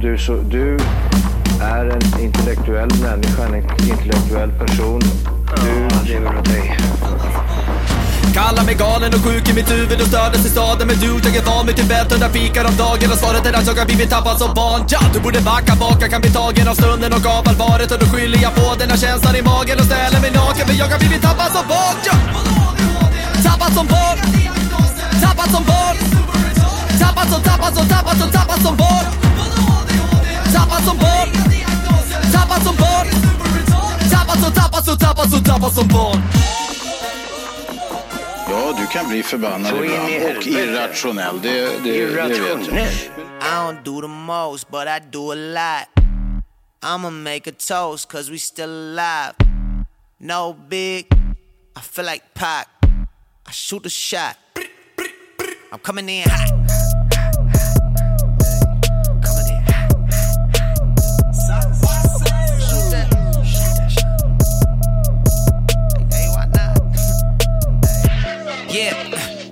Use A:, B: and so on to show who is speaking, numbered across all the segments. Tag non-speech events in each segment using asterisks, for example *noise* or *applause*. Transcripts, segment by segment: A: du, så, du är en intellektuell människa, en intellektuell person. Du lever av dig.
B: Kallar mig galen och sjuk i mitt huvud och stördes i staden Men du, jag är van vid Tibet och där fikar om dagen Och svaret är att jag har blivit tappad som barn ja, Du borde backa bak, jag kan bli tagen av stunden och av allvaret Och då skyller jag på den här känslan i magen och ställer mig naken För jag har blivit tappad som barn ja. Tappad som barn Tappad som barn Tappad som, tappad som, tappad som, tappad som barn Tappad som barn Tappad som barn Tappad som, tappad som, tappad som, tappad som barn
C: Ja, du kan bli förbannad
A: Så in i
C: ibland
A: helvete.
C: och irrationell. Det, det, det vet
A: Irrationell.
C: jag.
D: I don't do the most, but I do a lot. I'ma make a toast, cause we still alive. No big, I feel like Pac. I shoot a shot. I'm coming in hot. Coming in hot. Shoot that. Hey, why not? Yeah,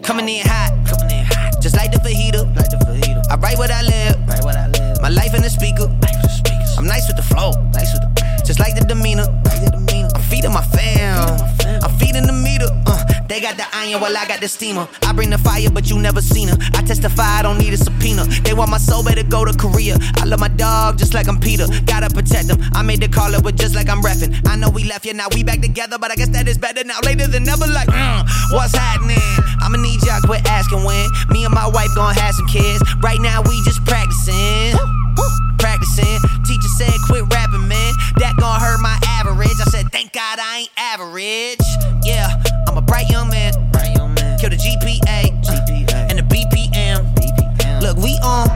D: coming in hot. Coming in hot. Just like the fajita. Like the fajita. I write what I live. Write what I live. My life in the speaker. Life the speakers. I'm nice with the flow. Nice with the just like the demeanor. Like the demeanor. I'm feeding my fam. I'm feeding the meter. Uh, they got the iron while I got the steamer. I bring the fire, but you never seen her. I testify, I don't need a subpoena. They want my soul, better go to Korea. I love my dog just like I'm Peter. Gotta protect them. I made the call up with just like I'm reffing. I know we left, yeah, now we back together, but I guess that is better now. Later than never, like, mm, what's happening? I'ma need y'all quit asking when. Me and my wife gonna have some kids. Right now, we just practicing. Practicing. Teacher said, quit rapping, man. That gon' hurt my average. I said, thank God I ain't average. Yeah, I'm a bright young man. Bright young man. Kill the GPA, GPA. and the BPM. BPM. Look, we on.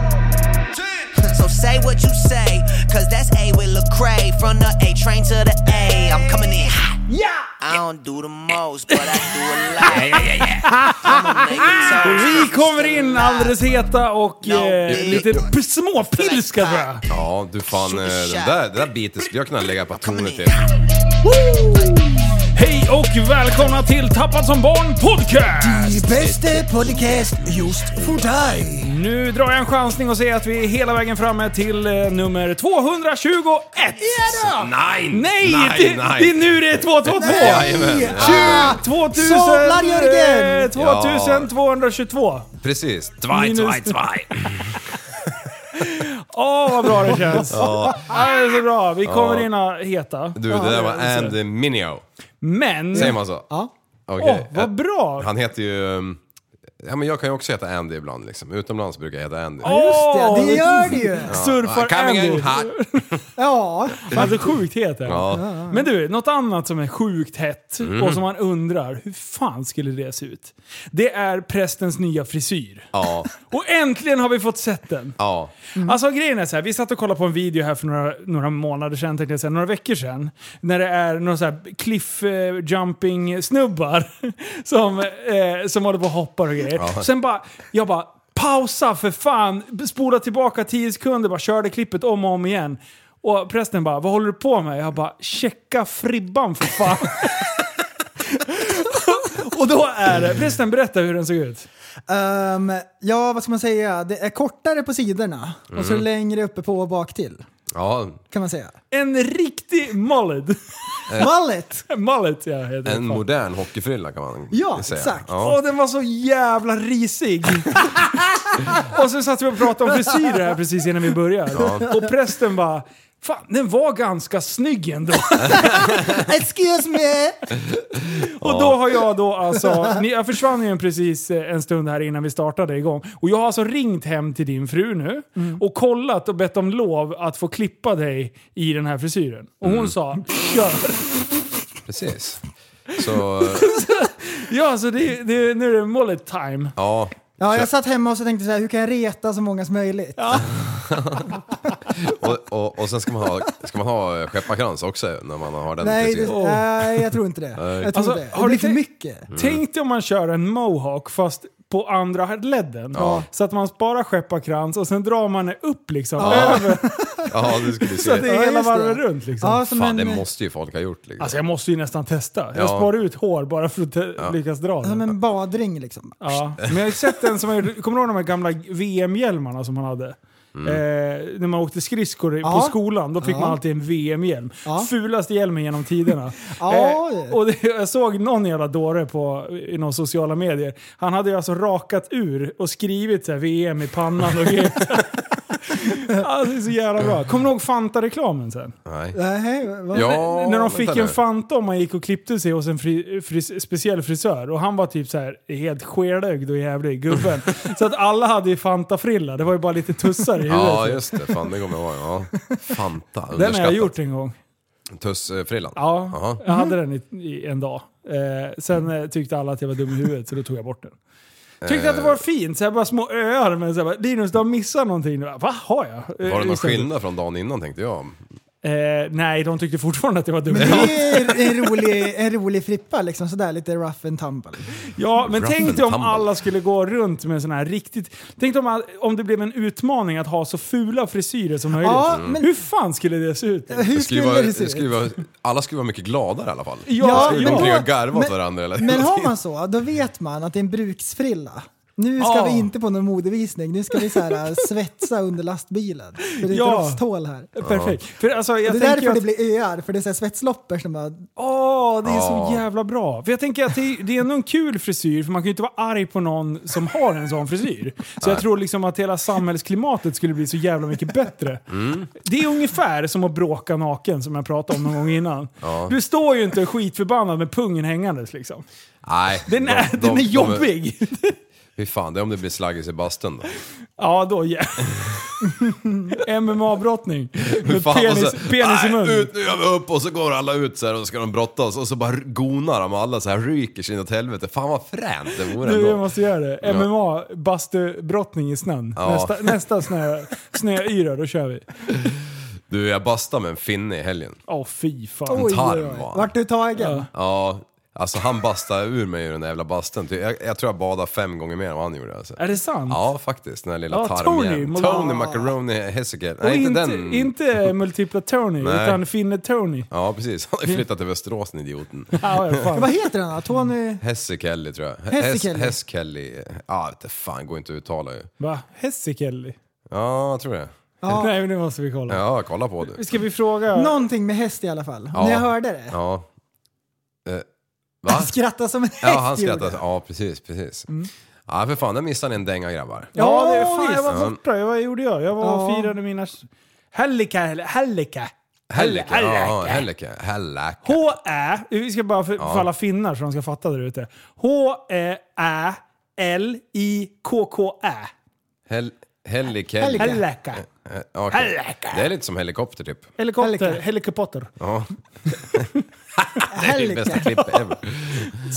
D: So say what you say, cause that's A with Lecrae. From the A train to the A, I'm coming in hot. Yeah. I don't do the most, but I do a lot. I'ma make it
E: *laughs*
D: so.
F: Vi kommer in alldeles heta och eh, lite p- småpilska tror jag.
G: Ja, du fan, eh, den där, den där biten skulle jag kunna lägga på tornet till.
F: Hej och välkomna till Tappad som barn podcast!
E: Bästa podcast just för dig.
F: Nu drar jag en chansning och säger att vi är hela vägen framme till eh, nummer 221.
G: Nej!
F: Ah. Nej! det, det är nu det är 222!
G: Jajamän.
E: Ah,
F: 2000...
E: Sablar, Jörgen!
F: eh, 2222!
G: Precis. Tvaj,
F: Minus-
G: tvaj, tvaj.
F: Åh, vad bra det känns! ja. Det är så bra. Vi kommer in här heta.
G: Du, det där var Andy Mineo.
F: Men...
G: Säger man så? Ja.
F: Åh,
G: Okej. eh,
F: vad bra!
G: Han heter ju... um, Ja, men jag kan ju också heta Andy ibland liksom. Utomlands brukar jag heta Andy.
E: Just
F: Åh,
E: det, det gör det ju.
F: Surfar
G: Coming
F: Andy.
G: in hot.
E: *laughs* Ja,
F: Han är så sjukt het. är han.
G: Ja. Mm.
F: Men du, något annat som är sjukt hett och som man undrar, hur fan skulle det se ut? Det är prästens nya frisyr.
G: Ja.
F: Och äntligen har vi fått sett den!
G: Ja.
F: Alltså grejen är så här, vi satt och kollade på en video här för några, några månader sedan, tänkte jag säga, några veckor sedan. När det är några så här cliff eh, jumping snubbar *laughs* som, eh, som håller på och hoppar och grejer. Sen bara, jag bara, pausa för fan! Spola tillbaka 10 sekunder, bara körde klippet om och om igen. Och prästen bara, vad håller du på med? Jag bara, checka fribban för fan! *laughs* och då är det, prästen berätta hur den såg ut.
E: Ehm, ja, vad ska man säga? Det är kortare på sidorna och så längre uppe på och bak till.
G: ja.
E: Kan man säga.
F: En riktig mullet.
E: Mallet!
F: mullet ja, heter det.
G: En
F: Fan.
G: modern hockeyfrilla kan man
E: Ja,
G: säga.
E: exakt.
F: Åh,
G: Ja.
F: den var så jävla risig! och sen satt vi och pratade om frisyrer här precis innan vi började. Och prästen bara Fan, den var ganska snygg ändå.
E: Excuse me!
F: Och då har jag då alltså, ni- jag försvann ju precis eh, en stund här innan vi startade igång. Och jag har alltså ringt hem till din fru nu och kollat och bett om lov att få klippa dig i den här frisyren. Och hon sa, gör
G: Precis. Så,
F: Ja, alltså det, det, nu är det mullet time.
G: ja.
E: Ja, jag satt hemma och så tänkte så här, hur kan jag reta så många som möjligt?
G: Och, och, och sen ska man ha, ska man ha eh, skepparkrans också när man har den
E: Nej, det,
G: frisyren.
E: nej, jag tror inte det. Jag tror
F: Alltså,
E: inte det.
F: har
E: Det blir
F: du
E: för
F: tänkt-
E: mycket.
F: Tänk dig om man kör en mohawk fast på andra ledden. Så att man sparar skepparkrans och sen drar man det upp liksom. Över,
G: Ja, det skulle du
F: *laughs* så att det
G: se.
F: är
E: Ja,
F: hela
E: just det.
F: varvet runt liksom.
E: Ja, som
G: Fan, det
E: en,
G: måste ju folk ha gjort liksom.
F: Alltså jag måste ju nästan testa. Jag
G: Ja.
F: sparar ut hår bara för att te- lyckas dra
E: som
F: det.
E: en badring liksom.
F: Ja. Men jag har ju sett en som har gjort, kommer du ihåg de här gamla VM-hjälmarna som han hade?
E: Mm.
F: Eh, när man åkte skridskor i-
E: Ja.
F: på skolan, då fick
E: Ja.
F: man alltid en VM-hjälm.
E: Ja.
F: Fulaste hjälmen
E: *laughs*
F: genom tiderna.
E: Ja.
F: Eh, och det, jag såg någon jävla dåre på, i någon sociala medier. Han hade ju alltså rakat ur och skrivit så här, VM i pannan och grejer. *laughs* alltså, det är så jävla bra. Kommer du ihåg Fanta-reklamen sen?
G: Nej.
F: *laughs*
E: Nej, vad?
G: Ja,
F: när de fick
G: vänta
F: en
G: nu.
F: Fanta och man gick och klippte sig hos en fri, fris, speciell frisör. Och han var typ så här helt skelögd och
G: *laughs*
F: jävlig, gubben. så att alla hade ju Fanta-frilla. Det var ju bara lite tussar i huvudet.
G: Ja, just det. Fan, det kommer jag ihåg. Ja. Fanta.
F: den har
G: underskattat.
F: jag gjort en gång.
G: Tussfrillan?
F: Ja,
G: Jaha.
F: jag hade den i, i en dag. Eh, sen eh, tyckte alla att jag var dum i huvudet så då tog jag bort den. Tyckte att det
G: Eh.
F: var fint, så här bara små öar. Men så här bara, Linus du har missat någonting. Jag bara, Vad har jag? Eh,
G: Var det någon
F: ursäkta.
G: skillnad från dagen innan tänkte jag?
F: Eh, nej, de tyckte fortfarande att jag var dum i huvudet.
E: Det är en rolig, en rolig frippa liksom, sådär lite rough and tumble.
F: Ja, men
G: Rough
F: tänk
G: and
F: dig om
G: tumble.
F: alla skulle gå runt med sån här riktigt... Tänk dig om, all- om det blev en utmaning att ha så fula frisyrer som möjligt.
E: Ja, men
F: Hur fan skulle det se ut?
E: hur
G: Det skulle
E: skulle
G: vara,
E: det
G: det
E: se
G: skulle
E: ut?
G: vara, alla skulle vara mycket gladare i alla fall.
F: Ja,
G: skulle
F: ja.
G: gå omkring och garva åt
E: Men-
G: varandra. Eller?
E: Men har man så, då vet man att det är en bruksfrilla. Nu ska
F: Ja.
E: vi inte på någon modevisning, nu ska vi så här, äh, svetsa under lastbilen. För det är ett
F: Ja.
E: rosthål här.
F: Perfekt. För alltså, jag
E: det är
F: tänker
E: därför
F: att,
E: det blir öar, för det är så här svetsloppor som bara...
F: Åh, det är
G: Ja.
F: så jävla bra. För jag tänker att det, det är ändå en kul frisyr, för man kan ju inte vara arg på någon som har en sån frisyr. Så jag tror liksom att hela samhällsklimatet skulle bli så jävla mycket bättre.
G: Mm.
F: Det är ungefär som att bråka naken, som jag pratade om någon gång innan. Du står ju inte skitförbannad med pungen hängandes liksom.
G: *laughs* Nej,
F: Den är, den är jobbig!
G: Fy fan, det är om det blir slaggis i bastun då.
F: Ja,
G: *laughs*
F: då ja. *laughs* MMA-brottning.
G: Fy
F: Med
G: fan,
F: penis,
G: och så-
F: penis i
G: Nej,
F: munnen.
G: Ut, nu gör vi upp och så går alla ut så här och så ska de brottas och så bara gonar de alla så här ryker sig inåt helvete. Fan vad fränt det vore
F: Du, jag
G: ändå.
F: måste göra det. MMA, bastubrottning i snön.
G: Ja. *laughs*
F: Nästa, nästa snö, snöyra, då kör vi.
G: Du, jag bastade med en finne i helgen.
F: Åh, fy fan.
E: Oj, oj,
G: tarm,
E: oj.
G: va?
E: Vart du tagen?
G: Ja, alltså han bastade ur mig ur den där jävla bastun. Ty- Jag, jag tror jag badade fem gånger mer än vad han gjorde alltså.
F: Är det sant?
G: Ja, faktiskt. Den där lilla
F: Ja,
G: tarmjäveln.
F: Tony.
G: Tony, Macaroni Hesekiel.
F: Och
G: Nej, inte,
F: inte,
G: den.
F: inte multipla
G: *laughs*
F: Tony,
G: Nej.
F: utan finne Tony.
G: Ja, precis. Han har ju flyttat till Västerås, den idioten.
F: Ja, ja, *laughs* fan.
E: Vad heter den då? Tony...
G: Hesekelly tror jag.
E: Hessekelly.
G: Hesekelly. Ja, inte fan. Går inte att uttala ju.
F: Va? Hessekelli?
G: Ja, jag tror det.
F: Nej, men nu måste vi kolla.
G: Ja, kolla på du.
F: Ska vi fråga?
E: Någonting med häst i alla fall.
G: Ja.
E: När jag hörde det.
G: Ja. Eh,
E: Han
G: va?
E: skrattade som en häst
G: Ja, han
E: gjorde.
G: skrattar. Ja, precis, precis.
F: Mm.
G: Ja, för fan. Där missade ni en dänga grabbar.
F: Ja, det, fan,
E: Ja,
F: jag var
G: visst.
F: borta. Jag, vad gjorde jag? Jag var och
E: Ja.
F: firade mina... Hellika, Hellika.
G: Hellike. Ja,
F: Hellike.
G: Hellike. Hellike.
F: H-Ä, vi ska bara för, för alla finnar så de ska fatta där ute. H-Ä-L-I-K-K-Ä.
G: Hell- Hellike.
E: Hellike.
F: Hellika.
G: Eh, okej.
F: Hellike.
G: Det är lite som helikopter typ.
F: Helikopter. Helikopter.
G: Ja.
E: Ja,
G: Det är det bästa
E: Helge.
G: klippet ever.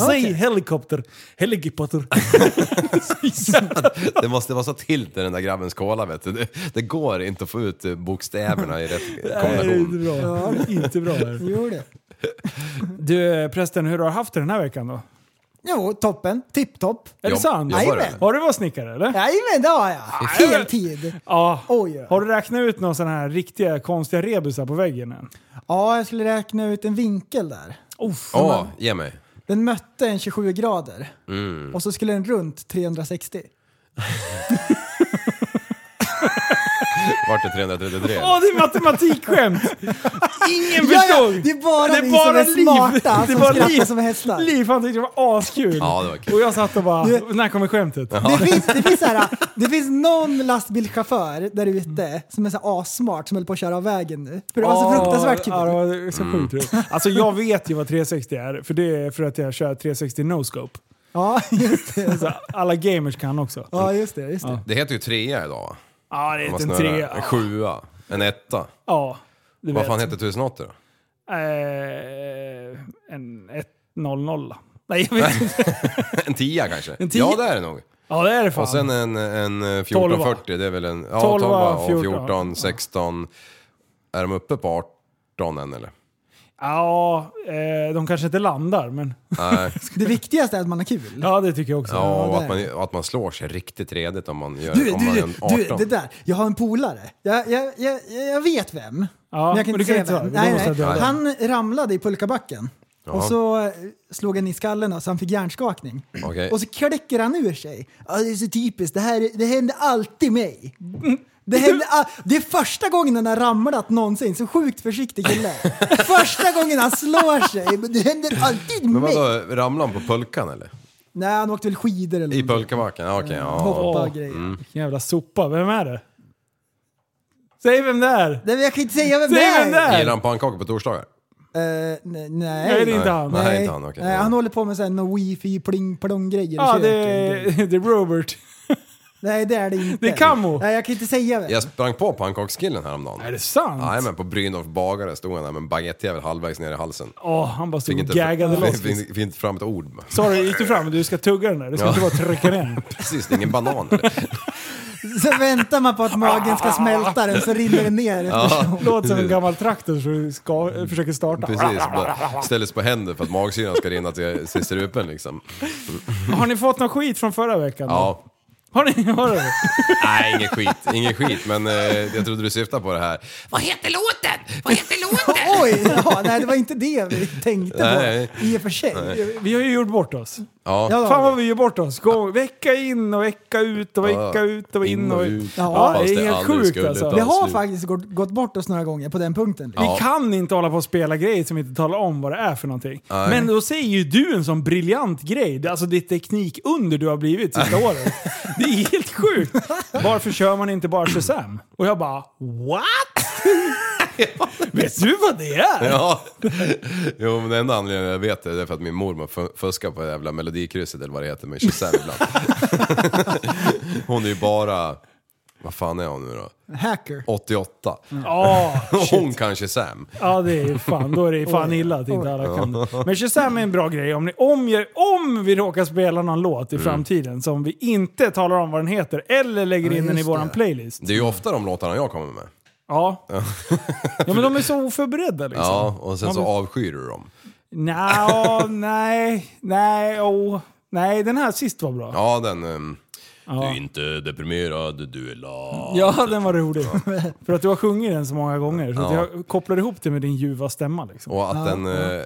F: Säg helikopter.
G: *laughs*
F: Helikopter.
G: Det måste vara så tilt i den där grabbens kola vet du. Det, det går inte att få ut eh, bokstäverna i rätt
F: Nej, det är
G: kombination.
F: inte bra. Det är Inte bra här.
E: Jo, det.
F: Du prästen, hur har du haft det den här veckan då?
E: Jo, toppen. Tipptopp.
F: Är det
G: Jobb-
F: sant?
G: jobbar
E: Jajamän.
F: Har du varit snickare eller?
E: Jajamän, det har jag. Heltid.
F: Ja.
E: Oj, ja.
F: Har du räknat ut några sådana här riktiga konstiga rebusar på väggen än?
E: Ja, jag skulle räkna ut en vinkel där.
G: Ja, ge mig.
E: Den mötte en 27 grader och så skulle den runt 360.
G: Vart är 333?
F: Åh, det är matematikskämt! Ingen
E: Ja, ja,
F: förstod!
E: det är bara vi som är
F: Liv.
E: smarta
F: Det är
E: som
F: bara
E: skrattar
F: Liv.
E: som hästar.
F: Liv, han tyckte det var askul.
G: Ja, det var kul.
F: Och jag satt och bara, när kommer skämtet?
E: Det, finns, det, finns så här, det finns någon lastbilschaufför där ute som är så här assmart som höll på att köra av vägen nu. För det var så fruktansvärt kul.
F: Ja, det var så
G: Mm.
F: sjukt roligt. Alltså jag vet ju vad 360 är, för det är för att jag kör 360 no-scope.
E: Ja, just det.
F: Så alla gamers kan också.
E: Ja,
F: Ja,
E: just det. Just det.
G: Det heter ju trea idag va?
F: det
G: Om man
F: är en
G: snurrar.
F: trea.
G: En sjua. En etta.
F: Ja, du
G: Vad
F: vet.
G: fan heter 1080 då?
F: Eh, en 100. Nej, jag vet inte.
G: En tia kanske?
F: En tia?
G: Ja, det är det nog.
F: Ja, det är det
G: *laughs*
F: fan.
G: Och sen en, en eh, 1440, det är väl en... Ja, 12,
F: Tolva,
G: och 14,
F: 14,
G: 16. Är de uppe på 18 än
E: *laughs*
G: eller?
F: Ja, eh, de kanske inte landar, men *laughs*
G: Nej.
E: Det viktigaste är att man har kul.
F: ja, det tycker jag också.
G: Ja, och
E: där.
G: att man, och att man slår sig riktigt redigt om man gör...
E: Du,
G: om man är
E: du,
G: en 18.
E: du, det där. Jag har en polare. Jag, jag, jag, jag vet vem.
F: Ja,
E: men jag kan
F: men
E: inte
F: du
E: säga
F: kan
E: vem.
F: inte säga. Då
E: Nej,
F: måste
E: nej.
F: jag döda.
E: Han ramlade i pulkabacken. Och så eh, slog han i skallen och så han fick hjärnskakning.
G: Okej.
E: Och så kläcker han ur sig. Ja, det är så typiskt, det, här, det händer alltid mig. Det, händer all- det är första gången han har ramlat någonsin, så sjukt försiktig
G: *laughs*
E: kille. Första gången han slår sig, men det händer alltid
G: Men
E: mig.
G: vadå, ramlade han på pulkan eller?
E: Nej, han åkte väl skidor eller
G: I
E: någonting.
G: pulkabacken? Ja, okej. ja.
E: Mm. Hoppa
F: Åh.
E: och grejer.
G: Mm.
F: Vilken jävla sopa. Vem är det? Säg vem det är!
E: Nej, men jag kan inte säga vem det
F: Säg vem det
E: är.
F: är!
G: Gillar han pannkakor på torsdagar?
E: Eh, nej,
F: Nej, det är
E: nej.
F: inte han.
G: Nej,
E: Nej,
G: inte han. okej.
E: nej, han håller på med sån här wifi pling plong grejer i
F: Ja, det
E: köket.
F: är, *laughs* det är Robert.
E: Nej, det är det inte.
F: Det är Camo.
E: Nej, jag kan inte säga vem.
G: Jag sprang på pannkakskillen häromdagen.
F: Är det sant?
G: Nej men på Brynolf bagare stod han där med en baguettejävel halvvägs ner i halsen.
F: Åh, han bara
G: Fick
F: stod och
G: inte- *laughs*
F: gaggade loss.
G: fick- Fick inte fram ett ord. *laughs*
F: Sorry, gick du fram? Du ska tugga den där. Du ska
G: Ja.
F: inte bara
G: *laughs*
F: trycka den.
G: Precis, det är ingen banan eller?
E: Så väntar man på att magen ska smälta den så rinner den ner.
F: Låter som en gammal traktor som du ska, eh, försöker starta. Ah,
G: Precis, bara ställer sig på händer för att magsyran ska rinna till, till strupen liksom.
F: Har ni fått någon skit från förra veckan? då?
G: Ja.
F: Har ni? Har ni?
G: Nej, ingen skit, ingen skit, men eh, jag trodde du syftade på det här. Vad heter låten? Vad heter låten?
E: *laughs* Oj! Ja, nej, det var inte det vi tänkte
G: Nej.
E: på i och för sig.
F: Vi har ju gjort bort oss.
G: Ja,
E: Ja,
F: Fan vad vi gör bort oss. Gång, vecka in och vecka ut och
G: Ja.
F: vecka ut och in och ut.
E: Ja,
F: Ja,
G: fast
F: det är
G: det är
F: helt
G: aldrig
F: sjukt
G: skulle
F: alltså.
G: ta.
E: Vi
F: Vi,
G: Ja,
E: har
G: slut.
E: faktiskt gått, gått bort oss några gånger på den punkten.
G: Ja.
F: kan inte hålla på och spela grejer som inte talar om vad det är för någonting. Men då säger ju du en sån briljant grej. Det är Alltså ditt teknikunder du har blivit sista året. Det är helt sjukt. Varför kör man inte bara Shazam? Och jag bara what? Vet du vad det är?
G: ja. Jo, men den enda anledningen jag vet det är för att min mormor fu- fuskar på det jävla melodikrysset eller vad det heter med Shazam *laughs* ibland. Hon är ju bara, vad fan är hon nu då?
E: Hacker.
G: 88.
F: Ja,
G: Hon kan Shazam.
F: Ja, det är ju fan, då är det ju fan illa att inte alla kan. Men Shazam är en bra grej. Om, ni, om, jag- om vi råkar spela någon låt i framtiden som vi inte talar om vad den heter eller lägger in den i
E: just
F: våran
E: det.
F: playlist.
G: Det är ju ofta de låtarna jag kommer med.
F: Ja. *laughs* ja, men de är så oförberedda liksom.
G: Ja, och sen så avskyr du dem.
F: Nja, nej, nej, oh. Nej, den här sist var bra.
G: Ja, den... ehm, Du är inte deprimerad, du är glad.
F: Ja, den var rolig. *laughs* För att du har sjungit den så många gånger. Så att
G: Ja.
F: jag kopplar ihop det med din ljuva stämma liksom.
G: Och att, den, eh,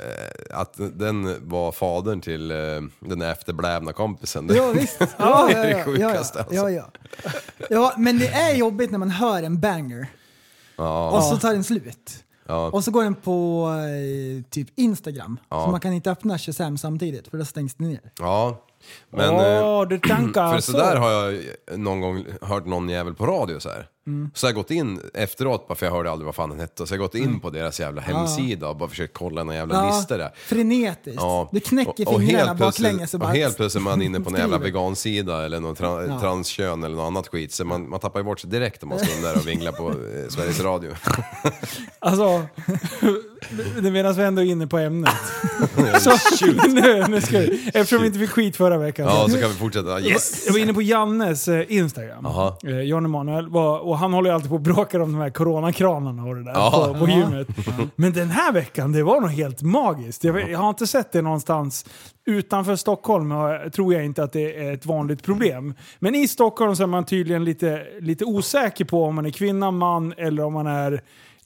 G: att den var fadern till eh, den efterblivna kompisen.
E: Ja, visst. Ja,
G: Det
E: ja,
G: är det
E: ja, ja,
G: sjukaste,
E: ja,
G: alltså.
E: ja, ja. ja, men det är jobbigt när man hör en banger
G: Ja,
E: och så tar den slut.
G: ja.
E: Och så går den på eh, typ Instagram.
G: Ja.
E: Så man kan inte öppna Shazam samtidigt för då stängs den ner.
G: *laughs* ja. Men, eh,
F: Åh, du
G: för
F: tankar så.
G: sådär har jag någon gång hört någon jävel på radio så här.
F: Mm.
G: Så jag har gått in efteråt, bara för jag hörde aldrig vad fan den hette, så jag har gått
F: Mm.
G: in på deras jävla hemsida och bara försökt kolla någon jävla lista där.
E: frenetiskt.
G: Ja.
E: Det knäcker
G: Och- och
E: fingrarna
G: helt plötsligt-
E: baklänges och
G: och
E: bara...
G: helt plötsligt är man inne på en jävla
E: skriver.
G: vegansida eller någon tra-
E: Ja.
G: transkön eller något annat skit. Så man, man tappar ju bort sig direkt om man står där och vinglar på eh, Sveriges
E: *laughs*
G: Radio.
F: Alltså, det menas vi ändå är inne
G: *laughs*
F: på ämnet. så, *laughs* nu, nu ska vi, eftersom vi inte fick skit förra veckan.
G: Ja, så kan vi fortsätta. Yes!
F: Jag var inne på Jannes eh, Instagram.
G: Aha.
F: Eh, Jan Emanuel. var- Och han håller ju alltid på och bråkar om de här coronakranarna och det där
G: Ja.
F: på, på gymmet. Men den här veckan, det var nog helt magiskt. Jag, vet- jag har inte sett det någonstans. Utanför Stockholm har- tror jag inte att det är ett vanligt problem. Men i Stockholm så är man tydligen lite, lite osäker på om man är kvinna, man eller om man är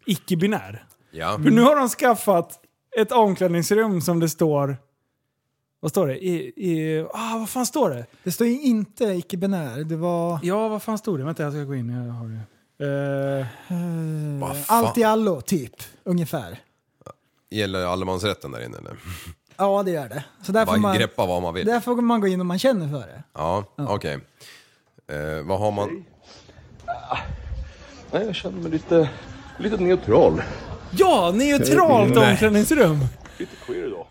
F: icke-binär.
G: Ja.
E: Mm.
F: För nu har de skaffat ett omklädningsrum som det står... Vad står det? I, i, ah, vad fan står det?
E: Det står ju inte icke-binär. Det var
F: Ja, vad fan stod det? Vänta, jag ska gå in. Jag har det. Eh,
G: Vad fan?
E: allt i allo, typ. Ungefär.
G: Gäller allemansrätten där inne eller?
E: Ja, det gör det. Så där får,
G: Bara
E: man,
G: greppa vad man vill.
E: där får man gå in om man känner för det.
G: Ja, okej. Eh, vad har man?
H: Nej, jag känner mig lite, lite neutral.
F: ja, neutralt
G: Nej.
F: omklädningsrum!
H: Lite queer
F: *laughs*
H: idag.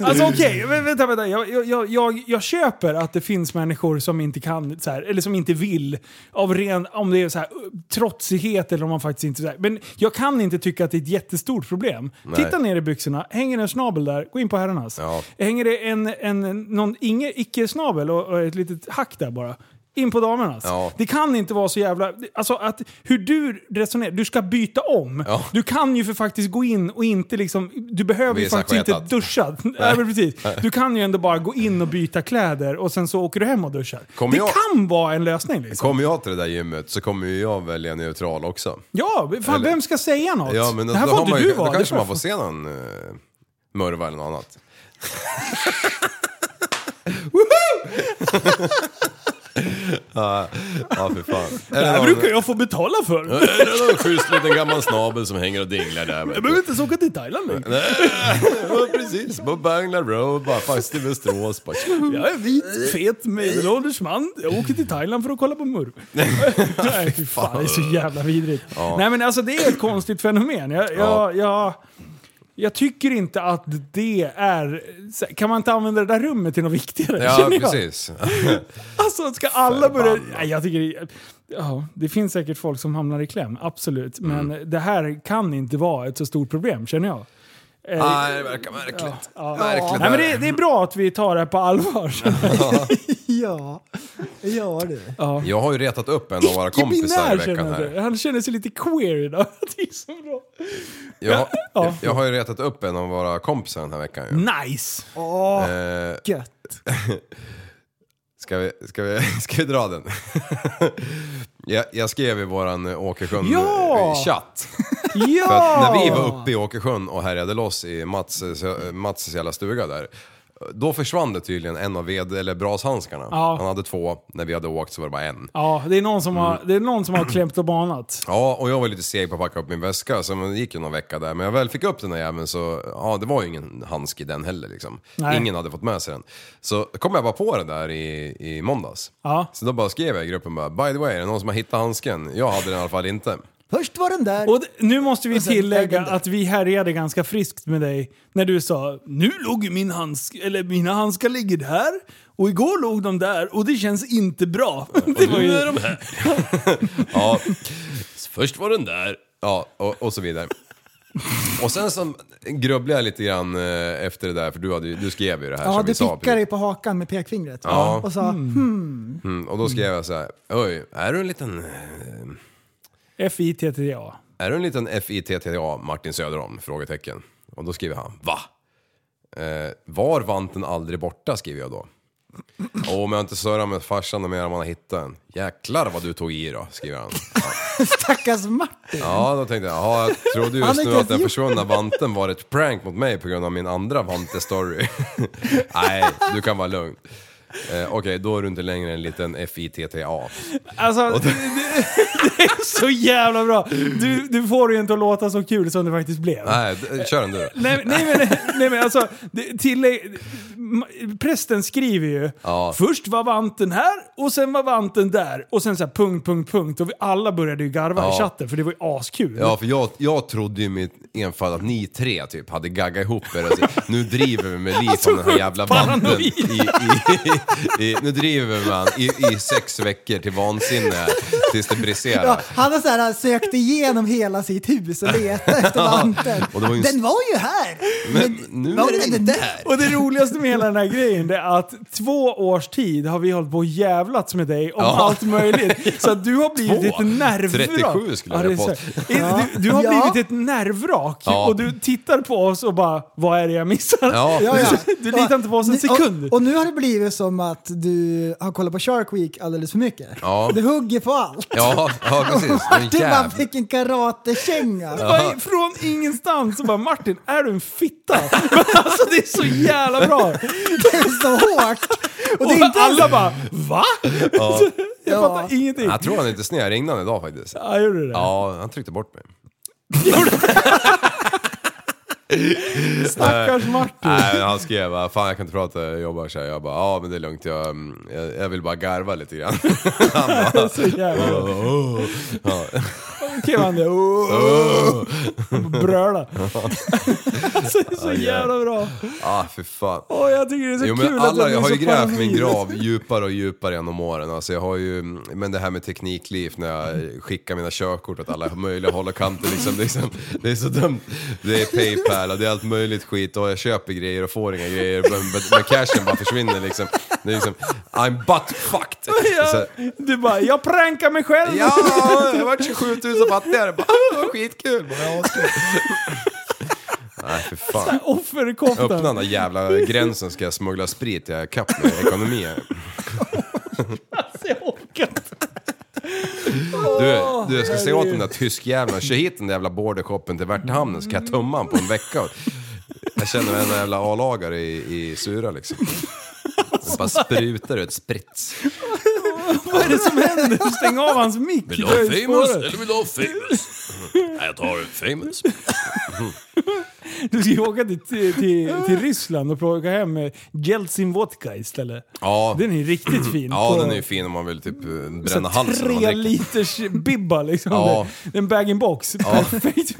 F: Alltså
G: Mm.
F: okej, vä- vänta, vänta. Jag, jag- jag, jag, jag köper att det finns människor som inte kan, så här, eller som inte vill, av ren, om det är så här, trotsighet eller om man faktiskt inte... Så här. Men jag kan inte tycka att det är ett jättestort problem. Titta ner i byxorna, hänger det en snabel där, gå in på herrarnas.
G: Ja.
F: Hänger det en, en, någon inge- icke-snabel och, och ett litet hack där bara. In på damernas.
G: Ja.
F: Det kan inte vara så jävla... Alltså att hur du resonerar, du ska byta om.
G: Ja.
F: Du kan ju för faktiskt gå in och inte liksom... Du behöver ju
G: Visa
F: faktiskt
G: sketat.
F: inte duscha. *laughs* Nej, men precis. Du kan ju ändå bara gå in och byta kläder och sen så åker du hem och duschar.
G: Kommer
F: det
G: jag-
F: kan vara en lösning liksom.
G: Kommer jag till det där gymmet så kommer ju jag välja neutral också.
F: Ja, fan,
G: Eller-
F: vem ska säga något?
G: Ja, men då,
F: det här
G: då,
F: var
G: har
F: inte
G: man
F: du
G: ju,
F: var.
G: då
F: Det
G: kanske
F: var-
G: man får se någon eh, murva eller något
F: *laughs*
G: annat. Ja, ja, för fan.
F: Det
G: Eller
F: här
G: någon,
F: brukar jag få betala för. Jag
G: eller någon schysst liten gammal snabel som hänger och dinglar där. vet du.
F: behöver inte ens åka till Thailand längre.
G: Ja, precis, på Bangla Road, bara fast i Västerås. Bara,
F: Jag är vit, fet, medelålders man. Jag åker till Thailand för att kolla
G: *laughs*
F: på murv. Nej, fy fan. Det är så jävla vidrigt. Nej, men alltså det är ett konstigt fenomen. Jag, jag, jag, jag tycker inte att det är... Kan man inte använda det där rummet till något viktigare?
G: ja,
F: *laughs* känner jag?
G: precis.
F: Alltså ska alla börja...
G: Förbannat.
F: Nej, jag tycker... det- Ja, det finns säkert folk som hamnar i kläm, absolut. Men
G: Mm.
F: det här kan inte vara ett så stort problem, känner jag. Eh,
G: Nej, det verkar märkligt. Märkligt.
F: Nej, men det, det är bra att vi tar det här på
G: *laughs*
F: allvar. känner jag.
E: Ja, ja du.
G: Jag har ju retat upp en av våra kompisar i
F: Icke-binär
G: veckan
F: känner jag
G: här.
F: det. Han känner sig lite queer idag. *laughs* Det är så bra.
G: Jag,
F: Ja.
G: jag har ju retat upp en av våra kompisar den här veckan ju.
F: Nice!
G: Eh,
E: Gött.
G: Ska vi, ska vi, *laughs* ska vi dra den? jag, jag skrev i våran eh, Åkersjön
F: Ja!
G: eh, chatt.
F: Ja!
G: För att när vi var uppe i Åkersjön och härjade loss i Mats, eh, Mats jävla stuga där. Då försvann det tydligen en av ved, eller brashandskarna.
F: Ja.
G: Han hade två, när vi hade åkt så var det bara en.
F: Ja, det är någon som
G: Mm.
F: har, det är någon som har klämt och banat.
G: Ja, och jag var lite seg på att packa upp min väska, så det gick ju någon vecka där. Men jag väl fick upp den där jäveln så, ja det var ju ingen handske i den heller liksom.
F: Nej.
G: Ingen hade fått med sig den. Så kom jag bara på det där i, i måndags.
F: Ja.
G: Så då bara skrev jag i gruppen bara, by the way, är det någon som har hittat handsken? Jag hade den i alla fall inte.
E: Först var den där.
F: Och d- nu måste vi
G: Alltså,
E: Och sen
F: tillägga
E: äggen där.
F: att vi härjade ganska friskt med dig när du sa “Nu låg ju min handsk, eller mina handskar ligger där, och igår låg de där, och det känns inte bra”. *laughs* Det var ju...
G: Ja. *laughs* Först var den där. Ja, och, och så vidare. Och sen så grubblade jag lite grann eh, efter det där, för du, hade, ju- du skrev ju det här
E: Ja,
G: som
E: du
G: vi sa.
E: pickade ju på hakan med pekfingret.
G: Ja.
E: Och sa hmm.
G: Mm, och då skrev jag så här, oj, är du en liten... eh,
F: F-I-T-T-A.
G: Är du en liten FITTA Martin Söderholm? Frågetecken. Och då skriver han, va? Eh, var vanten aldrig borta? skriver jag då. Åh, men jag har inte sörjat med farsan och mer om han har hittat den. Jäklar vad du tog i då, skriver han.
E: stackars Martin.
G: Ja, då tänkte jag, jaha, jag trodde
E: Han
G: just
E: har
G: nu
E: inte
G: att den
E: ens
G: försvunna vanten var ett prank mot mig på grund av min andra vante-story. *laughs* Nej, du kan vara lugn. Eh, Okej, då är du inte längre en liten FITTA.
F: Alltså, det, det, det är så jävla bra! Du, du får det ju inte att låta så kul som det faktiskt blev.
G: Nej, d- kör den du då.
F: Nej, nej, men, nej men alltså, det- tillägg, ma- prästen skriver ju
G: Ja.
F: först var vanten här och sen var vanten där och sen så här punkt, punkt, punkt och vi alla började ju garva i
G: Ja.
F: chatten för det var ju askul.
G: Ja, för jag, jag trodde ju i mitt enfald att ni tre typ hade gaggat ihop er. Alltså, nu driver vi med liv
F: Alltså,
G: om den här
F: sjukt
G: jävla
F: paranoid.
G: banden. I, i, i, nu driver vi med han i, i sex veckor till vansinne här, tills det briserar.
E: Ja, han har så här, han sökt igenom hela sitt hus och letat efter vanten.
G: Och det var ju en-
E: Den var ju här!
G: Men nu
E: var
G: är
E: den
G: den inte
E: där?
G: här.
F: Och det roligaste med hela den här grejen det är att två års tid har vi hållit på och jävlats med dig om
G: Ja.
F: allt
G: *laughs*
F: möjligt. Så att du har blivit
G: Två.
F: ett nervvrak.
G: 37 skulle jag
F: det är
G: ha fått.
F: så här. Du, du har
E: Ja.
F: blivit ett nervvrak
G: Ja.
F: och du tittar på oss och bara vad är det jag missar?
G: Ja,
E: Ja, ja.
F: Du litar inte på oss en
E: Nu- och-
F: sekund.
E: Och, nu har det blivit som att du har kollat på Shark Week alldeles för mycket.
G: Ja.
E: Du hugger på allt.
G: Ja, ja precis. Det är en
E: Martin bara
G: jävla-
E: fick en karatekänga.
F: Bara från ingenstans så bara Martin, är du
E: *laughs*
F: en fitta? Men alltså det är så jävla bra!
E: Det är så hårt. Och
F: Och
E: det är inte ens
F: alla bara VA? *laughs*
E: Ja.
F: Jag fattar ingenting.
G: Jag tror han inte sned. Jag ringde han idag faktiskt.
F: Ja, gjorde du det?
G: Ja, han tryckte bort mig.
F: Stackars Martin.
G: Nej, men han skrev bara, fan jag kan inte prata, jag jobbar så här. Jag bara, ja men det är lugnt, jag, mm, jag, jag vill bara garva lite
F: *laughs*
G: grann.
F: Så jävla
G: *laughs*
F: bra. Oh.
G: Ja.
F: Skrev han det? Oh,
G: *laughs*
F: bröla. Alltså det är *laughs* så jävla bra.
G: Ah, för fan.
F: Åh, jag tycker det är så
G: Jo,
F: kul
G: men alla,
F: att
G: jag har ju
F: blir så
G: grävt min
F: paranoid. *laughs*
G: grav djupare och djupare genom åren. Alltså jag har ju, mm, men det här med teknikliv när jag skickar mina körkort åt alla möjliga håll och kanter. Liksom, liksom, det är så dumt. Det är Paypal och det är allt möjligt skit och jag köper grejer och får inga grejer. Men, men, men cashen bara försvinner liksom. Det är liksom I'm butt fucked. Så-
F: Du bara, jag prankar mig själv.
G: Ja, jag vart 27 000 fattigare. Bara, "Ah, Skitkul! Bara, "Ja, askul." Nej, för fan. Öppna den
F: *laughs* Offerkoftan.
G: där jävla gränsen ska jag smuggla sprit i kapp med ekonomi.
F: Alltså, *laughs* jag orkar inte.
G: Du, du, jag ska säga åt den där tyskjäveln, kör hit den där jävla borderkoppen till Värtahamnen så kan jag tömma han på en vecka. Jag känner mig en jävla A-lagare i, i sura liksom. Det bara sprutar ut sprits.
F: Vad är det som händer? Stäng av hans mick.
G: Vill du
F: Det
G: ha
F: är
G: famous
F: spåret.
G: eller vill du ha
F: *laughs*
G: famous? Nej, jag tar famous.
F: Du ska ju åka till, till, till, till Ryssland och plocka hem eh, Jeltsin vodka istället.
G: Ja, Mm.
F: Den är ju riktigt fin.
G: ja
F: På-
G: den är ju fin om man vill typ eh,
F: så
G: bränna halsen om man
F: Tre
G: dricker.
F: liters bibba liksom.
G: Ja.
F: En bag-in-box. *laughs* Perfekt.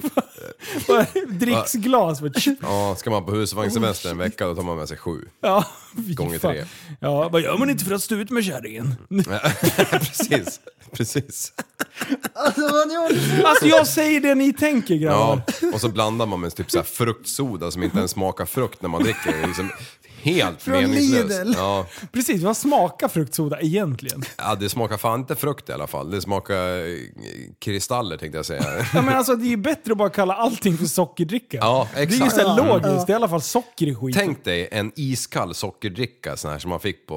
F: Bara Dricksglas. Bara, tjup.
G: Ja, ska man på husvagnssemester en vecka då tar man med sig
F: *laughs*
G: sju. *laughs*
F: ja, fy
G: Gånger
F: fan.
G: tre.
F: Ja, vad gör man inte för att stå ut med kärringen?
G: precis, precis.
E: Alltså vad ni håller på
F: Alltså jag säger det ni tänker grabbar.
G: Ja, och så blandar man med typ så här fruktsoda som inte ens smakar frukt när man dricker. Det är liksom helt
E: Från
G: meningslöst.
E: Lidl.
G: Ja.
F: Precis, vad smakar fruktsoda egentligen?
G: ja, det smakar fan inte frukt i alla fall. Det smakar eh, kristaller tänkte jag säga.
F: Ja, men alltså, det är ju bättre att bara kalla allting för sockerdricka.
G: Ja,
F: Det är ju
G: exakt. Mm.
F: så här logiskt, det är i alla fall socker i skiten.
G: Tänk dig en iskall sockerdricka sån här som man fick på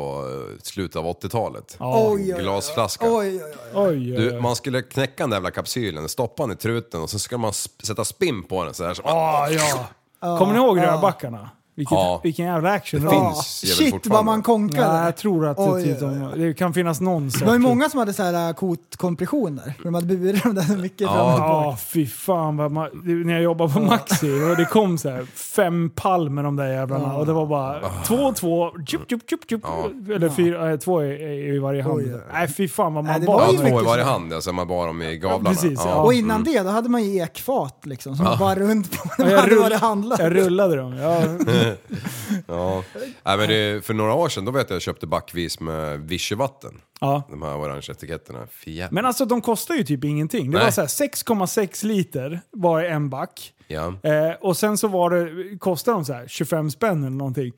G: eh, slutet av 80-talet.
F: Ja.
E: Oj, oj, oj.
G: Glasflaska.
E: Oj, oj, oj.
F: Oj, oj,
G: Du,
F: oj.
G: man skulle knäcka den där jävla kapsylen, stoppa den i truten och så ska man sp- sätta spinn på den så här. Så
F: Ah, ja. Kommer ni ihåg rörbackarna? Vilket,
G: Ja.
F: Vilken jävla action det
G: Det
F: var.
G: finns. ser väl
E: Ah. Shit vad
G: fortfarande.
E: man konkar.
F: Ja,
E: där.
F: jag tror att det,
E: Oj,
F: typ,
E: oj,
F: de- det kan finnas någon
E: Det
F: sorts...
E: var ju många som hade så här äh, kotkompressioner. De hade burit dem där mycket fram och
F: Ja, fy fan. Vad man, det- när jag jobbade på Maxi och det kom så här fem pall med de där jävlarna och det var bara
G: Ah.
F: två och två. Tjup, tjup, tjup, tjup. Eller fyra, eh, två i, i varje hand.
E: Oj, oj, oj.
F: Nej, fy fan vad man
E: Nej, det
F: bar.
E: var
G: Ja,
E: ju
G: två i
E: mycket
G: varje
E: så.
G: hand, alltså man bar dem i gavlarna.
F: precis, ja.
E: Och innan det, då hade man ju ekfat liksom, som var runt på när
F: Ja,
E: man
F: jag,
E: hade
F: rull,
E: varit och handlat.
F: jag rullade dem. Ja,
G: Ja. Nej, men det, för några år sedan, då vet jag jag köpte backvis med vichyvatten.
F: ja.
G: De här orange etiketterna. Fy jävlar.
F: Men alltså de kostar ju typ ingenting. Det
G: Nej.
F: var så här 6,6 liter var i en back.
G: Ja.
F: Eh, och sen så var det, kostade de så här 25 spänn eller någonting.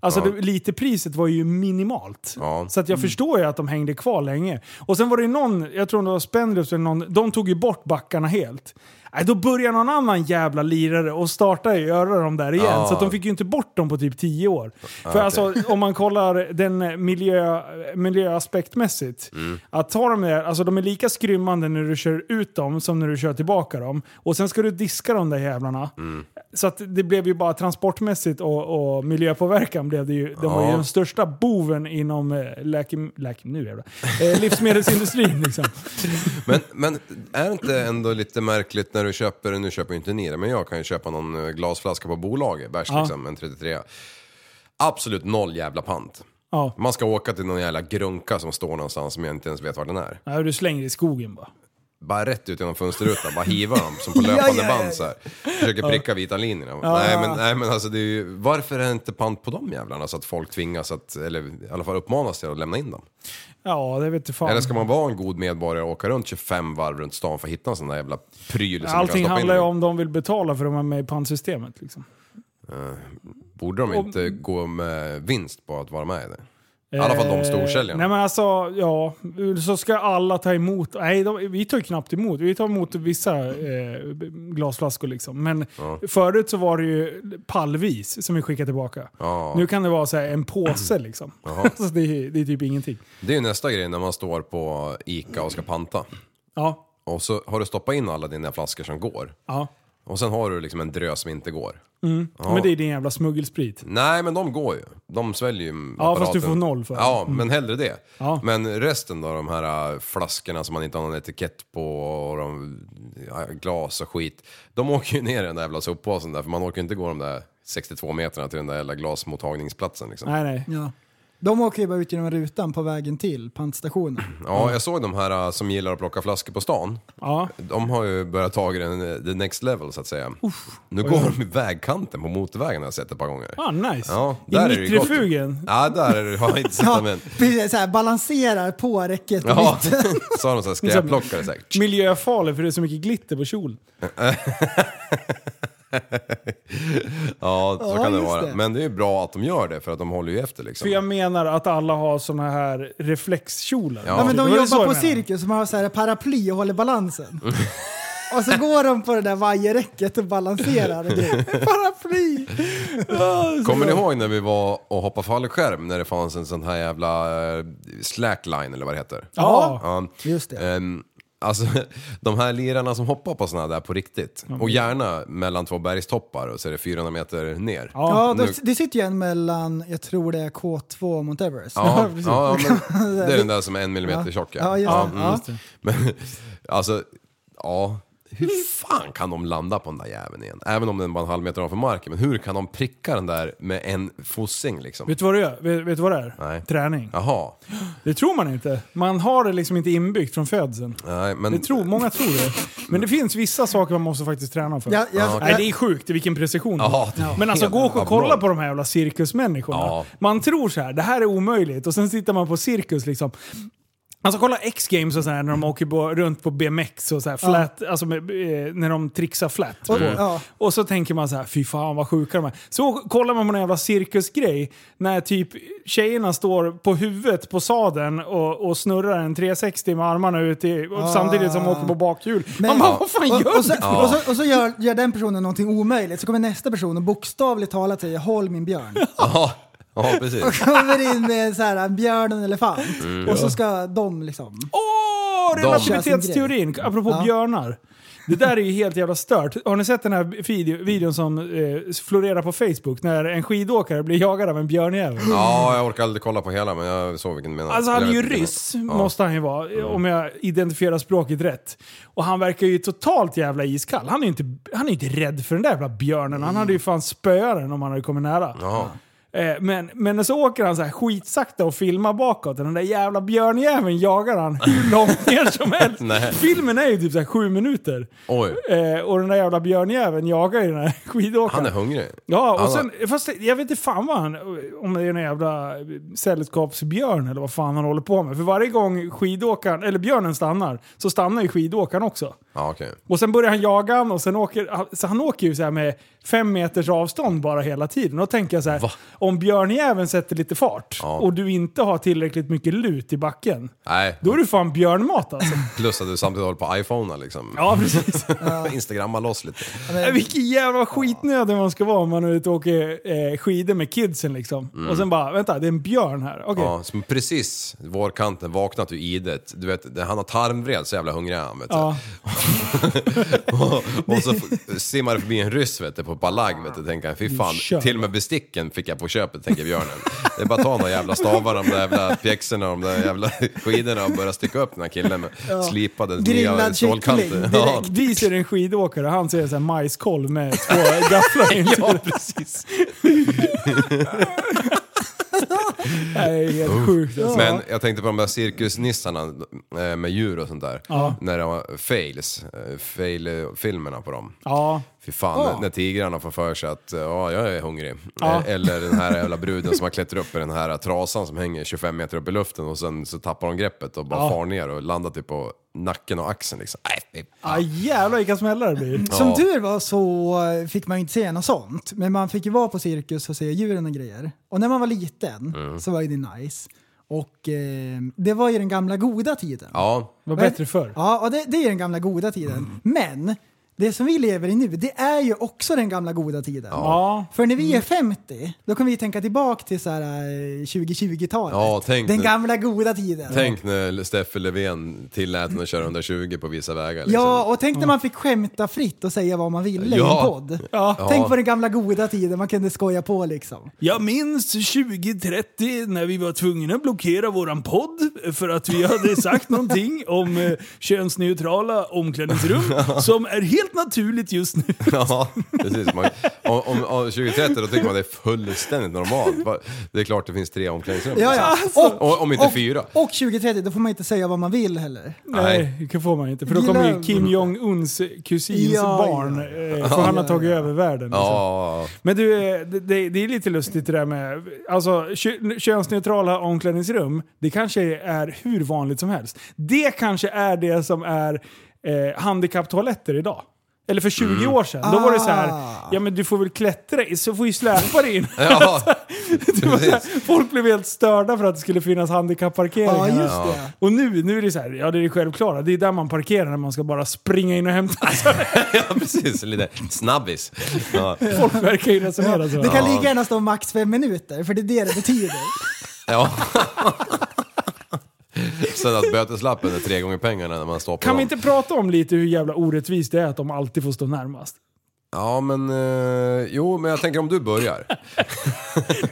F: Alltså
G: Ja.
F: det, literpriset var ju minimalt.
G: Ja.
F: Så att
E: Mm.
F: jag förstår ju att de hängde kvar länge. Och sen var det ju någon, jag tror det var Spendrups eller någon, de tog ju bort backarna helt. Nej, då började någon annan jävla lirare och startade göra dem där igen.
G: Ja.
F: Så att de fick ju inte bort dem på typ 10 år. För alltså om man kollar den miljö, miljöaspektmässigt.
G: Mm.
F: Att ta dem där, alltså de är lika skrymmande när du kör ut dem som när du kör tillbaka dem. Och sen ska du diska de där jävlarna.
G: Mm.
F: Så att det blev ju bara transportmässigt och, och miljöpåverkan blev det ju. De var ju
G: Ja.
F: den största boven inom eh, läke, läke, nu jävlar, eh, livsmedelsindustrin
G: *laughs*
F: liksom.
G: Men, men är det inte ändå lite märkligt när du köper, nu köper ju inte ni det, men jag kan ju köpa någon eh, glasflaska på bolaget, bärs
F: Ja.
G: liksom, en 33 Absolut noll jävla pant.
F: Ja.
G: Man ska åka till någon jävla grunka som står någonstans som jag inte ens vet var den är.
F: Nej, du slänger i skogen bara.
G: Bara rätt ut genom fönsterrutan, bara hiva dem
F: *laughs*
G: som på löpande
E: ja, ja,
G: band så här. Försöker pricka vita linjerna. Nej, men, nej men alltså det är ju, varför är det inte pant på de jävlarna så att folk tvingas att, eller i alla fall uppmanas till att lämna in dem?
F: Ja, det vet du fan.
G: Eller ska man vara en god medborgare och åka runt 25 varv runt stan för att hitta en sån där jävla pryl som man kan
F: Allting
G: stoppa in
F: handlar ju
G: dem i?
F: om de vill betala för att de är med i pantsystemet. Liksom.
G: Borde de inte gå med vinst på att vara med i det? I alla fall de
F: Eh,
G: storsäljarna.
F: Nej men alltså, ja. Så ska alla ta emot. Nej, de, vi tar ju knappt emot. Vi tar emot vissa eh, glasflaskor liksom. Men förut så var det ju pallvis som vi skickade tillbaka. Nu kan det vara så här en
G: *clears throat*
F: påse liksom. *laughs* så det, är- det är typ ingenting.
G: Det är ju nästa grej när man står på Ica och ska panta.
F: Ja,
G: Och så har du stoppat in alla dina flaskor som går.
F: ja.
G: Och sen har du liksom en drös som inte går.
F: Men det är din jävla smuggelsprit.
G: Nej, men de går ju. De sväljer ju
F: Ja, fast
G: apparaten.
F: du får noll för det. Mm.
G: Ja, men hellre det.
F: Ja.
G: Men resten då, de här äh, flaskorna som man inte har någon etikett på och de, ja, glas och skit. De *laughs* åker ju ner i den där jävla soppåsen där, för man orkar ju inte gå de där 62 metrarna till den där jävla glasmottagningsplatsen liksom.
F: Nej, nej.
E: Ja. De åker ju bara ut genom rutan på vägen till pantstationen.
G: Ja, jag såg de här äh, som gillar att plocka flaskor på stan.
F: Ja.
G: De har ju börjat ta den, äh, the next level så att säga. nu går de i vägkanten på motorvägen har jag sett ett par gånger.
F: Ah, nice.
G: Ja,
F: I
G: där är det ju gott.
F: mittrefugen.
G: Ja, där är det, har jag inte sett
E: Ja,
F: *laughs*
G: dem än. *laughs*
E: precis, så här, balanserar på räcket.
G: Ja, *laughs* så har de så
E: Liksom.
G: här skräpplockare säkert.
F: Miljöfarlig för det är så mycket glitter på kjolen.
G: Ja, så
E: Ja,
G: kan det
E: just
G: vara.
E: det.
G: Men det är ju bra att de gör det för att de håller ju efter liksom.
F: För jag menar att alla har såna här reflexkjolar.
G: Ja.
E: Ja, men de
F: Det var det så jag
E: jobbar på
F: menade.
E: cirkus som har så här paraply och håller balansen. och så går de på det där vajerräcket och balanserar. Och grejer. paraply!
G: Kommer ni ihåg när vi var och hoppade fallskärm när det fanns en sån här jävla eh, slackline eller vad det heter?
F: Ja.
G: Ja.
E: Just det.
G: Ehm, alltså *laughs* de här lirarna som hoppar på såna där på riktigt och gärna mellan två bergstoppar och så är det 400 meter ner.
E: Ja,
G: nu-
E: det, det sitter ju en mellan, jag tror det är K2 och Mount Everest.
G: Ja,
E: *laughs* precis.
G: ja,
E: *laughs*
G: men det är den där som är en millimeter
E: Ja.
G: tjock. mm.
E: Ja, just
F: mm.
E: det. Ja.
G: Men *laughs* alltså, ja. Hur fan kan de landa på den där jäveln igen? Även om den bara är en halv meter ovanför marken. Men hur kan de pricka den där med en fossing liksom?
F: Vet du vad det är? Vet, vet du vad det är?
G: Nej.
F: Träning.
G: Jaha.
F: Det tror man inte. Man har det liksom inte inbyggt från födseln.
G: Nej, men... Mm.
F: Det tror, många tror det. Men det finns vissa saker man måste faktiskt träna för.
E: Jag, jag,
F: Nej, det är sjukt vilken precision.
G: Ja, det är
F: Men alltså
G: helt
F: gå och kolla
G: abnormt.
F: på de här jävla cirkusmänniskorna.
G: Ja.
F: Man tror så här, det här är omöjligt. Och sen sitter man på cirkus liksom. Alltså kolla X-games och sådär när
G: Mm.
F: de åker på, runt på BMX och så här, flat, alltså med, eh, när de trixar flat.
E: och,
G: Mm.
F: på.
E: ja.
F: Och så tänker man så här, fy fan vad sjuka de är. Så kollar man på en jävla cirkusgrej när typ tjejerna står på huvudet på sadeln och, och snurrar en 360 med armarna ut i, och samtidigt som de åker på bakhjul. man bara, vad fan
E: Ah. och,
F: gör
E: och, så,
F: du?
E: och, så, och så gör, gör den personen någonting omöjligt, så kommer nästa person och bokstavligt talat säger “Håll min björn”.
G: *laughs* Ja, ja precis.
E: Kommer in med en så här, en björn och en elefant. och så ska de liksom...
F: Åh, relativitetsteorin! Apropå
E: Ja.
F: björnar. Det där är ju helt jävla stört. Har ni sett den här video, videon som eh, florerar på Facebook? När en skidåkare blir jagad av en björnjävel.
G: Ja, jag orkar aldrig kolla på hela men jag såg vilken du menar.
F: Alltså han är
G: Eller
F: ju
G: jag vet inte.
F: ryss, måste han ju vara, eh, om jag identifierar språket rätt. Och han verkar ju totalt jävla iskall. Han är ju inte, han är inte rädd för den där jävla björnen. Han hade ju fan spöat den om han hade kommit nära.
G: Ja.
F: Eh, Men, men så åker han så här skitsakta och filmar bakåt och den där jävla björnjäveln jagar han hur långt ner
G: *laughs*
F: som
G: Nej.
F: helst. Filmen är ju typ så här sju minuter.
G: Oj,
F: Eh, och den där jävla björnjäveln jagar ju den här *laughs* skidåkaren.
G: han är hungrig.
F: Ja, och
G: Han
F: sen, fast jag vet inte fan vad han, om det är en jävla sällskapsbjörn eller vad fan han håller på med. För varje gång skidåkaren, eller björnen stannar, så stannar ju skidåkaren också.
G: Ja, okej.
F: Och sen börjar han jaga han och sen åker, så han åker ju så här med fem meters avstånd bara hela tiden. Och då tänker jag så här,
G: Va?
F: om björnjäveln sätter lite fart
G: Ja.
F: och du inte har tillräckligt mycket lut i backen,
G: Nej,
F: då är du fan
G: *laughs*
F: björnmat alltså.
G: plus att du samtidigt håller på iPhone liksom.
F: ja, precis.
G: *laughs* Instagramma loss lite.
F: Nej, Vilken jävla skitnödig man ska vara om man är ute och åker eh, skidor med kidsen liksom.
G: Mm.
F: Och sen bara, vänta, det är en björn här. Okej.
G: Ja, som precis vårkanten vaknat ur idet. Du vet, han har tarmvred, så jävla hungrig är han vet du.
F: Ja.
G: *laughs* och, och så f- simmar det förbi en ryss vet du, på Balag vet du, tänker han. Fy fan,
F: Kör.
G: till och med besticken fick jag på köpet, tänker björnen. Det är bara att ta de där jävla stavarna, de där jävla pjäxorna, de där jävla *laughs* skidorna och börja sticka upp den här killen med slipade nya
E: Grillad kyckling
G: stålkanter.
E: direkt.
G: Ja.
F: Vi ser en skidåkare, han ser så här majskolv med två *laughs* gafflar in. ja, precis. *laughs* det är helt sjukt alltså.
G: Men jag tänkte på de där cirkusnissarna eh, med djur och sånt där. När det var fails, eh, fail-filmerna på dem.
F: Ja.
G: Fy fan, när- när tigrarna får för sig att eh, ja, jag är hungrig.
F: Ja.
G: Eh, Eller den här jävla bruden som har klättrat upp i den här trasan som hänger 25 meter upp i luften och sen så tappar de greppet och bara far ner och landar typ på nacken och axeln liksom. Nej, fy fan.
F: Ah, jävlar vilka smällar det blir.
G: Ja.
E: Som tur var så fick man ju inte se något sånt, men man fick ju vara på cirkus och se djuren och grejer. Och när man var liten så var ju det nice. Och eh, det var ju den gamla goda tiden.
G: Ja,
F: Vad bättre förr.
E: Ja, och det, det är den gamla goda tiden.
G: Mm.
E: Men det som vi lever i nu, det är ju också den gamla goda tiden.
F: Ja.
E: För när
G: Mm.
E: vi är 50, då kommer vi tänka tillbaka till så här, eh, 2020-talet.
G: Ja, tänk
E: den
G: nu.
E: gamla goda tiden.
G: tänk när Steffe Löfven tillät henne att köra 120 på vissa vägar. Liksom.
E: Ja, och tänk när man fick skämta fritt och säga vad man ville i
G: Ja.
E: en podd.
F: Ja.
E: Tänk på den gamla goda tiden, man kunde skoja på liksom.
F: Jag minns 2030 när vi var tvungna att blockera våran podd för att vi *laughs* hade sagt någonting om eh,
G: *laughs*
F: könsneutrala omklädningsrum som är helt naturligt just nu.
G: *laughs* Ja, precis. Man, om, om, om 2030 då tycker man det är fullständigt normalt. Va- Det är klart det finns tre omklädningsrum.
E: Ja, ja.
G: Och, om inte
E: och,
G: fyra.
E: Och 2030, då får man inte säga vad man vill heller.
F: Nej, det får man inte. För då kommer ju
E: Gillar-
F: Kim Jong-Uns kusins
E: Ja, ja.
F: barn. eh, För han har tagit över världen. liksom.
G: Ja,
F: Men du, eh, det- det, det är lite lustigt det där med... Alltså, kö- könsneutrala omklädningsrum, det kanske är hur vanligt som helst. Det kanske är det som är eh, handikapptoaletter idag. Eller för 20
G: Mm.
F: år sedan. Då var det så här,
E: Ah.
F: ja men du får väl klättra i, så får ju släpa dig in.
E: *laughs*
G: Ja,
F: *laughs* Det var så här,
G: precis.
F: folk blev helt störda för att det skulle finnas
E: Ja,
F: handikapparkeringar.
E: just det.
F: Och nu, nu är det så här, ja det är det självklara. Det är där man parkerar när man ska bara springa in och hämta.
E: *laughs*
G: Ja, precis. Lite snabbis. Ja,
F: Folk verkar ju resonera så.
E: Det kan lika gärna stå max fem minuter, för det är det det betyder.
G: ja. Sen att böteslappen är tre gånger pengarna när man stoppar
F: Kan vi
G: dem.
F: inte prata om lite hur jävla orättvist det är att de alltid får stå närmast? *laughs*
G: Ja, men... Eh, jo, men jag tänker om du börjar.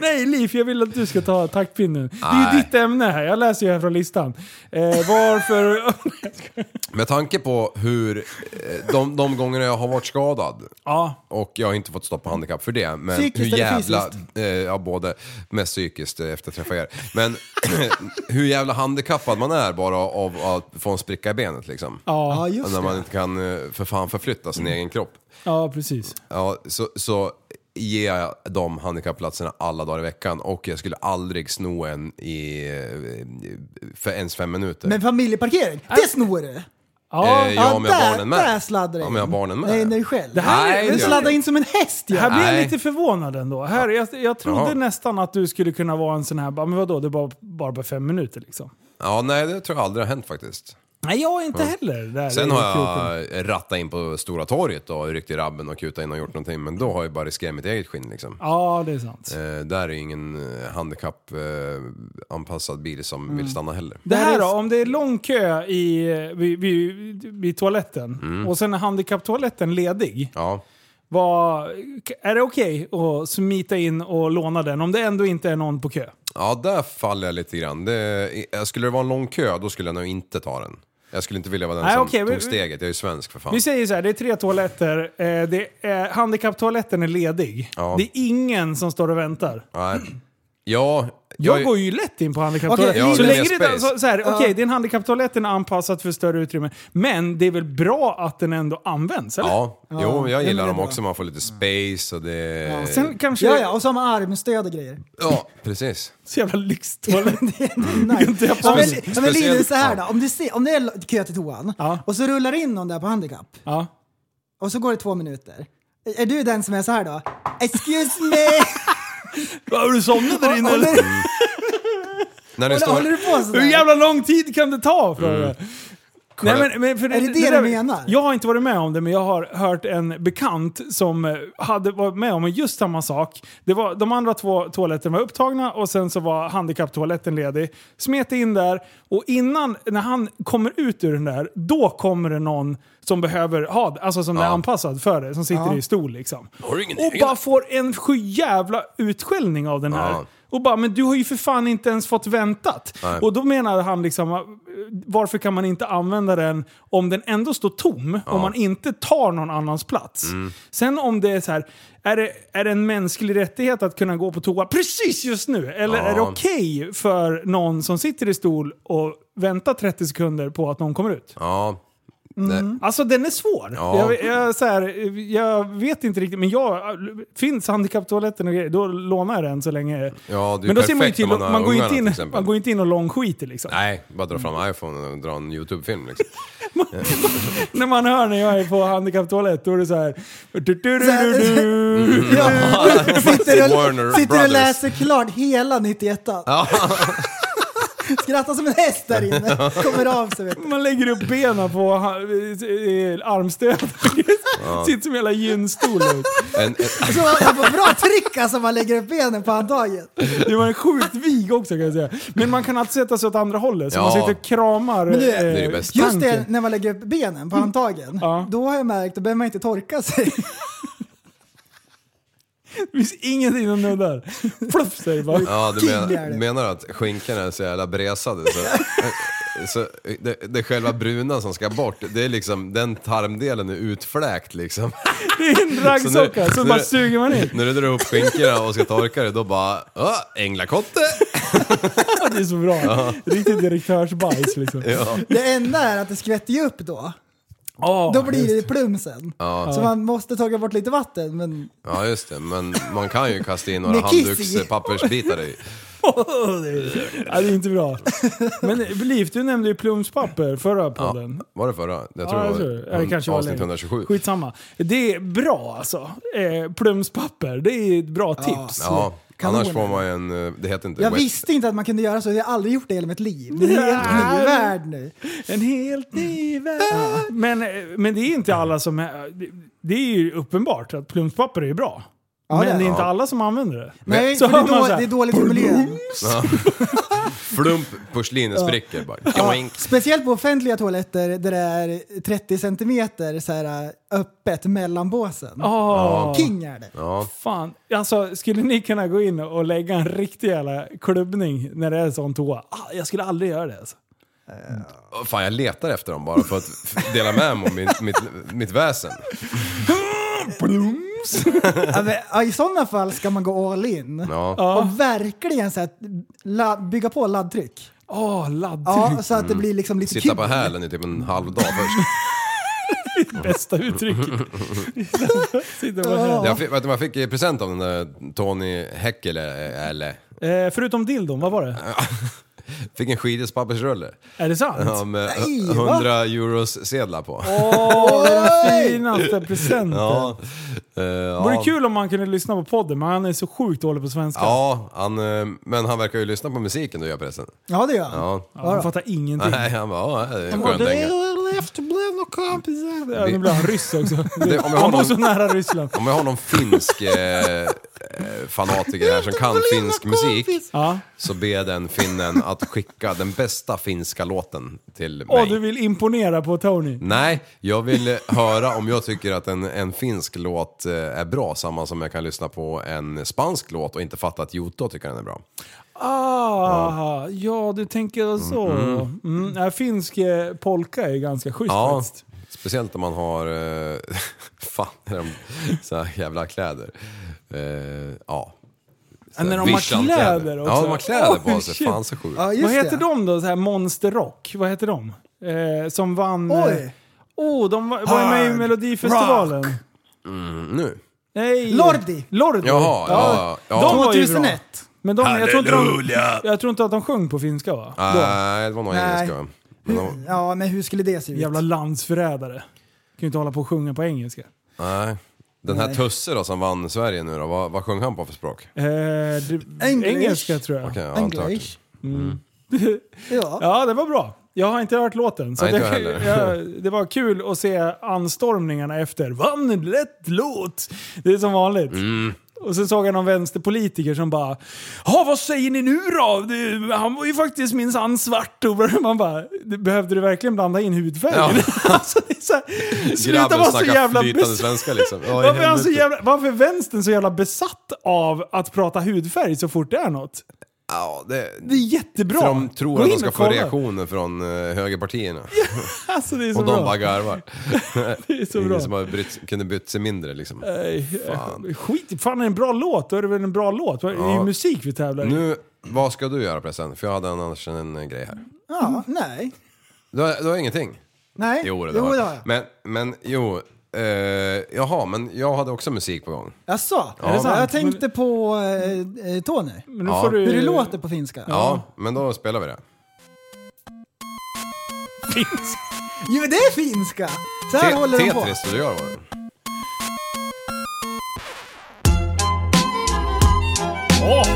F: Nej Liv, jag vill att du ska ta taktpinnen. Det är ju
G: Nej.
F: ditt ämne här, jag läser ju här från listan. Eh, varför... *laughs*
G: Med tanke på hur... eh, De, de gångerna jag har varit skadad
F: ja,
G: och jag har inte fått stopp på handikapp för det. Men
E: Psykiskt
G: hur
E: eller
G: jävla... Eh, ja, både. Mest psykiskt eh, efter att träffa er. Men *clears throat* hur jävla handikappad man är bara av att få en spricka i benet liksom.
E: Ja, just
G: när man
E: det.
G: inte kan eh, för fan förflytta sin egen kropp.
F: ja, precis.
G: Ja, så, så ger jag de handikappplatserna alla dagar i veckan och jag skulle aldrig sno en i, eh, för ens fem minuter.
E: Men familjeparkering, det snor du!
F: Ja,
G: Eh, ja, om jag har
E: där-
G: barnen med.
E: Där sladdar du
G: Om jag har
E: in.
G: barnen med.
E: Nej, när du själv.
F: Det här-
G: Nej,
E: du
G: det gör
E: sladdar
G: jag
E: in som en häst ju!
F: Här blir jag
G: Nej.
F: lite förvånad ändå. Här, jag, jag trodde
G: Jaha.
F: nästan att du skulle kunna vara en sån här, bara, men vadå, det var bara på fem minuter liksom.
G: Ja, nej, det tror jag aldrig har hänt faktiskt.
F: Nej, jag är inte heller där.
G: Sen
F: i
G: har
F: kroken.
G: jag rattat in på Stora torget och ryckt i rabben och kutat in och gjort någonting, men då har jag bara riskerat mitt eget skinn liksom.
F: Ja, det är sant.
G: Eh, där är ju ingen eh, handikappanpassad bil som
E: Mm.
G: vill stanna heller.
F: Det här då, om det är lång kö i, vid, vid, vid toaletten
G: Mm.
F: och sen är handikapptoaletten ledig.
G: Ja,
F: Vad- är det okej att smita in och låna den om det ändå inte är någon på kö?
G: ja där faller jag lite grann. Det, eh, skulle det vara en lång kö, då skulle jag nog inte ta den. Jag skulle inte vilja vara den
F: Nej,
G: som
F: okej, vi-
G: tog steget, jag är ju svensk för fan.
F: Vi säger så här, det är tre toaletter. Eh, det är, handikapptoaletten är ledig.
G: Ja.
F: Det är ingen som står och väntar.
G: Nej. Ja,
F: Jag,
G: jag,
F: går ju lätt in på handikapptoaletten.
E: Okej,
F: så
G: Ja, det är
F: länge
G: mer
F: det så,
G: space.
F: så här, okej, det är en handikapptoalett, den är anpassad för större utrymme. Men det är väl bra att den ändå används, eller?
G: Ja, jo, jag
E: det
G: gillar
E: är
G: dem
E: bra.
G: också. Man får lite space och det...
F: Sen kanske...
E: Ja, ja, och så har man armstöd och grejer.
G: Ja, precis.
F: Så
E: *laughs*
F: jävla lyxtoalett.
E: det är
F: Mm. inte
E: nice.
F: jag
E: ja, men,
F: precis.
E: ja, men Linus,
G: Speciellt-
E: så här då.
G: ja.
E: Om, du ser, om det är kö till toan
F: Ja.
E: och så rullar in någon där på handikapp
F: Ja.
E: och så går det två minuter. Är- Är du den som är så här då? Excuse
F: *laughs*
E: me!
F: Har du somnat där inne eller?
E: håller,
G: När det
E: håller, håller
G: står...
E: du på Alltså, sådär?
F: Hur jävla lång tid kan det ta? För
G: Mm.
F: Nej, men, men för
E: Är det det du
F: där-
E: menar?
F: Jag har inte varit med om det, men jag har hört en bekant som eh, hade varit med om just samma sak. Det var, de andra två toaletterna var upptagna och sen så var handikapptoaletten ledig. Smet in där och innan, när han kommer ut ur den där, då kommer det någon som behöver ha alltså som är anpassad för det, som sitter i stol liksom.
G: Har du ingen
F: och
G: egen?
F: bara får en skyjävla utskällning av den här.
G: Ja.
F: Och bara, men du har ju för fan inte ens fått väntat.
G: Nej.
F: Och då menar han liksom, eh, varför kan man inte använda den om den ändå står tom? Om man inte tar någon annans plats.
G: Mm.
F: Sen om det är så här, är det, är det en mänsklig rättighet att kunna gå på toa precis just nu? Eller är det okej för någon som sitter i stol och väntar 30 sekunder på att någon kommer ut?
G: Ja. Nej.
F: Alltså den är svår.
G: Ja.
F: Jag, jag, så här, jag vet inte riktigt, men jag, finns handikapptoaletten och grejer, då lånar jag den så länge.
G: Ja, det är
F: men
G: ju
F: då ser man ju
G: perfekt
F: till,
G: om man
F: man,
G: har
F: går ju inte
G: ungarna, till
F: in,
G: exempel.
F: man går ju inte in och långskiter liksom.
G: Nej, bara dra fram iPhone och dra en YouTube-film liksom.
F: När man hör när jag är på handikapptoalett, då är det så här... Du, du, du,
E: Så här-
F: du,
G: Mm.
F: du.
E: Ja,
F: *laughs*
E: sitter
G: Warner
E: och, sitter och
G: Brothers.
E: läser klart hela 91
G: Ja.
E: *laughs* Skrattar som en häst där inne. Kommer av sig vet du.
F: Man lägger upp benen på ha- eh, armstöd. Sitter som hela gynstol.
G: En, en,
E: Så man får bra tryck alltså man lägger upp benen på handtaget.
F: Det var en sjukt vig också kan jag säga. Men man kan alltid sätta sig åt andra hållet, så
G: Ja.
F: man sitter och kramar
E: Men du,
F: eh,
E: det
G: är det bästa.
E: Just det,
F: tanken.
E: när man lägger upp benen på handtagen.
F: Ja.
E: Då har jag märkt, då behöver man inte torka sig.
F: Det finns ingenting som nuddar. Pluff säger det bara.
G: ja, du
E: King är det.
G: men, menar du att skinkan är så jävla bresad? Så, *laughs* så det, det är själva bruna som ska bort, det är liksom, den tarmdelen är utfläkt liksom.
F: Det är en raggsocka, så,
G: nu-
F: bara suger man in.
G: *laughs* När du drar upp skinkorna och ska torka det, då bara "Åh, änglakotte!
F: Ja, Det är så bra. Riktigt direktörsbajs liksom.
G: Ja.
E: Det enda är att det skvätter ju upp då.
F: Ja.
E: Då blir det plum sen. Så man måste torka bort lite vatten. Men
G: ja, just det, men man kan ju kasta in några
E: Med kiss i.
G: handduks pappersbitar i.
F: Ja, det är inte bra. Men Liv, du nämnde ju plumspapper förra podden.
G: Var det förra? Jag
F: Ja,
G: tror
F: jag
G: det
F: tror det. Ja,
G: var
F: det
G: hund-
F: kanske var
G: avsnitt
F: länge.
G: 127.
F: Skitsamma. Det är bra alltså. Eh, plumspapper, det är ett bra tips.
G: Ja,
E: Kanoner.
G: annars får man ju en... eh, Det heter inte...
E: Jag
G: wet-
E: visste inte att man kunde göra så, jag har aldrig gjort det i hela mitt liv. Det är en helt ny värld nu.
F: En helt ny värld. Men, eh, men det är inte alla som... Är, det- det är ju uppenbart att plumspapper är bra.
E: Ja,
F: men det
E: det
F: är
E: är
F: inte alla som använder det.
E: Nej,
F: Så
E: för det är,
F: hör man
E: då,
F: så här,
E: det är dåligt för miljön.
G: Flump, porslinet spricker bara. Joink.
E: Speciellt på offentliga toaletter där det är 30 centimeter så här, äh, öppet mellan båsen.
F: "Åh,
E: King är det.
G: Ja.
F: Ah, Fan, alltså skulle ni kunna gå in och lägga en riktig jävla klubbning när det är sån toa? Ah, jag skulle aldrig göra det alltså.
G: Åh, Fan, jag letar efter dem bara för att f- dela med mig om mitt, mitt, mitt väsen.
E: Ja, men, ja, I sådana fall ska man gå all in.
G: Ja.
E: Och verkligen så här, la, bygga på laddtryck.
F: Åh, laddtryck.
E: Ja, så att det blir liksom lite
G: Sitta
E: kul.
G: på hälen i typ en halv dag först.
F: Bästa uttrycket. Sitter på
E: Ja.
G: Jag fick, vet du, vad jag fick i present av den där Tony Häckel, eh, eller...
F: här. Eh, förutom dildon, vad var det?
G: Fick en skidespappersrulle.
F: Är det sant?
G: Ja, med
E: Nej,
G: hu- 100 euros sedlar på.
F: Åh, det är den finaste
G: *laughs*
F: presenten.
G: Ja. Eh, ja.
F: Vore kul om man kunde lyssna på podden, men han är så sjukt dålig på svenska.
G: Ja, han, eh, men han verkar ju lyssna på musiken du gör pressen.
E: Ja, det gör jag.
G: Ja.
F: Ja, han fattar ingenting.
G: Nej, han bara, ja, det är en
F: Ja,
G: skön
F: det
G: dänga.
F: är efterblivna och kompisar. Ja, nu blir han ryss också.
G: *laughs* Det- om jag har
F: han var
G: någon-
F: så nära Ryssland.
G: Om jag har någon finsk eh, eh, fanatiker här som kan finsk musik
F: Ja.
G: så ber den finnen att skicka den bästa finska låten till
F: Åh,
G: mig.
F: du vill imponera på Tony.
G: Nej, jag vill eh, höra om jag tycker att en, en finsk låt eh, är bra, samma som jag kan lyssna på en spansk låt och inte fatta att Joto tycker den är bra.
F: Ah, ja du tänker så. Mm. ja, finsk eh, polka är ganska schysst
G: Mm-hmm. Ja,
F: faktiskt.
G: speciellt om man har, eh, *laughs* fan, är de så här jävla kläder. Eh, ja.
F: Ja, när de har
G: Vischan-kläder.
F: kläder också.
G: Ja, de har kläder på
F: Oj,
G: sig.
F: shit.
G: Fan så sjukt.
E: Ja, just
F: Vad heter
E: det.
F: de då? Så här Monster Rock? Vad heter de? Eh, som vann... eh,
E: Oj!
F: Oh, de var,
G: Ah,
F: var ju med i
E: Hard
F: Melodifestivalen.
G: Mm, Nu?
F: Nej.
E: Lordi.
F: Lordi.
G: Jaha, ja. ja.
F: De var ju bra.
E: 2001.
F: Men de, jag, tror inte de, jag tror inte att de sjöng på finska va?
G: Nej, det var nog
E: Nej.
G: engelska. Men de,
E: Ja, men hur skulle det se ut?
F: Jävla landsförrädare. Kan ju inte hålla på och sjunga på engelska.
G: nej. Den här Tusse då som vann Sverige nu då, vad, vad sjöng han på för språk?
F: Eh, det,
E: English.
F: engelska tror jag.
G: Okej, ja, antagligen.
E: English.
F: Mm. *laughs*
E: Ja.
F: Ja, det var bra. Jag har inte hört låten. Så
G: Nej, inte
F: det,
G: jag
F: *laughs*
G: heller.
F: jag, det var kul att se anstormningarna efter. Vann en lätt låt! Det är som vanligt.
G: Mm.
F: Och sen såg jag någon vänsterpolitiker som bara Ja, vad säger ni nu då? Det, han var ju faktiskt minsann svart. Och *laughs* man bara, "Det- behövde du verkligen blanda in hudfärgen? *laughs* alltså, det är
G: *laughs*
F: så här, sluta
G: Grabben
F: vara så
G: snackar
F: jävla
G: flytande
F: besatt.
G: svenska liksom. Ja, i
F: Varför är, han så
G: helvete.
F: jävla, varför är vänstern så jävla besatt av att prata hudfärg så fort det är något?
G: Ja, det,
F: Det är jättebra!
G: för de tror
F: Gå
G: att
F: in
G: de ska
F: och
G: få
F: kolla.
G: reaktioner från eh, högerpartierna.
F: Alltså det är så
G: Och de
F: bra.
G: bara garvar.
F: *laughs* det är så
G: Ingen
F: bra.
G: som har brytt, kunde brytt sig mindre liksom.
F: Nej, eh, Skit fan är det en bra låt, då är det väl en bra låt? Det är ju musik vi tävlar i.
G: Nu, vad ska du göra pressen? För jag hade annars en eh, grej här.
E: Ja, nej.
G: Du har, du har ingenting?
E: Nej.
G: Jo, det,
E: jo,
G: har
E: det
G: jag.
E: har jag.
G: Men, men jo, eh, jaha, men jag hade också musik på gång.
E: Jaså?
F: det sant?
E: jag tänkte på eh, eh, Tony.
F: Men nu
G: Ja.
F: får du...
E: Hur det låter på finska.
G: Ja, men då spelar vi det.
F: Finns.
E: Jo, men det är finska! Så här
G: Te-
E: håller de på.
G: Tetris skulle du göra var det.
F: Åh!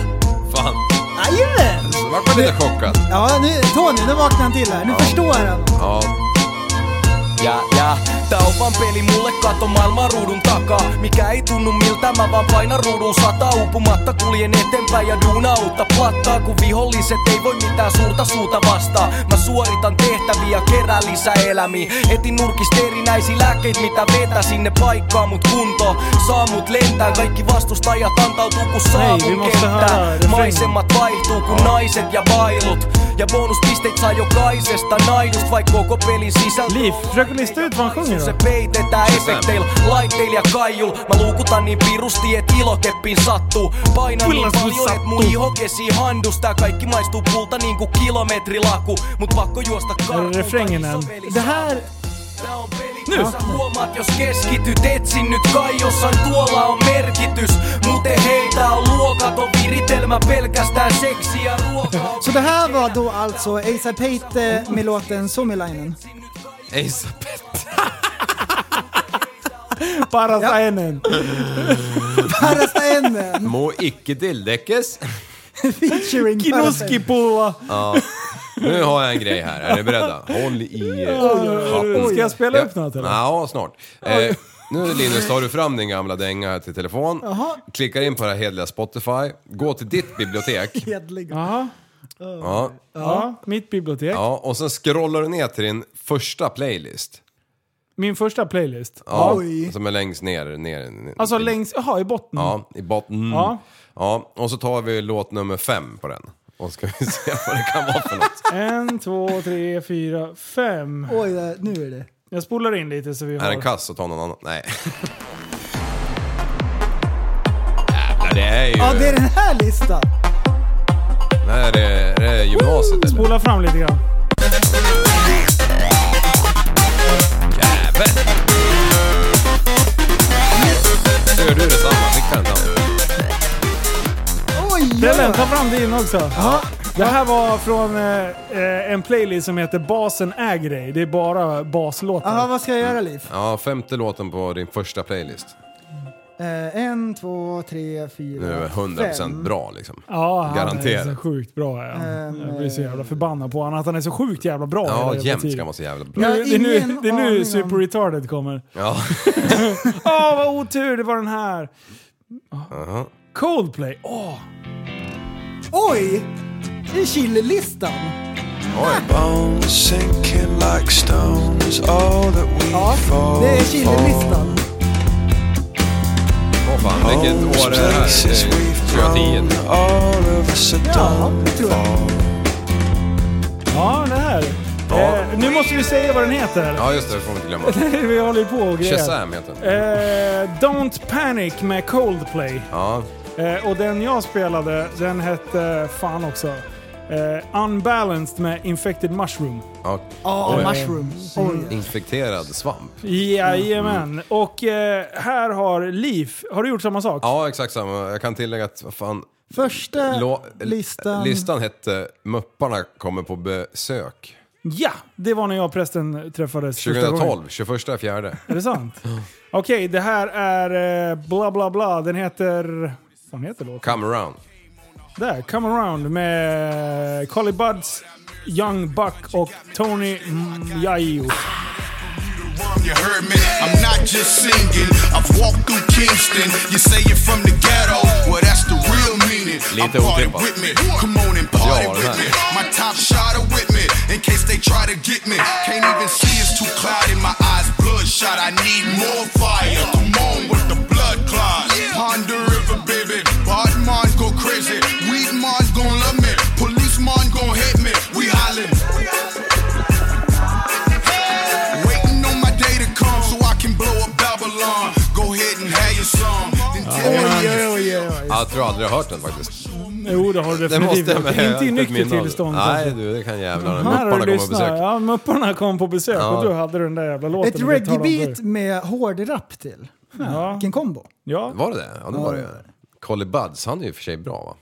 G: Fan,
E: Jajamän!
G: så vart man lite chockad.
E: Ja, nu, Tony, nu vaknar han till här. Nu förstår han.
G: Ja,
I: Ja, ja, tää on vaan peli mulle kato maailman ruudun takaa Mikä ei tunnu miltä mä vaan painan ruudun sata Uupumatta kuljen eteenpäin ja duuna uutta plattaa Kun viholliset ei voi mitään suurta suuta vastaa Mä suoritan tehtäviä, kerään lisää elämiä Etin nurkista erinäisiä lääkkeitä mitä vetää sinne paikkaan mut kunto Saa mut lentää, kaikki vastustajat antautuu kun
F: vi
I: saavun
F: måste höra
I: kenttään
F: refrängen.
I: Maisemat Hommat vaihtuu kun naiset ja vailut Ja bonuspisteit saa jokaisesta naidust Vaik koko pelin sisältö
F: Liv,
I: on Siis
F: försöker lista ut vad han sjunger då?
I: Se peitetään efekteillä, laitteilla ja kaijul Mä luukutan niin pirusti et ilokeppiin sattuu Painan
F: Kyllä
I: niin
F: sun
I: paljon et mun
F: sattuu.
I: iho kesii handus Tää kaikki maistuu pulta niinku kilometrilaku Mut pakko juosta
F: refrängen än?
I: karkuun
E: Det här,
I: Tää on peli
F: Nu.
I: Sä huomaat jos keskityt, etsin nyt kai jossain tuolla on merkitys Muuten heitä on luokaton viritelmä pelkästään seksiä ja ruokaa
E: Så det här var då alltså ASAP Pate med låten Suomilainen.
G: Ace of Base.
F: Parasainen.
G: *laughs*
E: Parastainen
G: Må icke tilldekkes.
E: featuring Parastainen.
F: Kinoskipulla.
G: Nu har jag en grej här, är ni beredda? Håll i er hatten.
F: Ska jag spela upp något eller?
G: Ja, ja snart. Eh, nu Linus tar du fram din gamla dänga här till telefon, klickar in på det här hedliga Spotify, går till ditt
F: *laughs*
G: bibliotek
E: Hedlig.
F: Jaha.
G: ja,
F: Ja, mitt bibliotek.
G: ja, och sen scrollar du ner till din första playlist.
F: Min första playlist.
G: Ja,
E: Oj.
G: Som är längst ner. ner, ner
F: Alltså
G: till-
F: längst, jaha i botten.
G: Ja, i botten.
F: Ja.
G: Ja. och så tar vi låt nummer fem på den. Och ska vi se vad det
F: *laughs*
G: kan vara för något.
F: En, två, tre, fyra, fem.
E: Oj, där- nu är det.
F: Jag spolar in lite så vi
G: Är den
F: har...
G: kass så ta någon annan. Nej. *laughs* Jävlar, det är ju...
E: Ja, det är den här listan.
G: Det här är, det är gymnasiet eller?
F: Spola fram lite grann.
G: Jävel! Gör du detsamma? Fick den den?
E: Oj, oj,
F: Dellen,
E: oj.
F: ta fram din också. Det här var från eh, eh, en playlist som heter Basen äger dig. Det är bara baslåtar.
E: Jaha, vad ska jag göra Liv?
G: Ja, femte låten på din första playlist.
E: Eh, en, två, tre, fyra,
G: Nu är det 100%
E: fem.
G: bra liksom.
F: Ja, han
G: Garanterat.
F: är så sjukt bra. Ja.
E: Ehm,
F: Jag blir så jävla förbannad på honom att han är så sjukt jävla bra. hela
G: Ja,
F: jävla
G: jämt
F: tiden.
G: ska man så jävla
F: Nu,
G: bra.
E: Jag har
F: det är nu,
E: ingen
F: det är
E: aning om-
F: nu Super Retarded kommer.
G: Ja.
F: Åh, vad otur! Det var den här.
G: Uh-huh.
F: Coldplay. Åh,
E: Oj! Det är chill-listan. Ja, det är chill-listan.
G: Åh fan, vilket år är det här? Det är 2010.
E: Ja, det tror jag.
F: Ja, den här. Eh, nu måste vi säga vad den heter. *laughs*
G: Ja, just det. Det får man inte glömma.
F: vi håller ju på och grejer.
G: Shazam heter den.
F: Eh, Don't Panic med Coldplay.
G: Ja.
F: Eh, och den jag spelade, den hette, fan också, eh, Unbalanced med Infected Mushroom.
G: ja.
E: Ja,
G: Oj.
E: mushrooms. Oj.
G: Infekterad svamp.
F: Jajamän. Och eh, här har Liv, har du gjort samma sak?
G: Ja, exakt samma. Jag kan tillägga att vad fan,
E: Första
G: lo-
E: Eh, listan.
G: listan hette Möpparna kommer på besök.
F: Ja, det var när jag och prästen träffades första gången.
G: 2012, 21 fjärde.
F: Är det sant? Okej, det här är eh, bla bla bla. Den heter... Vad heter låten?
G: Come around.
F: Där, Come Around med Colly Buds, Young Buck och Tony Mjajo.
J: You heard me? I'm not just singing. I've walked through Kingston. You say you're from the ghetto. Well, that's the real meaning. I
G: Lite
J: party
G: otippat.
J: with me. Come on and party
G: Ja, det
J: with
G: här.
J: me. My top shot are with me. In case they try to get me. Can't even see. It's too clouded. My eyes bloodshot. I need more fire. Come on with the blood clots. Ponder River, baby. Bad minds go crazy. Weed minds gon' love me. Police mind gon' hit me. We hollin'. Waiting on my day to come so I can blow up Babylon. Go ahead and have your song. Then tell me how
E: Oj,
J: you
E: oj, oj, oj.
G: Ja, Jag tror aldrig jag har hört den faktiskt.
F: Jo, det har du
G: Den måste
F: definitivt.
G: jag men jag har
F: Inte i
G: ett minne av
F: nyktert
G: det.
F: tillstånd. alltså.
G: Nej du, det kan jävlarna.
F: Här har
G: Möpparna kommer på
F: du lyssnat.
G: besök.
F: Ja, Mupparna kom på besök
G: Ja.
F: och du hade den där jävla låten.
E: Ett
F: och det talade om
E: reggae-beat
F: dig.
E: med hård rap till.
F: Ja.
E: Vilken kombo.
F: Ja.
G: Var det det? Ja, det var det ju. Colly Buds, han är ju i och för sig bra va?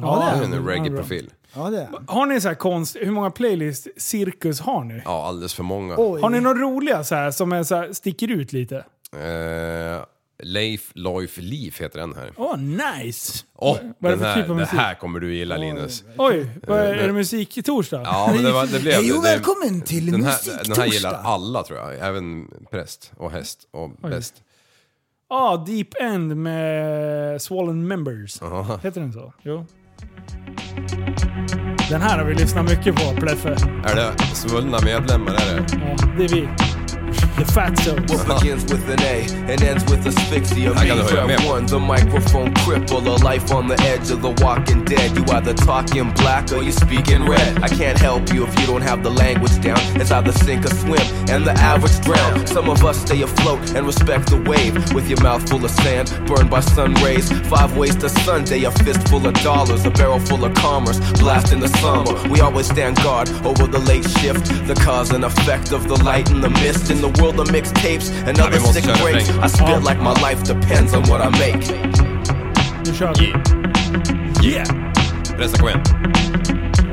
F: Ja,
G: Han är
F: det är
G: ju en
F: bra.
G: reggae-profil.
E: Ja, det är han.
F: Har ni så här konst... Hur många playlist-cirkus har ni?
G: Ja, alldeles för många.
E: Oj.
F: Har ni några roliga så här som är så här, sticker ut lite?
G: Eh, Leif Loif Liv heter den här.
F: Åh, nice!
G: Åh,
F: vad är det
G: den
F: för
G: här,
F: typ av
G: det
F: musik?
G: här kommer du gilla Linus.
F: Oj, vad är, är det musiktorsdag?
G: Ja, men det, var, det blev
E: Hej och
G: det- det-
E: välkommen till
G: den här,
E: Musiktorsdag.
G: den här gillar alla tror jag, även präst och häst och bäst.
F: Ja, Ah, Deep End med Swollen Members. Heter den så? Jo. Den här har vi lyssnat mycket på, Pleffe.
G: Är det svullna medlemmar? Är det?
F: Ja, det är vi. The Fat Zones.
I: begins with an A and ends with asphyxia.
G: I gotta
I: Me
G: hook him
I: trap
G: up.
I: one, the microphone cripple. A life on the edge of the walking dead. You either talking black or you speaking red. I can't help you if you don't have the language down. It's either sink or swim, and the average drown. Some of us stay afloat and respect the wave. With your mouth full of sand, burned by sun rays. Five ways to Sunday, a fist full of dollars, a barrel full of commerce. Blast in the summer, we always stand guard over the late shift. The cause and effect of the light and the mist in the a world of mixtapes and
G: Ja, vi
I: other
G: måste
I: sick
G: köra
I: breaks.
G: refrängen.
I: I spit like my life depends on what I make.
F: Nu kör vi.
G: Yeah! Pressa, kom igen.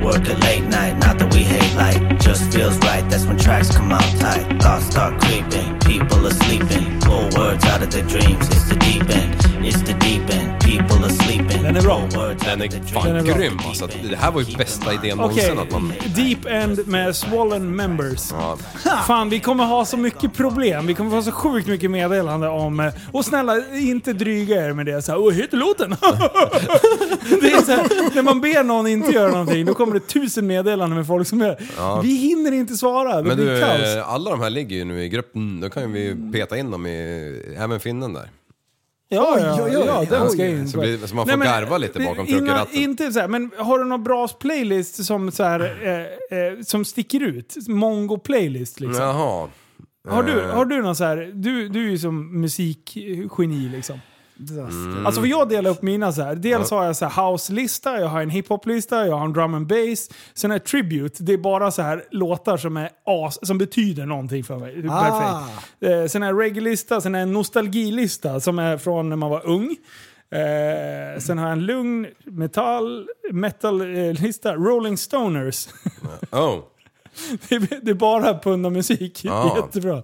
D: Work a late night, not that we hate light. Just feels right, that's when tracks come out tight. Thoughts start creeping, people are sleeping. Pull words out of their dreams, it's the deep end, it's the deep end. People are sleeping.
F: Den är bra.
D: Pull words out
G: Den
D: of their
G: är
D: dreams.
G: fan
F: är bra.
G: grym alltså. Det här var ju bästa idén
F: Okej,
G: någonsin att man...
F: Deep End med Swollen Members.
G: Ja.
F: Fan, vi kommer ha så mycket problem. Vi kommer få så sjukt mycket meddelande om... eh, Och snälla, inte dryga er med det. Så här, Åh, heter låten? *laughs* det är så här, när man ber någon inte göra någonting, då kommer det tusen meddelanden med folk som är... Vi hinner inte svara. Det
G: Men
F: blir
G: du,
F: kaos.
G: eh, alla de här ligger ju nu i gruppen. Då kan ju vi peta in dem i... Även finnen där.
F: Ja, ja, ja,
E: Oj,
F: ja,
E: oj, oj.
F: den ska in.
G: Så, blir, så man får
F: Nej, men, eh,
G: garva lite bakom
F: innan-
G: truckeratten.
F: Inte så här, men har du någon bra playlist som, så här, eh, eh, som sticker ut? Mongo-playlist liksom.
G: Jaha.
F: Har du,
G: Eh.
F: har du någon så här, du, du är ju som musikgeni liksom.
G: Mm.
F: Alltså för jag delar upp mina så här. Dels har jag så här house-lista, jag har en hiphop-lista, jag har en drum and bass. Sen är tribute, det är bara så här låtar som är as, som betyder någonting för mig.
E: Ah.
F: Perfekt. Eh, sen är reggae-lista, sen är en nostalgilista som är från när man var ung. Eh, sen har jag en lugn metall, metal-lista, Rolling Stoners. *laughs*
G: Oh.
F: det, är, det är bara punda musik,
G: Ah.
F: jättebra.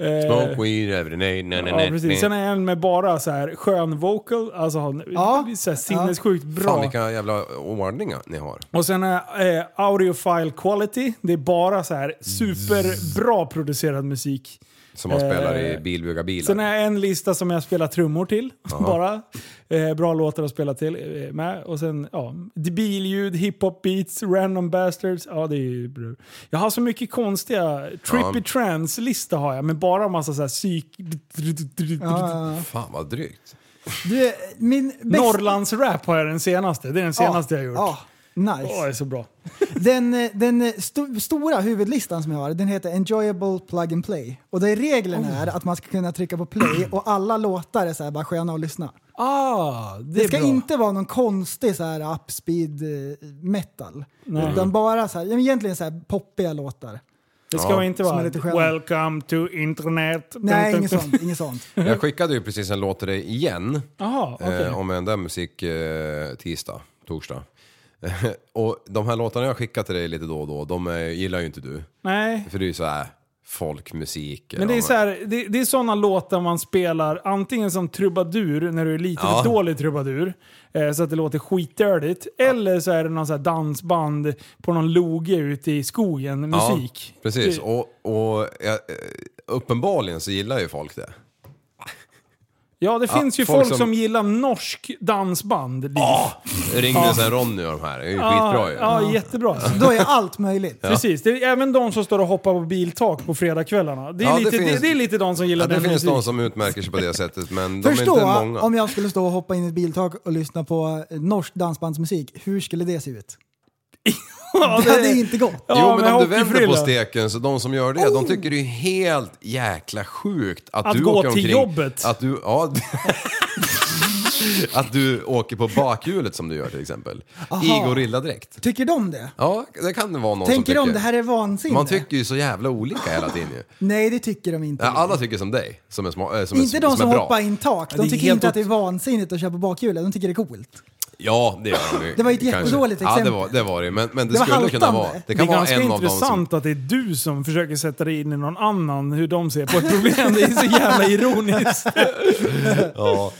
F: Eh,
G: Smoke weed every day. Nej, nej,
F: Ja,
G: nej.
F: precis. Sen är jag en med bara så här skön vocal, alltså har
E: Ja.
F: så här sinnessjukt
G: Fan
F: bra.
G: vilka jävla ordningar ni har.
F: Och sen är eh, audiophile quality, det är bara så
G: Mm.
F: här superbra producerad musik.
G: Som man
F: Eh,
G: spelar i bilbyggarbilar.
F: Sen är jag en lista som jag spelar trummor till, *laughs* bara. Eh, bra låtar att spela till eh, med. Och sen, ja, billjud, hiphop beats, random bastards. Ja, det är ju bra. Jag har så mycket konstiga, trippy
G: Ja.
F: trance-lista har jag, men bara massa så här psyk...
E: Ja,
G: Fan vad drygt.
E: Du, min bästa...
F: Norrlandsrap har jag den senaste. Det är den senaste jag gjort.
E: Ja,
F: Åh, det
E: nice.
F: är så bra.
E: Den, eh, den eh, sto stora huvudlistan som jag har, den heter Enjoyable Plug and Play. Och där reglerna är att man ska kunna trycka
G: *clears throat*
E: på play och alla låtar är så här bara sköna att lyssna.
F: Ah, det,
E: Det,
F: är
E: ska
F: bra.
E: inte vara någon konstig så här upspeed eh, metal.
F: Nej.
E: Utan bara så här, ja, men egentligen så här poppiga låtar.
F: det ska
G: Ja.
F: inte
E: Som
F: vara
E: är lite sköna.
F: “Welcome to internet”.
E: Nej, inget sånt. Inget sånt.
G: Jag skickade ju precis en låt till dig igen.
F: *laughs* Jaha, okej.
G: eh, om en där musik eh, tisdag, torsdag. *laughs* och de här låtarna jag skickar till dig lite då och då, de eh, gillar ju inte du.
F: Nej.
G: För det är ju så här folkmusik.
F: Men det är,
G: Ja,
F: så här, det, det är sådana låtar man spelar antingen som trubadur när du är lite
G: Ja.
F: för dålig trubadur. Eh, så att det låter skitdördigt. Eller så är det någon så här dansband på någon loge ute i skogen,
G: Ja,
F: musik.
G: precis, och, och ja, eh, uppenbarligen så gillar ju folk det.
F: Ja, det
G: Ja,
F: finns ju
G: folk
F: folk som...
G: som-
F: gillar norsk dansband. Liv.
G: Ringde sen Ronny och de här, det är ju skitbra ju.
F: Ja, jättebra.
E: Då är
G: *laughs*
E: allt möjligt.
F: Precis, det är även de som står och hoppar på biltak på fredagskvällarna. Det är,
G: Ja, det
F: lite, det,
G: finns-
F: det är lite de som gillar
G: Ja, det
F: den
G: finns
F: musiken.
G: de som utmärker sig på det sättet men de
E: Förstå
G: är inte många.
E: om jag skulle stå och hoppa in i ett biltak och lyssna på eh, norsk dansbandsmusik. Hur skulle det se ut?
F: *laughs* Ja,
E: Det hade inte gått.
F: Ja,
G: jo men om du
F: hockeyfrilla. Oh!
G: vänder på steken så de som gör det, de tycker det är helt jäkla sjukt att,
F: Att
G: du
F: gå
G: åker
F: till
G: omkring,
F: jobbet.
G: Att du, ja, *laughs* att du åker på bakhjulet som du gör till exempel. I gorilladräkt.
E: Tycker de det?
G: Ja, det kan det vara någon som
E: Tänker
G: tycker.
E: de det här är vansinne?
G: Man tycker ju så jävla olika hela tiden ju.
E: Nej, det tycker de inte.
G: Ja, alla tycker som dig, som är, sma, äh, som
E: inte
G: är,
E: de som,
G: är bra.
E: hoppar in tak.
F: Det är
E: De tycker
F: helt
E: inte att
F: ot-
E: det är vansinnigt att köra på bakhjulet. De tycker det är coolt.
G: Ja, det gör de ju.
E: Det var ju ett
G: kanske.
E: jättedåligt
G: Ja,
E: exempel.
G: det var det, var det. men, men det,
E: Det var
G: skulle kunna
E: haltande.
G: vara. Det
F: Det
G: kan
F: är
G: vara
F: ganska
G: en av dem som...
F: intressant att det är du som försöker sätta dig in i någon annan, hur de ser på ett problem. Det är så
G: *laughs*
F: jävla ironiskt.
G: Ja.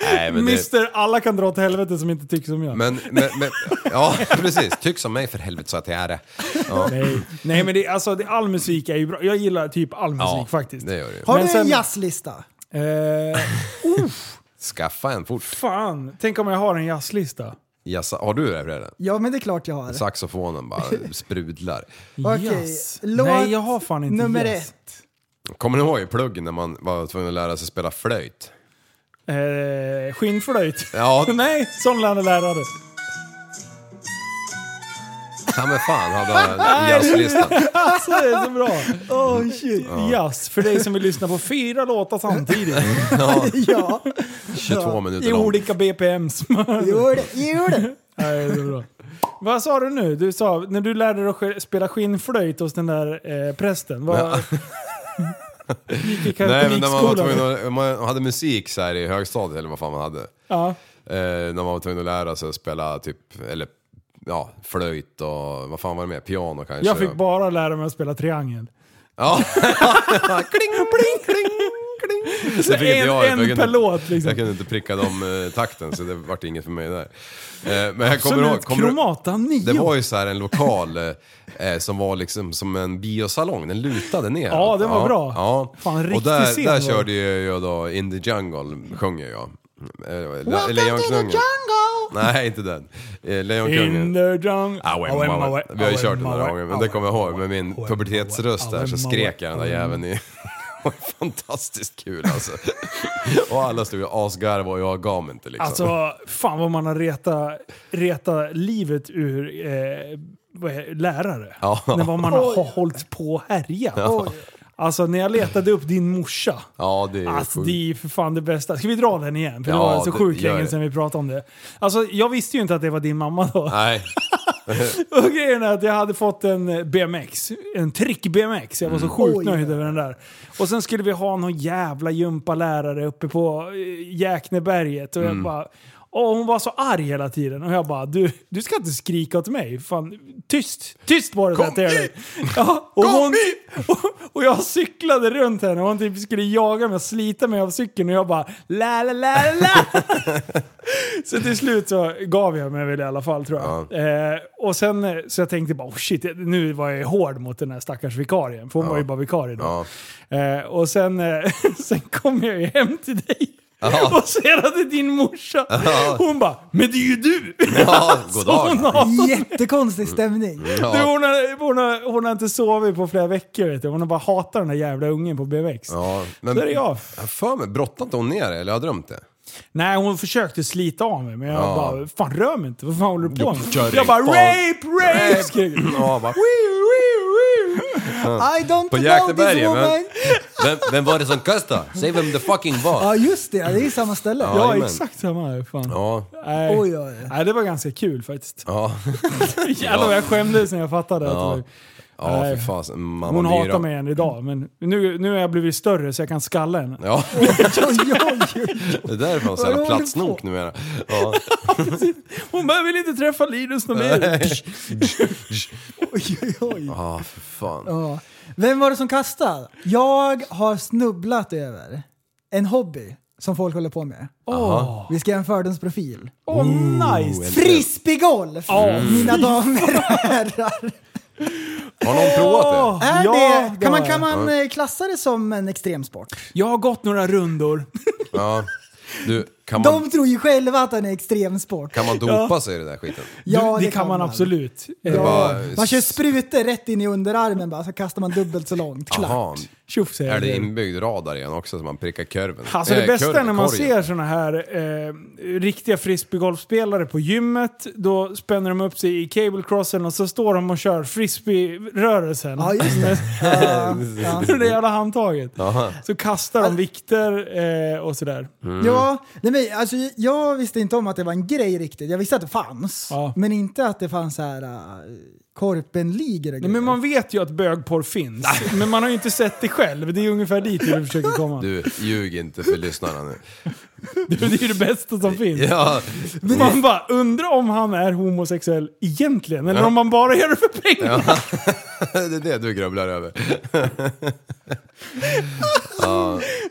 G: Nej, men det,
F: Mister alla kan dra åt helvete som inte tycker som jag.
G: Men, men, men, ja precis, tyck som mig för helvete så att jag är det. Ja.
F: Nej. Nej men det, alltså, det, all musik är ju bra. Jag gillar typ all musik
G: Ja,
F: faktiskt.
G: det gör du ju.
E: Har
F: Men
E: du
F: sen-
E: en jazzlista?
F: Eh,
G: Skaffa en fort.
F: fan, tänk om jag har en jazzlista.
G: Jassa, har du det Fredrik?
E: Ja, men det är klart jag har.
G: Saxofonen bara sprudlar.
E: Okej,
F: Jazz.
E: låt
F: Nej, jag har fan inte
E: nummer
F: jazz.
E: ett.
G: Kommer ni ihåg i pluggen när man var tvungen att lära sig spela flöjt?
F: Eh, skinnflöjt.
G: Ja,
F: *laughs* Nej, sån lärde lärare.
G: ja men fan hade han jazzlistan.
F: Alltså det är så bra.
E: Oh shit.
F: Jazz, för dig som vill lyssna på fyra
G: *laughs*
F: låtar samtidigt.
G: Ja,
E: *laughs* Ja,
G: 22 minuter
F: I
G: lång.
F: olika *laughs* BPMs.
E: gör det. Gör det.
F: Nej, det är bra. Vad sa du nu? Du sa, när du lärde dig att sk- spela skinnflöjt hos den där eh, prästen. Vad, *laughs* Gick i
G: Nej men när man, var
F: kateknikskolan.
G: tvungen att, man hade musik så här i högstadiet eller vad fan man hade.
F: Ja.
G: Eh, när man var tvungen att lära sig att spela typ, eller ja, flöjt och vad fan var det mer? Piano kanske?
F: Jag fick bara lära mig att spela triangel.
G: Ja. *laughs* kling, kling, kling, kling. Sen fick inte jag det, för jag
F: en en
G: kunde-
F: per låt liksom.
G: Jag kunde inte pricka dem eh, takten så det vart inget för mig där. Eh, men jag kommer ihåg,
F: Absolut
G: kommer du-
F: kromata nio.
G: det var ju så här en lokal eh, eh, som var liksom som en biosalong, den lutade ner.
F: Ja, den var bra.
G: Ja.
F: Fan,
G: och
F: riktig
G: där,
F: scen
G: där
F: var
G: körde ju jag då In the Jungle, sjöng ju jag. Eh, Le-
E: Welcome to the
G: Lejonkungen.
E: jungle!
G: Nej, inte den. Eh,
F: In
G: Lejonkungen.
F: the jungle.
G: Awe,
F: Awe,
G: mawe.
F: mawe,
G: Vi har ju
F: awe,
G: kört den några
F: mawe,
G: gånger, men det
F: awe,
G: kommer jag ihåg.
F: awe,
G: Med min
F: awe,
G: pubertetsröst
F: awe,
G: där så
F: mawe,
G: skrek jag den där
F: awe,
G: jäveln i... *laughs* Det var Fantastiskt kul alltså. *laughs* Och alla stod ju och asgarvade och jag gav mig inte liksom.
F: Alltså, fan vad man har reta, reta livet ur eh, vad är- lärare.
G: Ja.
F: När vad man har hållit på och härjat. Alltså när jag letade upp din morsa.
G: ja, det är ju
F: Alltså
G: sjukt.
F: det är ju för fan det bästa. Ska vi dra den igen? För det
G: Ja,
F: var så
G: det-
F: sjukt
G: gör
F: länge
G: det.
F: sedan vi pratade om det. Alltså jag visste ju inte att det var din mamma då.
G: Nej,
F: Och grejen är att jag hade fått en eh, BMX, en trick-BMX. Jag var
G: Mm.
F: så sjukt
E: Oj.
F: nöjd över den där. Och sen skulle vi ha någon jävla gympalärare uppe på eh, Jäkneberget. Och,
G: Mm.
F: jag bara, och hon var så arg hela tiden. Och jag bara, du, du ska inte skrika åt mig. Fan, tyst! Tyst var det
G: Kom
F: där till dig.
G: hit!
F: Ja, och,
G: Kom
F: hon,
G: hit!
F: *laughs* och, och jag cyklade runt henne och hon typ skulle jaga mig och slita mig av cykeln. Och jag bara, la la la la, la. Så till slut så gav jag mig väl i alla fall tror jag. Eh, och sen eh, så jag tänkte bara oh shit, nu var jag hård mot den här stackars vikarien. För hon var ju bara vikarie *laughs* då. Eh, och sen, eh, *laughs* sen kom jag ju hem till dig. *laughs* Och ser att din morsa, hon bara “Men det är ju du!”
G: ja, god
F: *laughs* Så hon,
G: dag.
F: har,
E: Jättekonstig stämning.
F: du,
G: Ja,
F: hon, har, hon, har, hon har inte sovit på flera veckor vet du. Hon har bara hatat den där jävla ungen på BMX.
G: ja, men
F: Så är det jag.
G: Jag har för mig, brottade inte hon ner det, eller har jag drömt det?
F: Nej, hon försökte slita av mig, men jag
G: Ja.
F: bara “Fan rör mig inte, vad fan håller du på med?”
G: kör
F: Jag bara
G: inte.
F: “Rape, rape!” skrek jag.
G: Ja, *laughs* bara,
E: I
G: på
E: don't know this
G: Jäkneberget. Men,
E: woman.
G: vem, vem var det som kastade? Säg vem det fucking var.
E: Ja just det, ja, det är ju samma ställe.
G: Ja.
F: Ja,
G: Jajamän.
F: exakt samma. här, Fan.
G: Ja,
F: Nej.
E: Oj, oj, oj.
F: Nej, det var ganska kul faktiskt.
G: ja,
F: *laughs* Jävlar vad jag skämdes när jag fattade.
G: Ja.
F: Ja.
G: ja
F: Nej.
G: för fasen. Mamma
F: Hon
G: Myra.
F: hatar mig än idag, men nu, nu har jag blivit större så jag kan skalla henne.
G: Ja,
E: Oj, oj, oj.
G: det där är fan så
E: Vad
G: jävla
E: håller du
G: platsnok
E: på?
G: numera. Ja.
F: Hon bara, jag vill inte träffa Linus någon mer.
E: Oj, oj, oj.
G: Ja, för fan.
E: Ja. Vem var det som kastade? Jag har snubblat över en hobby som folk håller på med. Vi ska göra en fördomsprofil.
F: Åh, nice!
E: Frisbeegolf! Mm. Mina damer och herrar.
G: Har någon provat det?
E: Är
F: Ja,
E: det,
F: det
E: kan man,
F: har
E: kan man eh, klassa det som en extremsport?
F: Jag har gått några rundor.
G: Ja. Du, kan man,
E: De tror ju själva att det är en extremsport.
G: kan man dopa sig i den där skiten?
F: Ja, det, kan man, absolut. Eh,
E: Ja.
F: Ja.
G: bara-
E: Man kör sprutor rätt in i underarmen bara, så kastar man dubbelt så långt. Klart.
G: Jaha.
F: Tjoff säger
G: Är
F: jag.
G: det inbyggd radar igen också så man prickar kurven?
F: Alltså det
G: Eh,
F: bästa är när man
G: korgen.
F: ser såna här eh, riktiga frisbeegolfspelare på gymmet. Då spänner de upp sig i cablecrossen och så står de och kör frisbee-rörelsen.
E: Ja, just
F: *laughs*
E: det. Ja, ja.
F: det jävla handtaget.
G: Jaha. Mm.
F: Så kastar
E: Alltså-
F: de vikter eh, och sådär.
E: Ja, nej men alltså, jag visste inte om att det var en grej riktigt. Jag visste att det fanns,
F: Ja.
E: men inte att det fanns så här äh, korpenligor och
F: Nej, men
E: grejer.
F: man vet ju att bögporr finns. Men man har ju inte sett det själv. Det är ju ungefär dit vi försöker komma.
G: Du, ljug inte för lyssnarna nu.
F: Det är ju det bästa som finns.
G: Ja, *laughs*
F: Man bara undrar om han är homosexuell egentligen. Eller om man bara gör det för pengar.
G: det är det du grubblar över.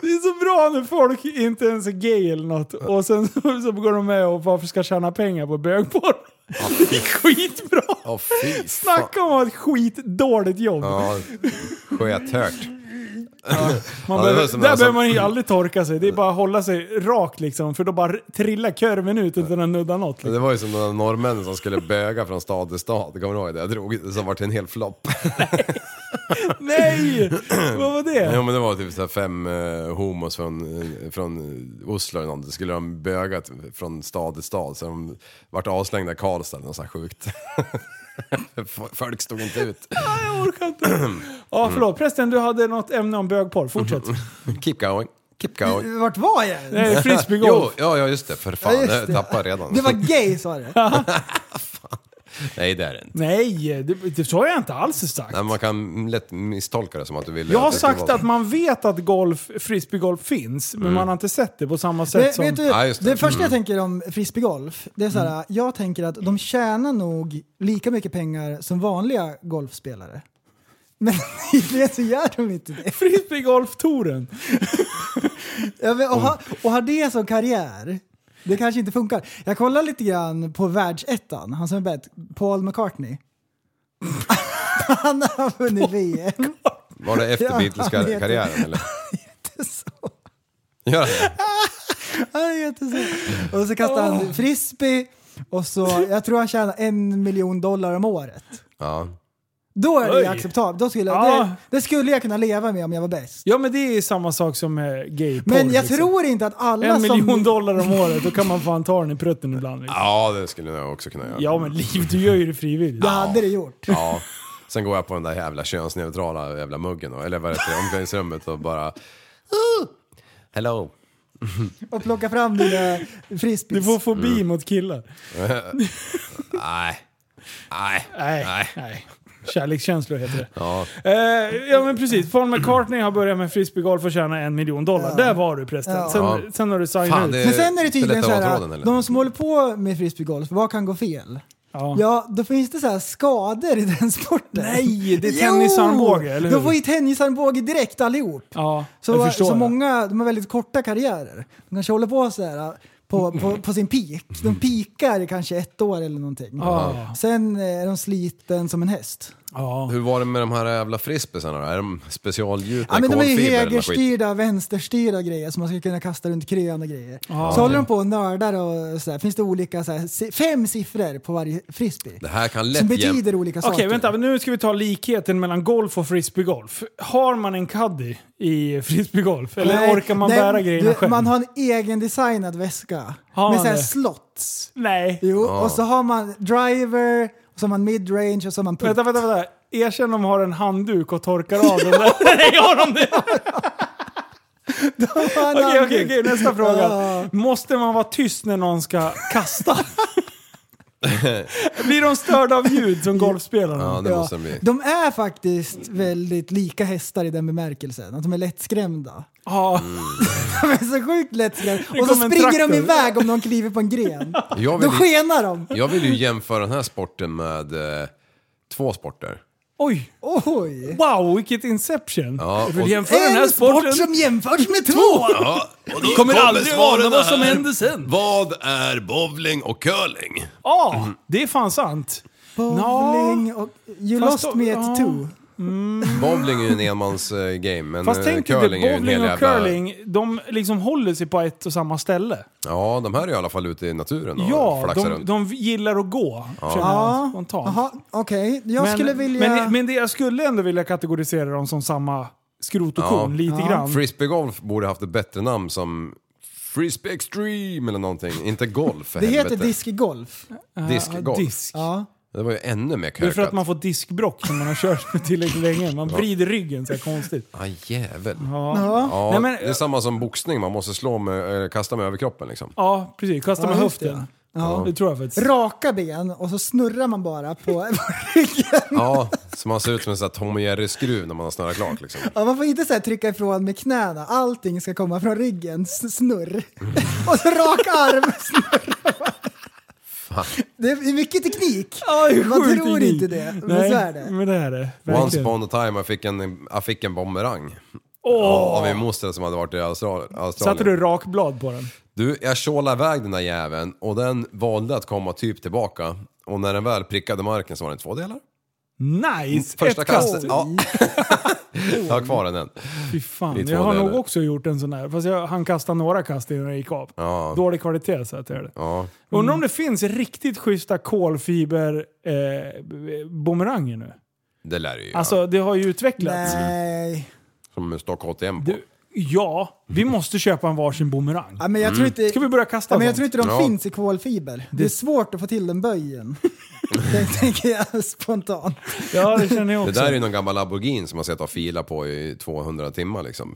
F: Det är så bra när folk inte ens är gay eller något och sen *laughs* så, så går de med och varför ska tjäna pengar på bögporr. *laughs* Det är skitbra!
G: Åh fy fan.
F: Snacka om ett skitdåligt jobb.
G: Ja, skethört.
F: Man
G: Ja, det var
F: behöver,
G: som alltså-
F: där
G: den som-
F: behöver man ju aldrig torka
G: *laughs*
F: sig. Det är bara att hålla sig rak liksom för då bara trillar kurven ut utan att nudda något. Liksom.
G: Det var ju som de där norrmännen som skulle böga från stad till stad. Kommer du ihåg det? Jag drog som vart en hel flopp.
F: Nej! Vad var
G: Ja
F: det?
G: men det var typ så här fem eh, homos från, eh, från eh, Oslo eller någonting. Skulle de böga t- från stad till stad så de vart avslängda i Karlstad eller något så här sjukt. *laughs* F- Folk stod inte ut.
F: Ah, jag orkar inte. Ja, förlåt. Prästen, du hade något ämne om bögporr. Fortsätt.
G: Keep going, keep going.
E: Vart var jag?
F: Nej,
G: Mm. *laughs* Jo,
F: frisbeegolf.
G: ja, ja just det, för
E: Ja,
G: fan.
E: just
G: Jag
E: det.
G: tappade redan.
E: Det var gay sa du.
G: Nej, det är det inte.
F: Nej, det, det, så har jag inte alls sagt.
G: Nej, man kan lätt misstolka det som att du vill...
F: jag har
G: att det ska
F: sagt
G: vara-
F: att man vet att golf, frisbeegolf finns, men man har inte sett det på samma sätt
E: Det,
F: som...
E: Mm.
F: Mm.
E: vet du,
G: Ja,
E: det.
G: just det.
E: första jag tänker om frisbeegolf, det är så här, jag tänker att de tjänar nog lika mycket pengar som vanliga golfspelare. Men *laughs* tydligen så gör de inte
F: *laughs*
E: det.
F: Frisbeegolf-touren.
E: Ja, men, och, ha, och ha det som karriär, det kanske inte funkar. Jag kollar lite grann på världsettan, han som är bett, Paul McCartney. *laughs* han har vunnit VM.
G: Var det efter
E: Ja, han heter-
G: Beatles-karriären eller?
E: Så.
G: Gör det?
E: Han är jättesur. Och så kastar han frisbee och så, jag tror han tjänar en miljon dollar om året.
G: Ja.
E: Då är det ju
F: Oj.
E: acceptabelt. Då skulle,
F: Ja.
E: det, det skulle jag kunna leva med om jag var bäst.
F: Ja men det är samma sak som eh, gay
E: Men jag tror inte att alla
F: En
E: som...
F: miljon dollar om året, då kan man fan ta den i prutten ibland. Liksom.
G: ja, det skulle jag också kunna göra.
F: Ja men Liv, du gör ju det frivilligt.
E: Jag hade det gjort.
G: Ja. Sen går jag på den där jävla könsneutrala jävla muggen, och- eller vad heter det, omklädningsrummet och bara... "Ah, Hello.
E: Och plocka fram dina
F: Du
E: frisbees.
F: får fobi mot killar.
G: Nej. Nej.
F: Nej.
G: Nej.
F: Nej. Kärlekskänslor heter det.
G: Ja.
F: Eh, ja men precis, Paul McCartney har börjat med frisbeegolf och tjäna en miljon dollar. Där var du förresten.
E: Ja.
F: Sen,
G: Ja.
F: sen har du signat
G: Fan,
F: ut.
G: det-
E: Men sen är det tydligen
G: Lättare
E: så
G: att vara
E: här,
G: tråden, eller?
E: de som håller på med frisbeegolf, vad kan gå fel?
F: Ja.
E: Ja, då finns det så här skador i den sporten.
F: Nej, det är tennisarmbåge, eller hur?
E: De får ju tennisarmbåge direkt allihop.
F: Ja, jag
E: Så,
F: förstår.
E: så
F: det.
E: många, de har väldigt korta karriärer. De kanske håller på så här eh, på, på, på sin peak. De pikar i kanske ett år eller någonting.
F: Ja.
E: Sen eh, är de sliten som en häst.
F: Ja.
G: Hur var det med de här jävla frisbeesarna då? Är de specialgjutna
E: Ja,
G: i
E: men de är ju
G: kolfiber eller något skit?
E: högerstyrda, vänsterstyrda grejer som man ska kunna kasta runt krön och grejer.
F: Ja.
E: så håller de på och nördar och sådär. Finns det olika så här, si- fem siffror på varje frisbee?
G: Det här kan lätt
E: Som
G: jäm-
E: betyder olika
F: Okej,
E: saker.
F: vänta. men Nu ska vi ta likheten mellan golf och frisbeegolf. Har man en caddy i frisbeegolf? Eller
E: Nej,
F: orkar man
E: nej,
F: bära grejerna
E: du,
F: själv?
E: Man har en egen designad väska.
F: Har
E: med
F: man
E: så här
F: det?
E: slots.
F: Nej.
E: Jo, och så har man driver, och så har man midrange och så har man putt. *laughs*
F: Vänta, vänta, vänta. Erkänn om de har en handduk och torkar av den där. Nej, *laughs* har de det? Okej, okej, okej. Nästa fråga. Måste man vara tyst när någon ska kasta? *laughs* Blir de störda av
E: *laughs*
F: ljud som golfspelarna?
G: Ja, det måste de bli.
E: De är faktiskt väldigt lika hästar i den bemärkelsen, att de är lättskrämda. *laughs*
F: Ja.
G: Mm.
E: De är så sjukt lättskrämda.
F: Det
E: Och så
F: kom en
E: springer
F: traktor.
E: de iväg om de kliver på en
F: *laughs*
E: gren.
G: Jag
E: Då
G: vill, ju,
E: skenar de.
G: jag vill ju jämföra den här sporten med eh, två sporter.
F: Oj!
E: Oj!
F: Wow, vilket Inception!
G: Ja,
F: jag vill
G: och-
F: jämföra den här
E: En
F: sporten...
E: sport som jämförs
F: *laughs*
E: med två!
G: Ja, och då
F: kommer aldrig ana vad som händer sen.
G: Vad är bowling och curling?
F: Ja, det är fan sant.
E: Mhm. Bowling och... You
F: Fast
E: lost
F: då-
E: me
F: ja.
E: at two.
G: Bowling är ju en enmansgame, men
F: Fast
G: eh,
F: tänk dig,
G: curling är ju en
F: bowling
G: hel
F: och
G: jävla...
F: curling, de liksom håller sig på ett och samma ställe.
G: Ja, de här är i alla fall ute i naturen och
F: Ja,
G: flaxar
F: de,
G: runt.
F: de gillar att gå, känner jag
E: Ja,
F: spontant.
E: jaha, okej. Jag
F: Men-
E: skulle vilja...
F: men, men det jag skulle ändå vilja kategorisera dem som samma skrot och korn,
G: Ja.
F: lite grann.
G: Frisbeegolf borde haft ett bättre namn som Frisbee Extreme eller någonting. Inte golf för
E: det
G: helvete.
E: heter diskgolf.
G: diskgolf.
F: Disk.
E: Ja.
G: Det var ju ännu mer
F: Det är för
G: korkat.
F: att man får diskbrock när man har kört *laughs* med tillräckligt länge. Man vrider ryggen så här konstigt.
G: Ah, jävel. Ja.
F: Ja, Nej, men,
G: det är samma som boxning, man måste slå med, eller kasta med överkroppen
F: *laughs*
G: liksom.
F: ja precis. Kasta
E: Ja,
F: med
E: just det.
F: höften. Ja. Det tror jag faktiskt.
E: Raka ben och så snurrar man bara på, *laughs* på ryggen.
G: Ja, så man ser ut som en sån här Tom och Jerry-skruv när man har snurrat klart liksom.
E: Ja, man får inte så här trycka ifrån med knäna. Allting ska komma från ryggen. S- Snurr. *laughs* Och så rak arm. Snurr. Det är mycket teknik. man
F: Sjukt
E: tror
F: unik.
E: inte det. Men
F: Nej,
E: så är det.
F: Men det är det.
G: Once
F: Verkligen.
G: upon a time jag fick en, jag fick en bumerang. Av min moster som hade varit i Austral-
F: Satte
G: Australien.
F: du rakblad på den?
G: Du, jag tjålade iväg den där jäveln och den valde att komma typ tillbaka. Och när den väl prickade marken så var den i två delar.
F: Nice!
G: Första
F: Ett kast.
G: kastet. Ja. jag har kvar den än.
F: Fy fan.
G: Lite
F: Jag har
G: vad det
F: nog
G: är.
F: också gjort en sån här. Fast jag hann kasta några kast innan jag gick av.
G: Ja.
F: Dålig kvalitet så att jag det.
G: Ja.
F: Undrar om det finns riktigt schyssta kolfiber eh, b- bumeranger nu?
G: Det lär du ju göra.
F: Alltså det har ju utvecklats.
E: Nej.
G: Som Stock KTM på.
F: Du, ja, Vi måste köpa en varsin boomerang.
E: Ja, men jag tror inte,
F: Ska vi börja kasta
E: ja, men jag tror
F: sånt?
E: inte de
G: Ja.
E: finns i kolfiber. Det är svårt att få till den
F: *laughs*
E: böjen. Det tänker jag spontant.
F: Ja, det känner jag
G: Det
F: också.
G: där är ju någon gammal Lamborghini som har sett och fila på i 200 timmar liksom.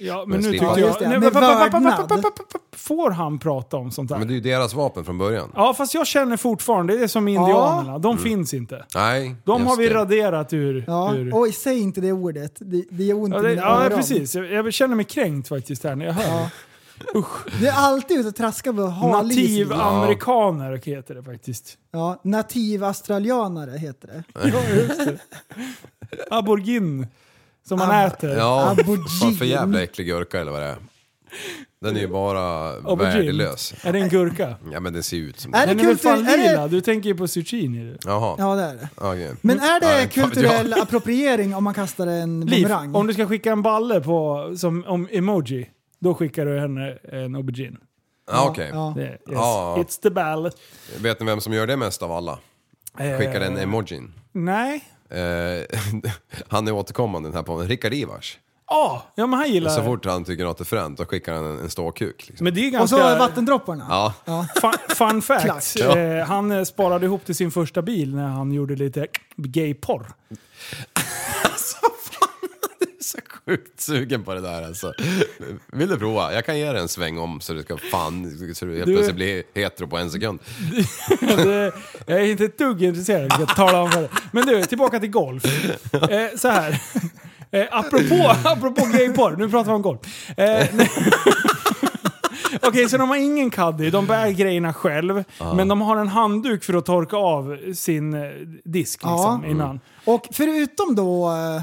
F: Ja,
G: Men
F: men nu
G: slipper. Ja,
F: tyckte jag...
E: just det.
F: Nej,
E: Med
F: va- va- va- va- va-
E: vördnad.
F: va- va- va- Får han prata om sånt
G: Men
F: där?
G: det är ju deras vapen från början.
F: Ja, fast jag känner fortfarande, det är som indianerna. De finns inte.
G: Nej,
F: De
G: just
F: har vi
G: det.
F: raderat ur...
E: Ja.
F: ur.
E: Oj, säg inte det ordet. Det, det gör ont
F: Ja,
E: i
F: det,
E: mina
F: ja
E: öron.
F: precis. Jag, jag känner mig kränkt faktiskt här när jag hör det.
E: Du är alltid ute och traskar med halis. i
F: Nativ
E: dig.
F: amerikaner heter det faktiskt.
E: Ja, nativ australianare heter det.
F: Ja, just det. Aborgin. Som man
E: Ab-
F: äter.
G: Ja,
E: Aubergine.
G: fan för jävla äcklig gurka eller vad det är. Den är ju bara
F: Aubergine.
G: värdelös.
F: Är det en gurka?
G: Ja men den ser ju ut som...
E: Är det
F: Den är väl fan
E: kulturell? Är
F: lila?
E: det,
F: Du tänker ju på zucchini.
G: Jaha.
E: ja, det är det.
G: okej.
E: Men är det
G: Nej, fan vet jag.
E: kulturell appropriering om man kastar en
F: Liv,
E: bumerang?
F: om du ska skicka en balle på, som om emoji, då skickar du henne en aubergine.
G: Ja, okej.
E: Ja.
F: Det, yes.
G: Ja.
F: It's the ball.
G: Vet ni vem som gör det mest av alla? Skickar en emojin.
F: Eh, Nej.
G: Eh, *laughs* han är återkommande den här på Rickard Ivars.
F: Ah, ja, men han gillar
G: Så
F: det.
G: fort han tycker något är fränt då skickar han en, en ståkuk. Liksom.
F: Men det är ju
E: Och så
F: ganska...
E: vattendropparna?
G: Ja.
F: Fun, fun fact.
E: Klack.
G: Ja.
F: Eh, han eh, sparade ihop till sin första bil när han gjorde lite gayporr.
G: Så sjukt sugen på det där alltså. Vill du prova? Jag kan ge dig en sväng om så du ska fan, så du helt
F: Du-
G: plötsligt blir hetero på en sekund.
F: Det- eh, Jag är inte ett dugg intresserad, jag ska tala om för dig. Men du, tillbaka till golf. Eh, så här. Eh, apropå, *laughs* apropå gayporr, nu pratar vi om golf. Eh, *laughs* nej. Okej, så de har ingen caddy, de bär grejerna själv. Men de har en handduk för att torka av sin eh, disk
E: Ja.
F: liksom, innan.
E: Och förutom då eh,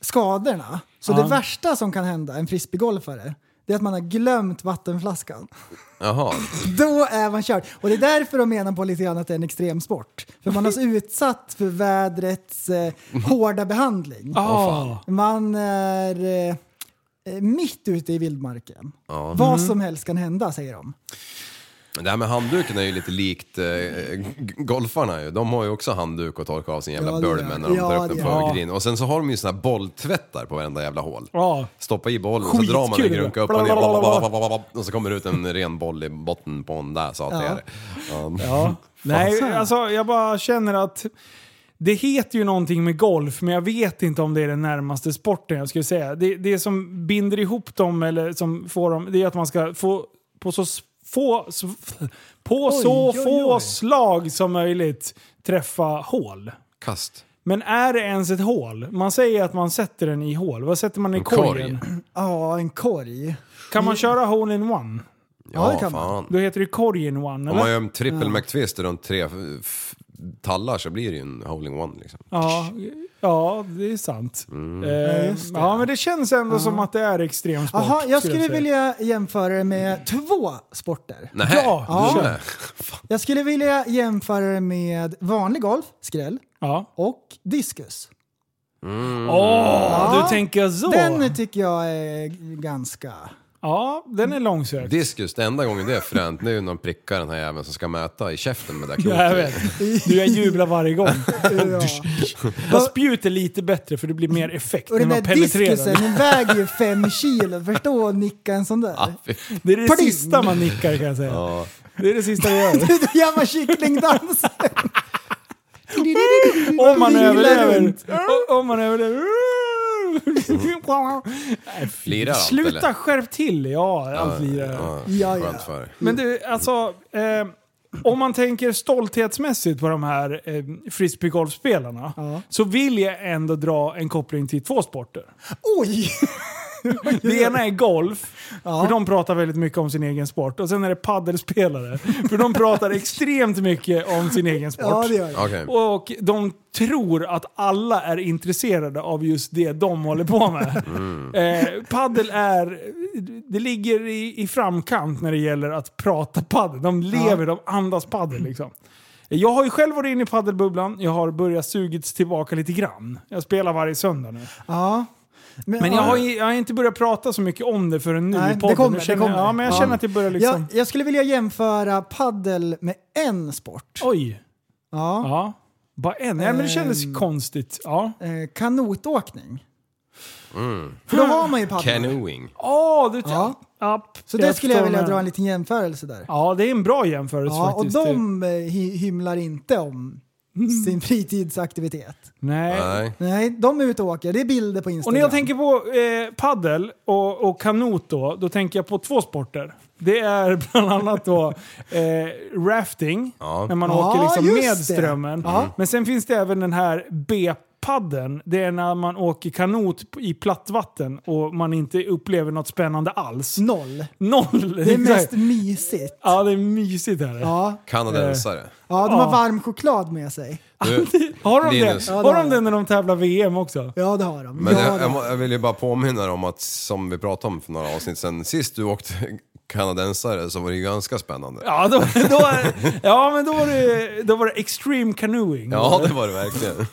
E: skadorna, så det värsta som kan hända en frisbeegolfare, det är att man har glömt vattenflaskan. *laughs*
G: Jaha.
E: Då är man körd. Och det är därför de menar på lite grann att det är en extremsport. För man är
F: *laughs*
E: så utsatt för vädrets eh, hårda behandling.
F: Ah.
E: Man är eh, eh, mitt ute i vildmarken. Vad
F: Mm.
E: som helst kan hända, säger de.
G: Men det här med handduken är ju lite likt eh, g- golfarna ju. De har ju också handduk och torka av sin jävla
E: Ja, det
G: bölmen när
E: gör-
G: de
E: ja,
G: tar upp den
E: det
G: på
F: gör-
G: green. Och sen så har de ju såna här bolltvättar på varenda jävla hål.
F: Ja.
G: Stoppa i bollen och så
F: Skitkul
G: drar man en
F: det.
G: grunka upp och ner.
F: Blablabla.
G: blablabla, Och så kommer det ut en ren boll i botten på en där, sa jag till er. Um,
F: Ja. Nej, alltså jag bara känner att det heter ju någonting med golf, men jag vet inte om det är den närmaste sporten jag skulle säga. Det, det som binder ihop dem, eller som får dem, det är att man ska få på så s- få, s- på
E: Oj,
F: så
E: oj,
F: få
E: oj.
F: slag som möjligt träffa hål.
G: Kast.
F: Men är det ens ett hål? Man säger att man sätter den i hål. Vad sätter man i
G: En korg.
F: korgen?
E: Ja, en korg.
F: Kan
E: Mm.
F: man köra hole-in-one?
E: Ja,
G: Ja,
E: det kan man.
G: fan.
F: Då heter det korg-in-one,
G: Om man
F: eller?
G: gör en trippel McTwist runt tre f- f- tallar så blir det ju en holding one liksom.
F: Ja, ja, det är sant.
G: Mm.
F: Eh, ja,
E: just det.
F: men det känns ändå som att det är extremsport.
E: Jaha, jag skulle
F: säga.
E: vilja jämföra det med två sporter.
G: Nej,
F: Ja,
G: du
F: ja.
G: med.
E: Jag skulle vilja jämföra det med vanlig golf, skräll,
F: Ja.
E: och diskus.
G: Mm.
F: Åh, du tänker så!
E: Den tycker jag är
F: *laughs*
E: ganska...
F: ja, den är långsökt.
G: Diskus, det enda gången det är fränt det är ju när de prickar den här jäveln som ska mäta i käften med det där
F: *laughs* Ja, jag
G: klotet.
F: vet.
E: *laughs*
F: Du, jag jublar varje gång.
E: Ja.
F: Fast spjut är lite bättre för det blir mer effekt
E: Och
F: när
E: den där
F: man penetrerar.
E: diskusen,
F: den.
E: den väger ju fem kilo. Förstå att nicka en sån där.
F: *laughs* Det är det
E: Pling!
F: sista man nickar kan jag säga.
E: *laughs*
F: Det är det sista vi gör.
E: Då gör man kycklingdansen.
F: Om man
E: Vinglar
F: överlever.
E: runt.
F: O- Om man
G: Mm.
F: överlever. *laughs* Nej, fy.
G: Lirar allt,
F: Sluta
G: eller?
F: skärp till! Ja, allt lirar.
E: Ja, ja.
G: Skönt för dig.
F: Men du, alltså... Eh, om man tänker stolthetsmässigt på de här eh, frisbeegolfspelarna så vill jag ändå dra en koppling till
E: *laughs*
F: två sporter.
E: Oj!
F: Det ena är golf, för de pratar väldigt mycket om sin egen sport. Och sen är det paddelspelare, för de
E: *laughs*
F: pratar extremt mycket om sin egen sport.
E: Ja, det gör det.
G: Okej.
F: Och de tror att alla är intresserade av just det de håller på med.
E: Mm.
F: *laughs* Eh, paddel är... Det ligger i, i framkant när det gäller att prata paddel. De lever, de andas
E: Mm.
F: paddel liksom. Jag har ju själv varit inne i paddelbubblan. Jag har börjat sugits tillbaka lite grann. Jag spelar varje söndag nu.
E: Ja.
F: Men jag har, ju- jag har inte börjat prata så mycket om det förrän nu
E: Nej,
F: i
E: det
F: podden.
E: kommer,
F: jag
E: det
F: känner,
E: kommer.
F: Ja, men jag
E: Ja.
F: känner att det börjar liksom...
E: jag, jag skulle vilja jämföra paddel med en sport.
F: Oj!
E: Ja. Ehm.
F: Ja. Bara en? Nej, men det kändes konstigt. Ja.
E: Eh, Kanotåkning.
G: Mm.
E: För då har man ju paddor.
G: Canoeing.
F: Åh, du...
E: Ja.
F: Ja,
E: Så där skulle jag
F: förstår
E: vilja
F: vad du
E: dra en
F: menar.
E: liten jämförelse där.
F: Ja, det är en bra jämförelse
E: Ja, och
F: faktiskt.
E: de eh, hy- hymlar inte
F: *laughs*
E: om sin fritidsaktivitet.
F: Nej.
G: Nej.
E: Nej, de är ute och åker. Det är bilder på
F: Och
E: Instagram.
F: när jag tänker på eh, paddel och, och kanot då, då tänker jag på två sporter. Det är *laughs* bland annat då eh, rafting,
G: Ja.
F: när man
E: Ja,
F: åker liksom
E: just
F: med
E: det.
F: strömmen.
E: Ja.
F: Men sen finns det även den här B-padden. Det är när man åker kanot p- i platt vatten och man inte upplever något spännande alls.
E: Noll.
F: Noll!
E: Det är mest mysigt.
F: *laughs* Ja, det är mysigt här.
E: Ja,
F: Eh.
G: Kanadensare.
E: ja de
F: Ja.
E: har varm choklad med sig.
G: Du,
F: *laughs* Har de
G: Linus.
F: det?
E: Ja,
F: Har
E: det
F: de
E: har
F: det när de tävlar VM också?
E: Ja, det har de.
G: men
E: ja,
G: jag,
E: det
G: jag,
E: har
G: må- jag vill ju bara påminna dig om att, som vi pratade om för några avsnitt sedan, sist du åkte kanadensare så var det ju ganska spännande.
F: Ja, då, då, *laughs* ja men då var, det, då var det extreme canoeing.
G: Ja, det var det
F: *laughs*
G: verkligen.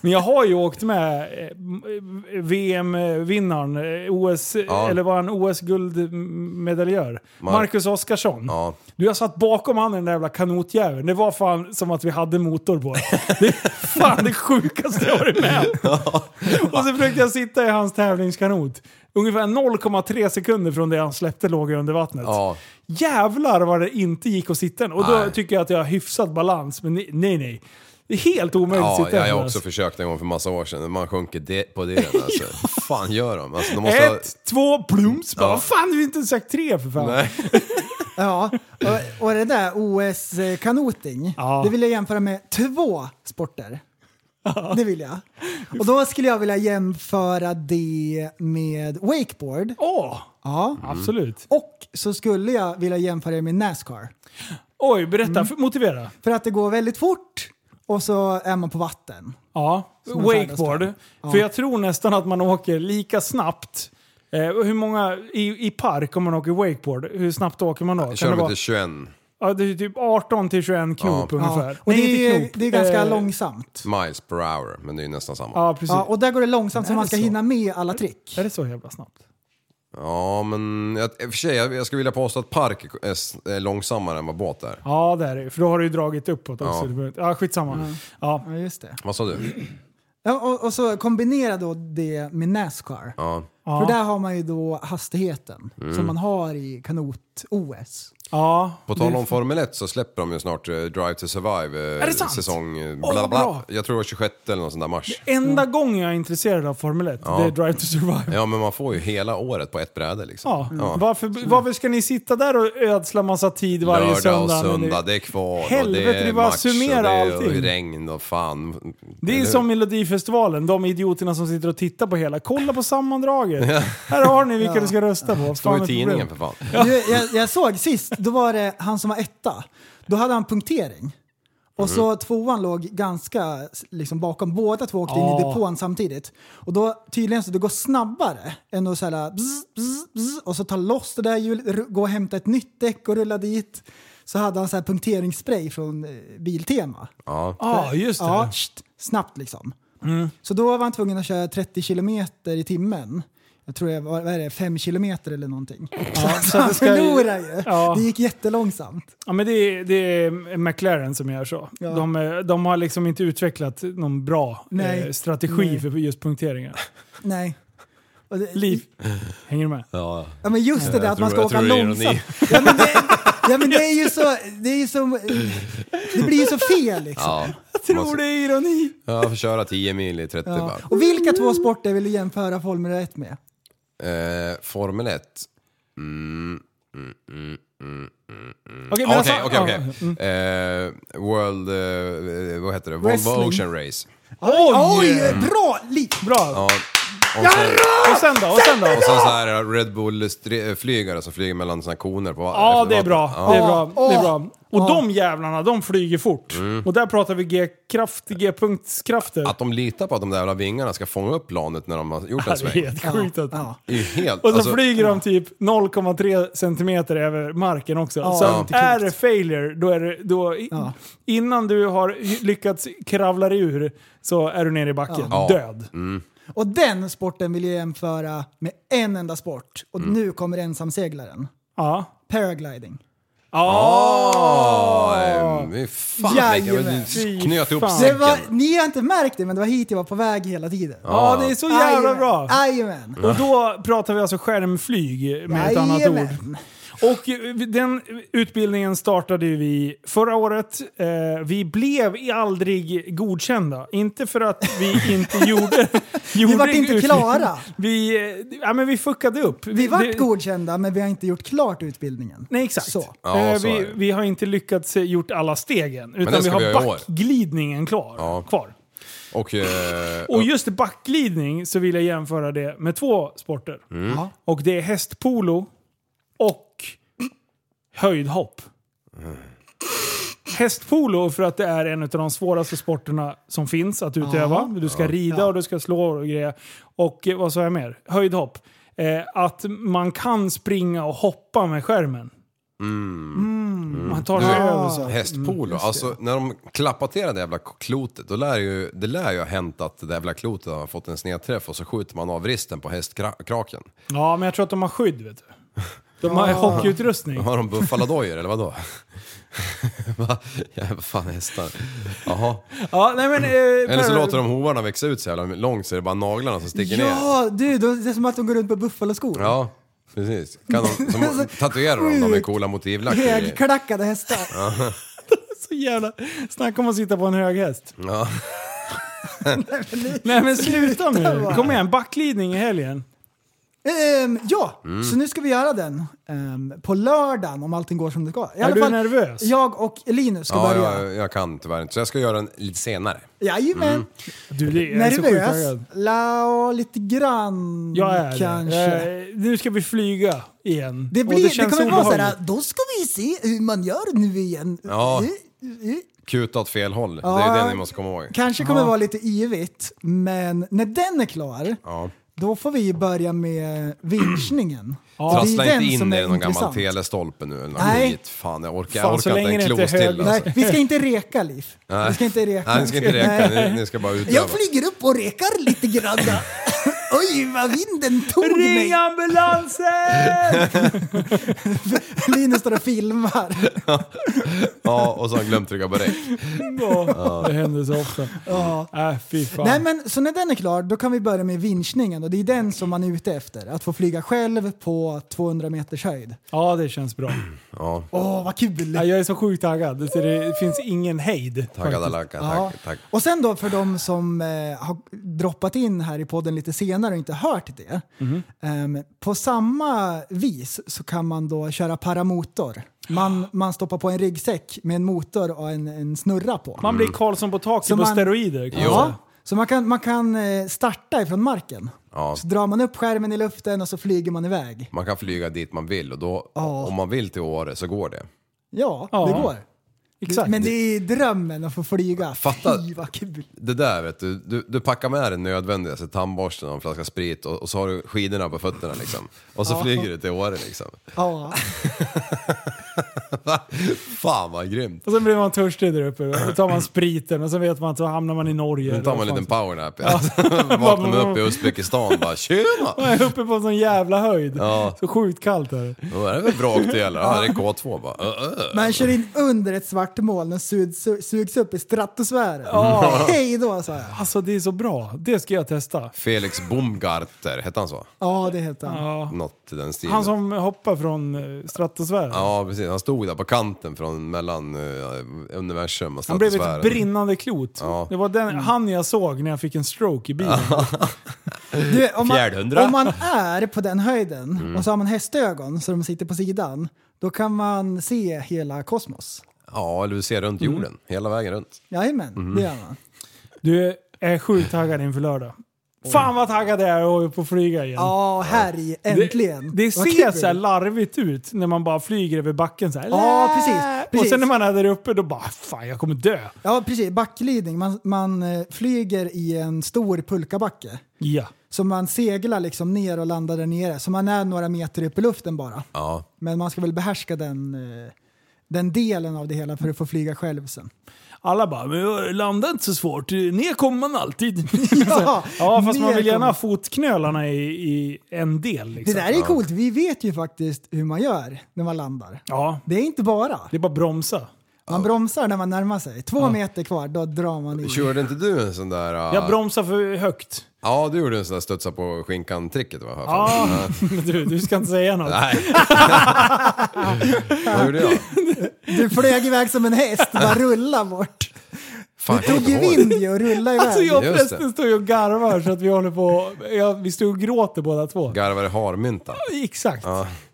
F: Men jag har ju åkt med eh, m- eh, VM-vinnaren, eh, OS,
G: Ja.
F: eller var han OS-guldmedaljör?
G: Mar-
F: Marcus Oskarsson.
G: Ja.
F: Du, jag satt bakom han i den där jävla kanotjäveln. Det var fan som att vi hade motor på. Det är fan det sjukaste jag varit med om. Och så försökte jag sitta i hans tävlingskanot. Ungefär 0,3 sekunder från det han släppte låg jag under vattnet.
G: Ja.
F: Jävlar vad det inte gick att sitta den. Och då
G: Nej.
F: tycker jag att jag har hyfsad balans, men nej, nej. nej. Det är helt omöjligt att
G: Ja,
F: sitta
G: jag
F: den,
G: har
F: alltså.
G: också försökt en gång för massa år sedan. Man sjunker det på
F: *laughs*
G: det alltså. Vad fan gör de? Alltså, de måste ha...
F: Ett, två, plums. Bara,
G: Ja.
F: Vad fan, du har inte sagt tre för fan.
G: Nej.
E: Ja, och, och det där OS-kanoting,
F: Ja.
E: det vill jag jämföra med två sporter. Det vill jag. Och då skulle jag vilja jämföra det med wakeboard.
F: Åh,
E: Ja.
F: absolut.
E: Och så skulle jag vilja jämföra det med Nascar.
F: Oj, berätta. För, motivera.
E: För att det går väldigt fort och så är man på vatten.
F: Ja,
E: man färdas
F: wakeboard.
E: på. Ja.
F: För jag tror nästan att man åker lika snabbt. Eh, hur många i, i park om man åker wakeboard? Hur snabbt åker man då?
G: Kör
F: det,
G: de
F: vara,
G: inte 21
F: ja, det är typ 18 till 21 knop
G: Ja.
F: ungefär.
E: Och
F: Nej,
E: det,
F: inte
E: är,
F: knop.
E: det är ganska
F: Eh,
E: långsamt.
G: miles per hour, men det är ju nästan samma. Ja,
F: Ja, precis.
E: Ja, och där går det långsamt så
F: är
E: man
F: det
E: ska
F: så?
E: hinna med alla trick.
F: Är det så jävla snabbt?
G: men jag, i och för sig, jag, jag skulle vilja påstå att park är, s- är långsammare än vad båt är.
F: Ja, det är det ju. För då har du ju dragit uppåt
G: Ja.
F: också. Ja, ja skitsamma.
E: Mm.
F: Ja.
E: Ja, just det.
G: Vad sa du?
E: Ja, och, och så kombinera då det med Nascar.
G: Ja.
E: För där har man ju då hastigheten som man har i kanot-OS.
F: ja.
G: På tal om Formel 1 så släpper de ju snart eh, Drive to Survive eh,
F: det sant?
G: säsong eh,
F: Åh,
G: bla
F: vad
G: bla.
F: bra.
G: Jag tror det var 26 eller någon sån där mars.
F: Enda
E: Mm.
F: gången jag är intresserad av Formel 1,
G: Ja.
F: det är Drive to Survive.
G: Ja men man får ju hela året på ett bräde liksom.
F: Ja. Varför, varför ska ni sitta där och ödsla massa tid varje
G: Lördag och
F: söndag?
G: söndag,
F: det,
G: det är kval
F: Helvete,
G: och det är
F: det är bara att
G: match
F: summera
G: och det är
F: allting.
G: regn och fan.
F: det är
G: Eller
F: som
G: hur?
F: Melodifestivalen, de idioterna som sitter och tittar på hela. Kolla på sammandraget! Här har ni vilka ni ska rösta på.
G: Står
F: Fan,
G: i
F: ett
G: tidningen för
F: problem.
G: fan.
F: *laughs*
E: Du, jag, jag såg sist, då var det han som var etta. Då hade han punktering. Och så tvåan låg ganska liksom, bakom. Båda två åkte in i
F: Ja.
E: depån samtidigt. Och då tydligen så det går snabbare än att så här, bzz, bzz, bzz, och så ta loss det där hjulet, ru- gå och hämta ett nytt däck och rulla dit. Så hade han så här punkteringsspray från eh, Biltema.
G: Ja.
F: Ja, just det. Mm.
E: Ja, tst, snabbt liksom. Så då var han tvungen att köra 30 kilometer i timmen. Jag tror det var vad är det, 5 kilometer eller
F: *laughs*
E: någonting. så han
F: det ska ju-
E: förlorade ju.
F: Ja.
E: Det gick jättelångsamt.
F: Ja, men det, är, det är McLaren som gör så.
E: Ja.
F: De, eh, de har liksom inte utvecklat någon bra
E: Nej.
F: eh, strategi
E: Nej.
F: för just punkteringar.
E: Nej. Och det-
F: Liv, hänger du med?
G: Ja.
E: Ja men just det där att man ska
G: tror-
E: åka
G: jag tror det är ironi.
E: långsamt. *laughs* Ja men, det, ja men det är ju så, det är ju så, det blir ju så fel liksom.
G: ja.
F: Tror det är ironi!
G: Ja, jag får köra 10 mil i 30
E: Ja.
G: bara.
E: Och vilka två sporter vill du jämföra Formel 1 med?
G: Eh, Formel 1.
F: Okej, men
G: Okej,
F: alltså-
G: okej,
F: ja.
G: okej. Eh, World... Eh, vad heter det? Volvo
E: Wrestling.
G: Ocean Race.
F: Oj!
E: Oj, bra! Li-
F: Bra!
G: Ja. Och sen,
F: Och sen då? Och sen då?
G: och sen så här Red Bull-flygare som flyger mellan sina koner på vatten.
F: Ja,
G: efter
F: det är
G: vatten.
F: bra.
G: Ja.
F: Det är bra. Det är bra. Och
E: Ja.
F: de jävlarna, de flyger fort.
G: Mm.
F: Och där pratar vi G-kraft, G-punktskrafter.
G: Att de litar på att de där jävla vingarna ska fånga upp planet när de har gjort en
F: Det är
G: sväng.
F: helt sjukt. Att...
E: Ja.
G: Det är ju helt...
F: Och så
G: alltså,
F: flyger de typ 0,3 centimeter över marken också. så
E: det är
F: att
E: inte
F: är det
E: klokt.
F: failure, då är det... Då, i-
E: Ja.
F: Innan du har lyckats kravla dig ur så är du nere i backen.
G: Ja. Mm.
F: Död.
E: Och den sporten vill jag jämföra
G: Mm.
E: med en enda sport. Och nu kommer ensamseglaren.
F: Ja.
E: Paragliding.
F: Ja,
G: Ah. Ja, eh, fan
E: Jajamän.
G: vilken... Knöt ihop
F: Fy fan.
E: Det var,
G: säcken.
E: ni har inte märkt det, men det var hit jag var på väg hela tiden.
F: Ja, det är så jävla
E: Jajamän.
F: bra.
E: Jajamän.
G: Mm.
F: Och då pratar vi alltså skärmflyg med ett annat ord.
E: Jajamän.
F: Och eh, den utbildningen startade ju vi förra året. Eh, vi blev i- aldrig godkända. Inte för att
E: *laughs*
F: vi inte gjorde... gjorde
E: vart inte
F: utbildningen.
E: klara.
F: Vi, eh, ja, men vi fuckade upp.
E: Vi vart
F: det-
E: godkända, men vi har inte gjort klart utbildningen.
F: Nej, exakt.
E: Så.
G: Ja,
F: Eh,
G: så är
F: vi,
G: det.
F: vi har inte lyckats eh, gjort alla stegen,
G: den
F: utan vi
G: ska vi
F: har
G: göra i år.
F: backglidningen klar,
G: Ja.
F: kvar.
G: Och... Eh,
F: Och just backglidning så vill jag jämföra det med två sporter.
G: Mm.
E: Ja.
F: Och det är hästpolo och höjdhopp. Hästpolo för att det är en av de svåraste sporterna som finns att utöva. Du ska rida och du ska slå och grejer. Och eh, vad sa jag mer? Höjdhopp. Eh, att man kan springa och hoppa med skärmen.
G: Mm.
F: Mm. Man tar sig över så. Mm,
G: Hästpolo. alltså när de klappar till det där jävla klotet, då lär ju, det lär ju ha hänt att det där jävla klotet har fått en snedträff och så skjuter man av vristen på hästkraken.
F: Ja, men jag tror att de har skydd vet du. De har hockeyutrustning.
G: Har de buffaladojer eller vadå? *laughs* Va? Ja, vad fan hästar? Jaha.
F: Ja, nej, men, eh,
G: Eller så
F: Per-
G: låter de hovarna växa ut så jävla långt så det är bara naglarna som sticker ner.
E: Ja, du, då, det är som att de går runt med buffaloskor.
G: Ja, precis. Kan de,
E: Alltså,
G: som, tatuerar de dem med coola motivlack i-
E: Högklackade hästar.
F: Så jävla... Snacka om att sitta på en hög häst.
G: Ja.
F: Nej men sluta nu!
E: bara.
F: Kom igen, backglidning i helgen.
E: Ehm, ja,
G: Mm.
E: så nu ska vi göra den ehm, på lördagen om allting går som det ska. I
F: Är du nervös?
E: Jag och Linus ska
G: Ja, Mm.
E: börja.
G: jag, jag kan tyvärr inte. Så jag ska göra den lite senare.
E: Jajamän.
F: Du, det är så sjukt
E: Nervös?
F: taggad.
E: La, lite grann
F: Jag är
E: kanske.
F: det. Eh, nu ska vi flyga igen.
E: Det,
F: Och
E: blir, det,
F: känns
E: kommer vara såhär,
F: obehagligt.
E: då ska vi se hur man gör nu igen.
G: Ja.
E: Eh, eh.
G: Kuta åt fel håll. Det
E: Ja.
G: är det ni måste komma ihåg.
E: Kanske kommer vara lite yvigt, men när den är klar,
G: Ja.
E: då får vi börja med vinschningen.
F: Ja,
E: Det är
G: Trassla
E: den
G: inte in
E: som
G: dig
E: är
G: i någon gammal
E: intressant.
G: telestolpe nu. eller något
E: Nej.
G: skit. Fan, jag orkar,
F: Fan,
G: jag
F: så
G: orkar
F: länge
G: inte en
F: det inte är
G: klos till
F: hög-
G: alltså.
E: Nej, vi ska inte reka, Liv. Vi ska inte reka.
G: Nej, ni ska inte räkna.
E: Nej.
G: Ni, ni ska bara utöva.
E: Jag flyger upp och rekar lite grann.
G: *laughs*
E: Oj, vad vinden tog
F: Ring
E: mig!
F: ambulansen!
E: Linus står och filmar.
G: Ja, och så har jag glömt trycka på räck.
F: Åh, det händer så ofta.
E: Ja.
F: Äh, fy fan.
E: Nej, men, så när den är klar, då kan vi börja med vinschningen. Och det är den som man är ute efter. Att få flyga själv på 200 meters höjd.
F: Ja, det känns bra.
G: Ja,
E: Åh, vad kul!
F: Ja, jag är så sjukt taggad. Så det finns ingen hejd.
G: tackar Dalaka,
E: Ja.
G: tack, tack.
E: Och sen då för de som eh, har droppat in här i podden lite senare och inte hört det. Ehm, på samma vis så kan man då köra paramotor. Man, man stoppar på en ryggsäck med en motor och en, en snurra på.
F: Man blir Karlsson på taket
E: Så
F: på
E: man-
F: steroider. kan man
E: ja.
F: säga.
E: Så man kan, man kan eh, starta ifrån marken.
G: Ja.
E: Så drar man upp skärmen i luften och så flyger man iväg.
G: Man kan flyga dit man vill och då, om man vill till Åre så går det.
E: Ja,
F: Ja.
E: det går.
F: Exakt.
E: Men det är drömmen att få flyga.
G: Fatta-
E: Fy vad kul.
G: Det där vet du, du, du packar med den nödvändigaste tandborsten och en flaska sprit och, och så har du skidorna på fötterna liksom. Och så flyger du till Åre liksom.
F: *laughs*
E: Ja.
G: Fan vad grymt!
F: Och sen blir man törstig där uppe. Då tar man spriten och sen vet man att då hamnar man i Norge.
G: Nu tar man en
F: Eller vad
G: liten
F: fan
G: powernap ja.
F: *laughs*
G: Vaknar man upp i Uzbekistan bara tjena!
F: Man är uppe på en sån jävla höjd.
G: Ja.
F: Så sjukt kallt är det.
G: Då är det väl vrakdelar? Ja, det är K2 bara. Ö, ö.
E: Man kör in under ett svart moln och sugs, sugs upp i stratosfären. *laughs* Hej då sa jag.
F: Alltså det är så bra. Det ska jag testa.
G: Felix Baumgartner, hette han så?
E: Ja, det heter han.
F: Ja.
G: Något i den stilen.
F: Han som hoppar från eh, stratosfären.
G: Ja, precis. Han stod där på kanten från mellan eh, universum och
F: Han blev ett
G: stratosfären.
F: brinnande klot.
G: Ja.
F: Det var den,
E: Mm.
F: han jag såg när jag fick en stroke i bilen.
E: Du, om, man,
G: Fjärdhundra.
E: om man är på den höjden
F: Mm.
E: och så har man hästögon så de sitter på sidan, då kan man se hela kosmos.
G: Ja, eller du ser runt jorden. Hela vägen runt.
E: Jajamän,
F: Mm.
E: det gör man.
F: Du är sjukt taggad inför lördag. Fan vad taggad jag är att upp och flyga igen.
E: Ja, härj, äntligen.
F: Det
E: Vad
F: ser
E: kul.
F: så här larvigt ut när man bara flyger över backen så här.
E: Ja, precis,
F: Och
E: precis.
F: sen när man är där uppe då bara fan jag kommer dö.
E: Ja, precis. Backglidning. Man, man eh, flyger i en stor pulkabacke.
F: Ja.
E: Så man seglar liksom ner och landar där nere. Så man är några meter upp i luften bara.
G: Ja.
E: Men man ska väl behärska den, eh, den delen av det hela för att få flyga själv sen.
F: Alla bara, men landa inte så svårt, ner kommer
E: *laughs*
F: man alltid.
E: Ja,
F: ja fast man
E: ner
F: vill gärna
E: kommer-
F: ha fotknölarna i, i en del.
E: Det
F: Liksom.
E: där är coolt. Vi vet ju faktiskt hur man gör när man landar.
F: Ja,
E: Det är inte bara.
F: det är bara bromsa.
E: Man bromsar när man närmar sig. Två meter kvar, då drar man i.
G: Körde inte du en sån där... Uh...
F: Jag bromsar för högt.
G: Ja, du gjorde en sån där studsa på skinkan-tricket va? Ja.
F: Ja, *laughs* du, du ska inte säga något.
G: Nej. Vad gjorde jag?
E: Du flög iväg som en häst, bara rulla bort.
G: Fan,
E: Du
G: jag
E: tog ju
G: kommer inte ihåg
E: vind
G: det.
E: ju och rullade iväg.
F: *laughs* Alltså jag och
G: Just
F: prästen
G: det.
F: står ju och garvar så att vi håller på... Ja, vi står och gråter båda två.
G: Garvade harmynta.
F: Exakt.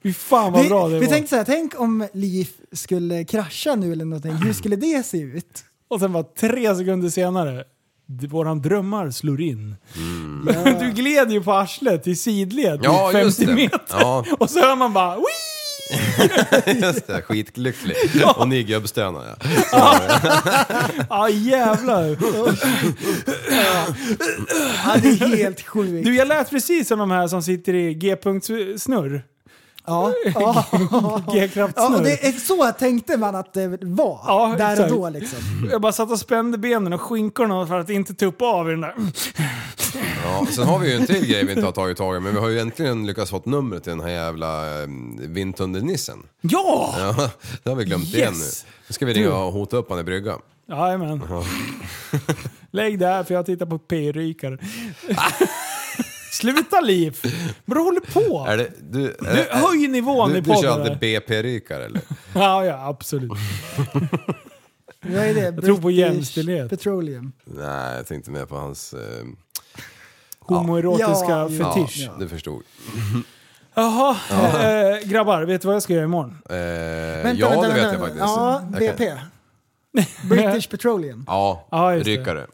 F: Fy fan vad bra det
E: vi, vi
F: var.
E: tänkte såhär, tänk om Liv skulle krascha nu eller någonting. Hur skulle det se ut?
F: Och sen bara tre sekunder senare, d- våran drömmar slår in. Du gled ju på arslet i sidled i
G: Mm. Ja, just
F: 50
G: det.
F: meter.
G: Ja.
F: Och så hör man bara Wii!
G: Just det, skitlycklig. Och nygubbstönar ja.
F: Ja jävlar.
E: Ja, det är helt sjukt.
F: Du jag lät precis som de här som sitter i G-punktssnurr.
E: Ja, ja. ja och
F: *laughs* G-kraftsnurr.
E: det är så tänkte man att det var.
F: Ja,
E: där
F: exakt.
E: och då liksom.
F: Jag bara satt och spände benen och skinkorna för att inte tuppa av i den där.
G: ja. Sen har vi ju en till grej vi inte har tagit tag i, men vi har ju äntligen lyckats få numret till den här jävla eh, vindtunnelnissen.
F: Ja!
G: Ja, det har vi glömt igen nu.
F: Yes.
G: Nu ska vi ringa och hota upp han i bryggan.
F: Jajamän. Lägg det här för jag tittar på p-rykare. Sluta Liv! Vad du håller på?
G: Är det, du, är,
F: Du, höj nivån
G: du,
F: i
G: du
F: podden.
G: kör alltid BP-rykare eller?
F: Ja, ja, absolut.
E: Vad är det? Jag
F: tror på jämställdhet.
E: Petroleum.
G: Nej, jag tänkte mer på hans... Eh,
F: Homoerotiska
E: Ja, ja.
G: ja,
F: fetisch.
G: du förstod. Eh,
F: Jaha, eh, grabbar, vet du vad jag ska göra imorgon?
G: Eh, ja, det vet jag faktiskt.
E: Ja,
G: Jag kan-
E: BP. British Petroleum.
G: Ja,
F: Ja, just det.
G: rykare.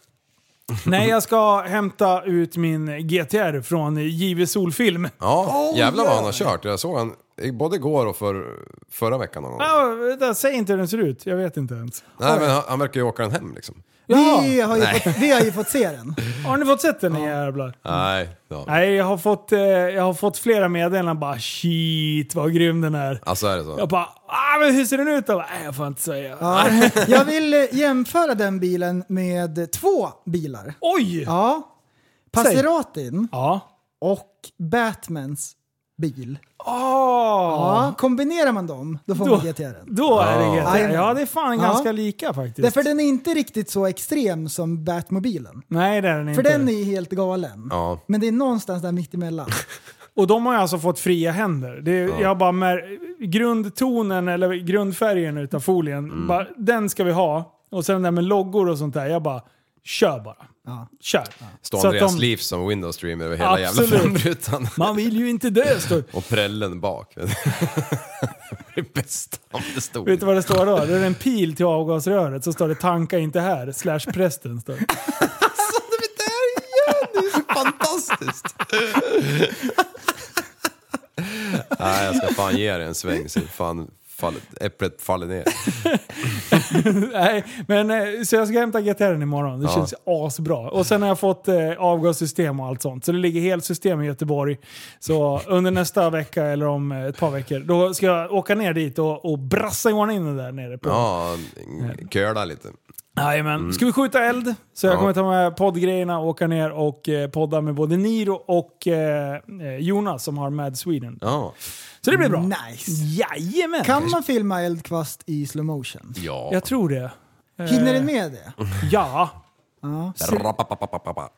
F: Nej, jag ska hämta ut min GTR från JW Solfilm.
G: Ja,
F: Oh,
G: jävlar vad han har kört. Jag såg han i- både igår och för, förra veckan någon gång.
F: Ja, vänta, säg inte hur den ser ut, jag vet inte ens.
G: Nej, men han, han verkar ju åka den hem liksom.
E: Vi, har ju fått, vi har ju fått se den.
F: Har ni fått sett den ni jävlar?
G: Nej, ja.
F: Nej, jag har fått, eh, jag har fått flera meddelanden bara shit vad grym den är.
G: Alltså är det så?
F: Jag bara ah, men hur ser den ut då? Nej, jag får inte säga.
E: Ja.
F: *laughs*
E: Jag vill eh, jämföra den bilen med två bilar.
F: Oj! Ja.
E: Ja. Passeratin
F: Ja.
E: och Batmans bil.
F: Ah.
E: Ja, kombinerar man dem, då får
F: Då-
E: man GTR.
F: Då är det GTR.
E: Jajamän.
F: Ja, det är fan
E: Ja.
F: ganska lika faktiskt.
E: Därför den är inte riktigt så extrem som Batmobilen.
F: Nej, det är den inte.
E: För den är helt galen.
G: Ja.
E: Men det är någonstans
G: *laughs*
E: där mittemellan.
F: Och de har ju alltså fått fria händer. Det är, Jag bara mär, grundtonen eller grundfärgen utav folien, bara, den ska vi ha. Och sen det där med loggor och sånt där, jag bara kör bara. Kör.
G: Står
F: Så att
G: Andreas
F: de-
G: Leaf som Windows Streamer över hela jävla
F: Absolut.
G: framrutan.
F: Man vill ju inte dö. Står.
G: Och prällen bak. *laughs* det är bäst om det stod.
F: Vet du vad det står då? Det är en pil till avgasröret så står det tanka inte här, slash prästen. Står. det.
G: det där igen? Det är så fantastiskt. Nej, jag ska fan ge dig en sväng så fan faller, äpplet faller ner.
F: Nej, men eh, så jag ska hämta GTR'n imorgon. Det
G: Ja.
F: känns asbra. Och sen har jag fått eh, avgassystem och allt sånt. Så det ligger helt system i Göteborg.
G: *laughs*
F: Så under nästa vecka eller om eh, ett par veckor, då ska jag åka ner dit och, och brassa i ordning den där nere. På.
G: Ja, köla lite.
F: Jajamän. Ska vi skjuta eld? Så jag
G: Ja.
F: kommer ta med poddgrejerna och åka ner och eh, podda med både Niro och eh, eh, Jonas som har Mad Sweden.
G: Ja.
F: Så det blir bra.
E: Nice!
F: Jajamän!
E: Kan man filma eldkvast i slow motion?
G: Ja.
F: Jag tror det.
E: Hinner den med det?
F: Ja.
G: Rapapapapapapa.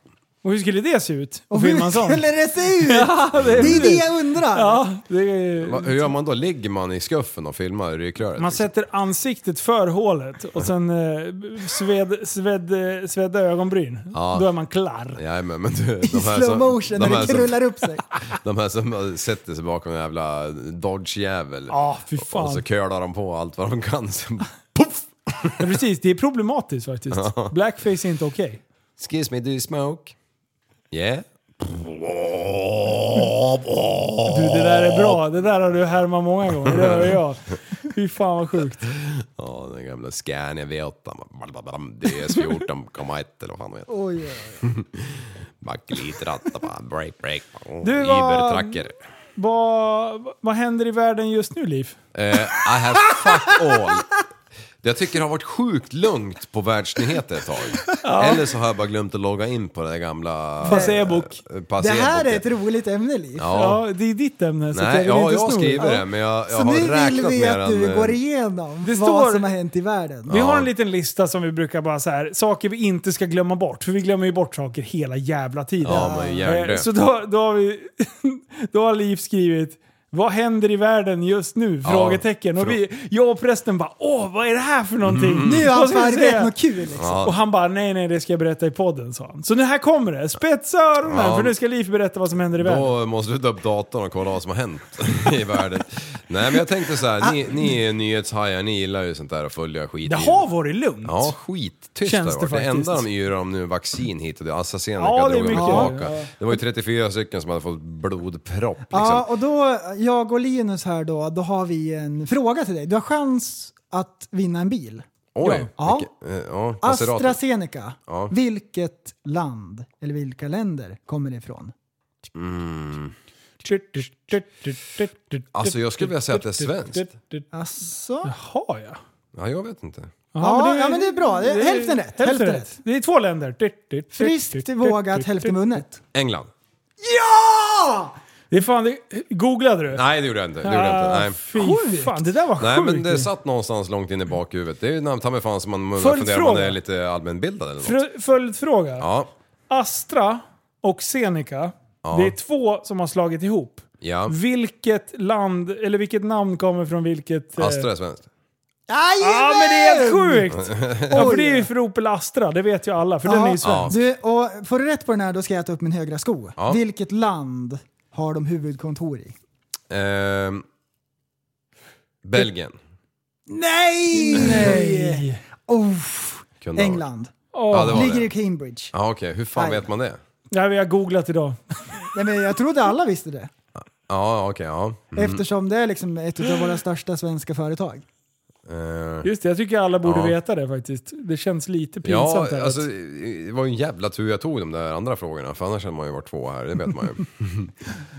F: Och hur skulle det se ut? Och filma en sån?
E: Hur skulle det se *laughs* ut? det är det jag undrar!
F: Ja, det är...
G: Va, Hur gör man då? Ligger man i skuffen och filmar i rykröret?
F: Man sätter ansiktet för hålet och sen eh, sved, sved, eh, svedda ögonbryn.
G: Ja.
F: Då är man klar.
G: Nej, men, men du,
E: I
G: de här
E: slow motion
G: de
E: när
G: här
E: det krullar
G: *laughs*
E: upp sig.
G: De här som sätter sig bakom en jävla Dodge-jävel.
F: Ja, fy fan.
G: Och så curlar de på allt vad de kan. Sen,
F: Ja, precis, det är problematiskt faktiskt. Blackface är inte okej.
G: Excuse me, do you smoke? Yeah.
F: Du, det där är bra. Det där har du härmat många gånger. Det hör jag. Fy fan vad sjukt.
G: Ja, den gamla Scania V8. blablabla, *laughs* DS14,1 eller vad fan de heter.
E: Oj, oj, oj.
G: Backlitratt, break, break.
F: Du, vad-
G: Ibertracker.
F: Vad, vad händer i världen just nu, Liv?
G: Eh, I have fuck all Jag tycker det har varit sjukt lugnt på världsnyheter ett tag. Eller så har jag bara glömt att logga in på det där gamla...
F: Placebok.
G: eh,
E: Det
G: Placebok.
E: här är ett roligt ämne, Liv.
G: Ja.
F: Ja, det är ditt ämne. Så
G: Nej,
F: jag vill
G: ja,
F: inte
G: jag
F: sno det.
G: skriver
F: Ja.
G: det, men jag, jag
E: Så
G: har
E: nu vill
G: räknat
E: vi
G: mer
E: att du
G: än...
E: går
G: eh,
E: igenom
F: Det står-
E: vad som har hänt i världen.
F: Vi har en liten lista som vi brukar bara så här, saker vi inte ska glömma bort. För vi glömmer ju bort saker hela jävla tiden.
G: Ja, men gör det.
F: Eh, Så då, då har vi, *laughs* då har Liv skrivit vad händer i världen just nu? Frågetecken. Och vi, jag och prästen bara åh, vad är det här för någonting?
G: Mm.
E: Nu har han
F: Vad ska vi
E: förberett
F: säga?
E: något kul liksom.
F: Och han bara nej, nej, det ska jag berätta i podden sa han. Så nu här kommer det. Spetsa öronen
G: Ja.
F: för nu ska Liv berätta vad som händer i världen.
G: Då måste du ta upp datorn och kolla vad som har hänt *laughs* i världen. Nej men jag tänkte så här, ni, ni är nyhetshajar, ni gillar ju sånt där och följa skit.
F: Det
G: i-
F: har varit lugnt.
G: Ja, skittyst
F: Känns
G: har det varit.
F: det
G: Det enda
F: faktiskt.
G: de yrar om nu är vaccin hit och Alltså, det. AstraZeneca
F: Ja, det är
G: drog de
F: mycket.
G: tillbaka.
F: Ja.
G: Det var ju 34 stycken som hade fått blodpropp liksom.
E: Ja, och då, jag och Linus här då, då har vi en fråga till dig. Du har chans att vinna en bil.
G: Oj!
E: Ja.
G: vilken- eh, ja, Maserati.
E: AstraZeneca,
G: Ja.
E: vilket land eller vilka länder kommer det ifrån?
G: Alltså, jag skulle vilja säga att det är svenskt.
E: Alltså?
F: Jaha ja.
G: Ja, jag vet inte.
E: Ja, ja, men det är bra. Det är hälften rätt,
F: Hälften,
E: hälften
F: rätt.
E: rätt.
F: Det är två länder.
E: Friskt vågat, hälften vunnet.
G: England?
E: Ja!
F: Det är fan, det, googlade du?
G: Nej, det gjorde jag inte. Det gjorde jag inte. Nej.
F: Fy fan, det där var
G: Nej
F: sjukt.
G: men det satt någonstans långt in i bakhuvudet. Det är ju namn ta mig fan som man man
F: Följdfråga.
G: funderar på om man är lite allmänbildad eller något.
F: Fr- Följdfråga.
G: Ja,
F: Astra och Seneca, det är två som har slagit ihop.
G: ja.
F: Vilket land, eller vilket namn kommer från vilket... eh,
G: Astra är svenskt.
F: Ja
E: Jajamän!
F: men det är helt sjukt! ja, för det är ju för Opel Astra, det vet ju alla. För den är ju svensk.
E: Du, och får du rätt på den här då ska jag ta upp min högra sko.
G: Ja.
E: Vilket land har de huvudkontor i?
G: Ehm, Belgien.
E: Nej!
F: Nej!
E: Oh,
G: Kunde ha varit.
E: England.
G: Ja, det var
E: Ligger
G: det.
E: i Cambridge.
G: Ja, okej. Hur fan vet man det?
F: Det här har jag googlat idag.
E: Nej, men jag trodde alla visste det.
G: Ja, okej, ja.
E: Eftersom det är liksom ett av våra största svenska företag.
G: Ehm,
F: Just det, jag tycker alla borde
G: Ja.
F: veta det faktiskt. Det känns lite
G: Ja,
F: pinsamt. här.
G: alltså det var ju en jävla tur jag tog de där andra frågorna, för annars hade man ju varit två här, det vet man
E: *laughs*
G: ju.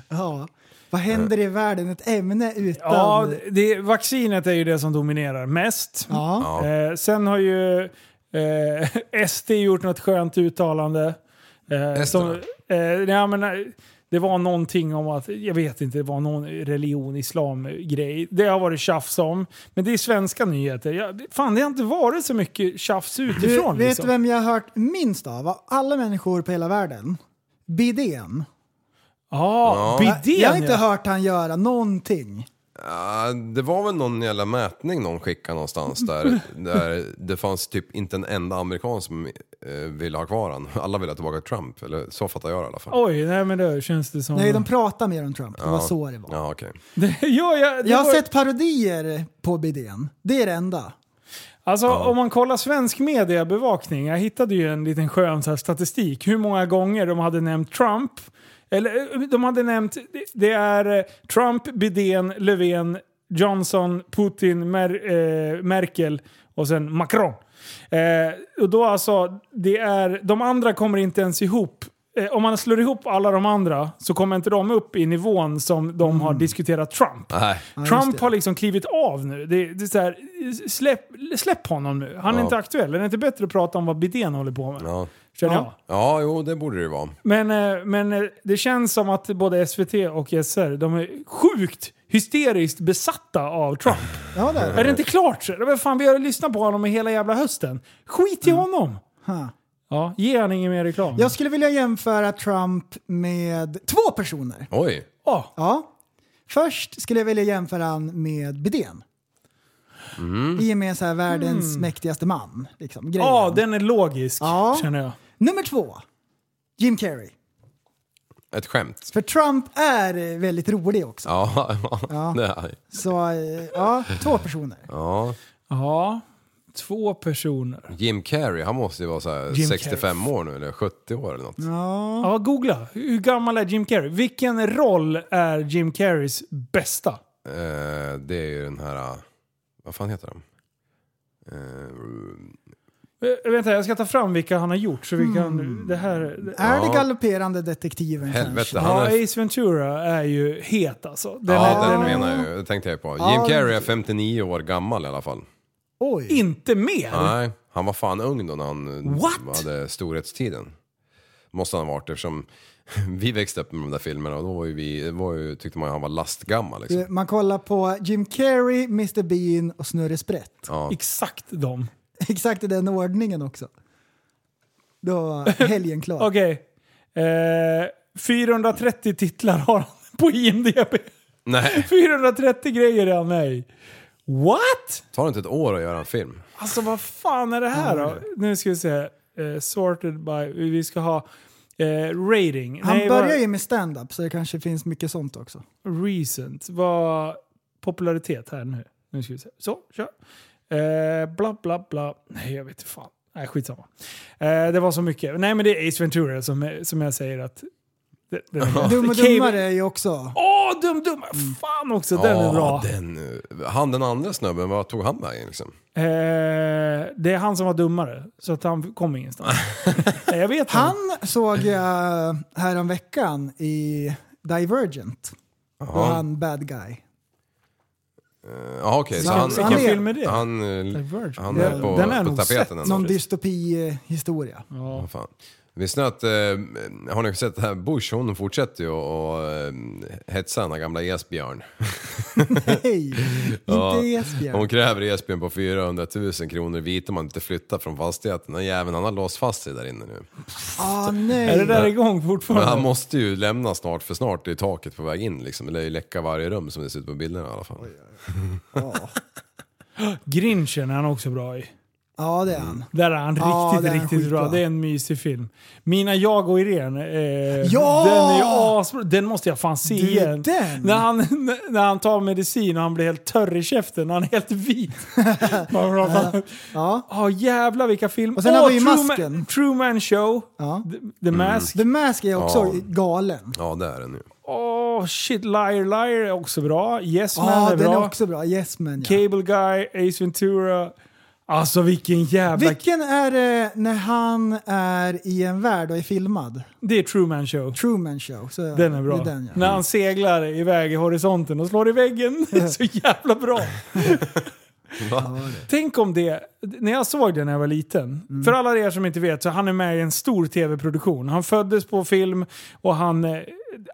E: Ja. Vad händer i världen? Ett ämne utan...
F: ja det, vaccinet är ju det som dominerar mest.
E: Ja.
G: Ja.
F: Eh, sen har ju eh, *laughs* SD gjort något skönt uttalande. Eh, som, eh, ja, men, eh, det var någonting om att, jag vet inte, det var någon religion, islam-grej. Det har varit tjafs om. Men det är svenska nyheter. Jag, fan, det har inte varit så mycket tjafs
E: Du,
F: utifrån.
E: vet
F: liksom.
E: du vem jag har hört minst av? Av alla människor på hela världen? Bidén.
F: Ja, bidén
E: jag har inte
F: ja.
E: hört han göra någonting.
G: Ja, det var väl någon jävla mätning någon skickade någonstans
E: *laughs*
G: där, där det fanns typ inte en enda amerikan som eh, ville ha kvar han. Alla ville ha tillbaka Trump, eller så fattar jag det i alla fall.
F: Oj, nej men då känns det som...
E: Nej, de pratar mer om Trump. Det var så det var.
G: Ja, okej.
F: *laughs* ja, ja, det
E: Jag har
F: var-
E: sett parodier på Bidén. Det är det enda.
F: Alltså om man kollar svensk mediebevakning, jag hittade ju en liten skön så här, statistik hur många gånger de hade nämnt Trump. Eller eh, de hade nämnt, det- det är eh, Trump, Biden, Löfven, Johnson, Putin, Mer, eh, Merkel och sen Macron. Eh, och då alltså, det är, de andra kommer inte ens ihop. Eh, om man slår ihop alla de andra så kommer inte de upp i nivån som de har diskuterat Trump.
G: Nej.
F: Trump har liksom klivit av nu. Det, det är så här, släpp, släpp honom nu. Han är
G: Ja.
F: inte aktuell. Är det inte bättre att prata om vad Bidén håller på med?
G: Ja.
F: Känner jag.
G: ja, jo det borde det ju vara.
F: Men, eh, men eh, det känns som att både SVT och SR, de är sjukt hysteriskt besatta av Trump.
E: Ja, det
F: Är
E: är
F: det
E: det.
F: inte klart? så? Men fan, vi har lyssnat på honom i hela jävla hösten. Skit i honom!
E: Ha.
F: Ja, ge han ingen mer reklam.
E: Jag skulle vilja jämföra Trump med två personer.
G: Oj!
F: Åh,
E: Ja. Först skulle jag vilja jämföra han med Bidén.
G: Mm.
E: I och med så här världens mäktigaste man. Liksom, grejen.
F: Mm. Ja, ah, den är logisk,
E: Ja.
F: känner jag.
E: Nummer två. Jim Carrey.
G: Ett skämt.
E: För Trump är eh, väldigt rolig också.
G: Ja, ja. *laughs* Nej.
E: Så eh, ja, två personer.
G: ja.
F: Ja, två personer.
G: Jim Carrey, han måste ju vara så här
F: Jim
G: 65 år nu eller 70 år eller något.
F: Ja, googla. Hur gammal är Jim Carrey? Vilken roll är Jim Carreys bästa?
G: Eh, det är ju den här, eh, vad fan heter den? Eh,
F: Eh, vänta, jag ska ta fram vilka han har gjort. Så vi
G: Hmm.
F: kan, det här, det,
E: Är
G: Ja.
E: det galopperande detektiven
G: helvete,
E: kanske?
G: Äh, han
F: ja,
G: är
F: Ace Ventura är ju het alltså. Den
G: ja,
F: är,
G: den
F: den är,
G: menar jag ju. Det tänkte jag på. Jim Carrey är 59 år gammal i alla fall.
E: Oj.
F: Inte mer?
G: Nej, han var fan ung då när han eh,
F: What?
G: hade storhetstiden. Måste han ha varit eftersom *laughs* vi växte upp med de där filmerna och då var ju vi, det var ju, tyckte man ju han var lastgammal liksom.
E: Du, Man kollar på Jim Carrey, Mr Bean och Snurre Sprätt.
F: Exakt dem.
E: *laughs* Exakt i den ordningen också. Då var helgen klar.
F: *laughs* Okej. Eh, 430 titlar har han på IMDB. *laughs*
G: Nej,
F: 430 grejer är han med i. What?
G: tar det inte ett år att göra en film?
F: Alltså vad fan är det här då? Nu ska vi se. Eh, sorted by... Vi ska ha eh, rating.
E: Han
F: Nej,
E: börjar
F: vad-
E: ju med stand-up så det kanske finns mycket sånt också.
F: recent. Vad popularitet här nu. Nu ska vi se. Så, kör. Eh, bla bla bla. Nej, jag vet inte fan. Nej, skitsamma. Eh, det var så mycket. Nej, men det är Ace Ventura som, som jag säger att... Det, det,
E: Dum och
F: det came-
E: dummare Mm. är ju också...
F: Åh, dum dum! Fan också, den är
G: Ja,
F: bra.
G: Den, eh, han den andra snubben, vad tog han vägen liksom?
F: Eh, det är han som var dummare, så att han kom ingenstans.
E: *laughs*
F: Nej, jag vet
E: Han
F: inte.
E: såg jag häromveckan i Divergent. Och han bad guy.
G: Ja okej, så
E: Så
G: han...
E: vilken
G: han
F: film är det?
G: Han, eh,
F: Divergent.
G: han är
F: Den-
G: på,
F: den har jag
G: på
F: nog
G: tapeten
F: sett.
G: ändå.
E: Någon dystopi-historia.
G: Ja, fan. Visste ni att, eh, har ni sett det här Bush, hon fortsätter ju att eh, hetsa den här gamla Esbjörn.
E: Nej, inte
G: Hon
E: Esbjörn.
G: kräver Esbjörn på 400 000 kronor vit om han inte flyttar från fastigheten. Den jäveln han har låst fast sig där inne nu.
E: Ah,
F: Är det
E: nej.
F: där igång
G: Men
F: fortfarande?
G: han måste ju lämna snart för snart är taket på väg in liksom. Det lär ju läcka varje rum som det ser ut på bilderna i alla fall.
F: Grinchen är han också bra i.
E: Ja, det är han.
F: Där är han
E: Ja,
F: riktigt,
E: den är
F: riktigt bra.
E: skitbra.
F: Det är en mysig film. Mina jag och Irene. Eh,
E: Ja!
F: Den är ju asbra. Den måste jag fan se
E: Du,
F: igen.
E: den!
F: När, han, *laughs* när han tar medicin och han blir helt törr i käften. Han är
E: *laughs*
F: helt vit. Ja
E: Ja.
F: jävlar vilka filmer.
E: Och sen har vi ju Masken.
F: Man, True Man Show.
E: Ja.
F: The, The Mask.
E: The Mask är också
G: Ja.
E: galen.
G: Ja, det är det nu.
F: Åh shit, Liar Liar är också bra. Yes Man
E: Ja,
F: är
E: den
F: bra.
E: är också bra. Yes man ja.
F: Cable Guy, Ace Ventura. Alltså vilken jävla...
E: Vilken är det när han är i en värld och är filmad?
F: det är True Man Show.
E: Truman show. Så
F: Den är bra.
E: det den, ja.
F: När han seglar iväg i horisonten och slår i väggen. *laughs* Det är så jävla bra. Tänk om det, när jag såg det när jag var liten.
E: Mm.
F: För alla er som inte vet så han är med i en stor tv-produktion. Han föddes på film och han, eh,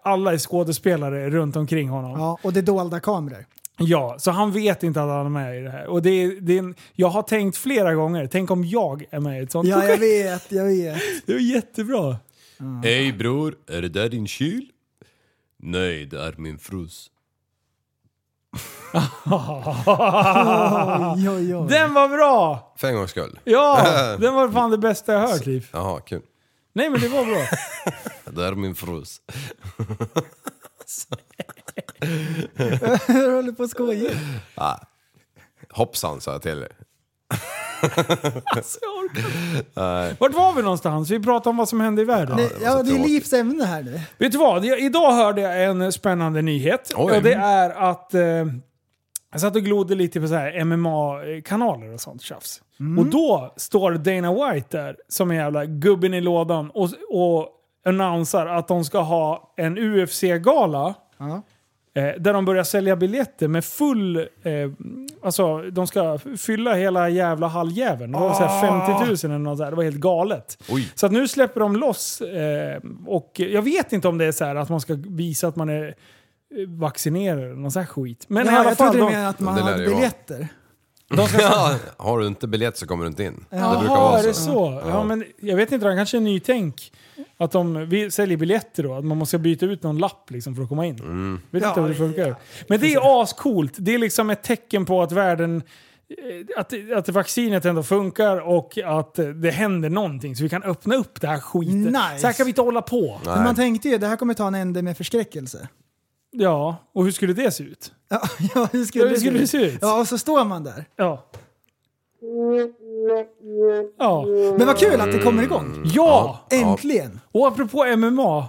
F: alla är skådespelare runt omkring honom.
E: ja. Och det är dolda kameror.
F: Ja, så han vet inte att han är med i det här. Och det är, det är en, jag har tänkt flera gånger, tänk om jag är med i ett sånt
E: Ja, jag
F: *laughs* projekt.
E: vet, jag vet.
F: Det är jättebra.
G: Hej bror, är det där din kyl? Nej, det är min frus.
E: Oj, oj, oj.
F: Den var bra!
G: För en gångs skull.
F: Ja, den var fan det bästa jag hört. Liv.
G: Jaha, kul.
F: Nej men det var bra.
G: Det är min frus.
E: Jag håller på att skoja.
G: Hoppsan sa jag till dig.
F: *laughs* Så jag orkar inte. Vart var vi någonstans? Vi pratade om vad som hände i världen.
E: Nej,
G: det var
E: ja,
G: så
E: det är
G: tråkigt.
E: livs ämne här nu.
F: Vet du vad? Jag, idag hörde jag en spännande nyhet.
G: Oj.
F: Och det är att... Eh, jag satt och glodde lite på så här MMA-kanaler och sånt tjafs. Och då står Dana White där som en jävla gubben i lådan och, och annonsar att de ska ha en UFC-gala. Eh, där de börjar sälja biljetter med full... Eh, alltså, de ska fylla hela jävla halljäveln. Det var så här 50 000 eller något sådär. Det var helt galet.
G: Oj.
F: Så att nu släpper de loss. Eh, och jag vet inte om det är så här att man ska visa att man är eh, vaccinerad eller någon sån här skit. Men i
E: Ja,
F: alla
E: jag
F: fall,
E: trodde du
F: de,
E: menade att man
G: Det lär
E: hade
G: ju vara.
E: biljetter.
G: *laughs* Ja, har du inte biljett så kommer du inte in. det brukar
F: Jaha,
G: vara
F: är
G: så.
F: det så? Ja.
G: Ja.
F: men jag vet inte, det kanske är nytänk. Att de vi säljer biljetter då, att man måste byta ut någon lapp liksom för att komma in.
G: Mm.
F: Vet inte hur det funkar. Men det är ascoolt. Det är liksom ett tecken på att världen eh, att, att vaccinet ändå funkar och att eh, det händer någonting så vi kan öppna upp det här skiten.
E: Nice.
F: Så här kan vi inte hålla på.
E: Men man tänkte ju det här kommer ta en ände med förskräckelse. *laughs*
F: Ja, och hur skulle det se ut?
E: Ja, ja, hur skulle,
F: Ja, hur skulle det se ut?
E: Ja, och så står man där.
F: Ja. Ja.
E: Men vad kul att det kommer igång.
F: Ja!
E: Äntligen!
F: Och apropå MMA,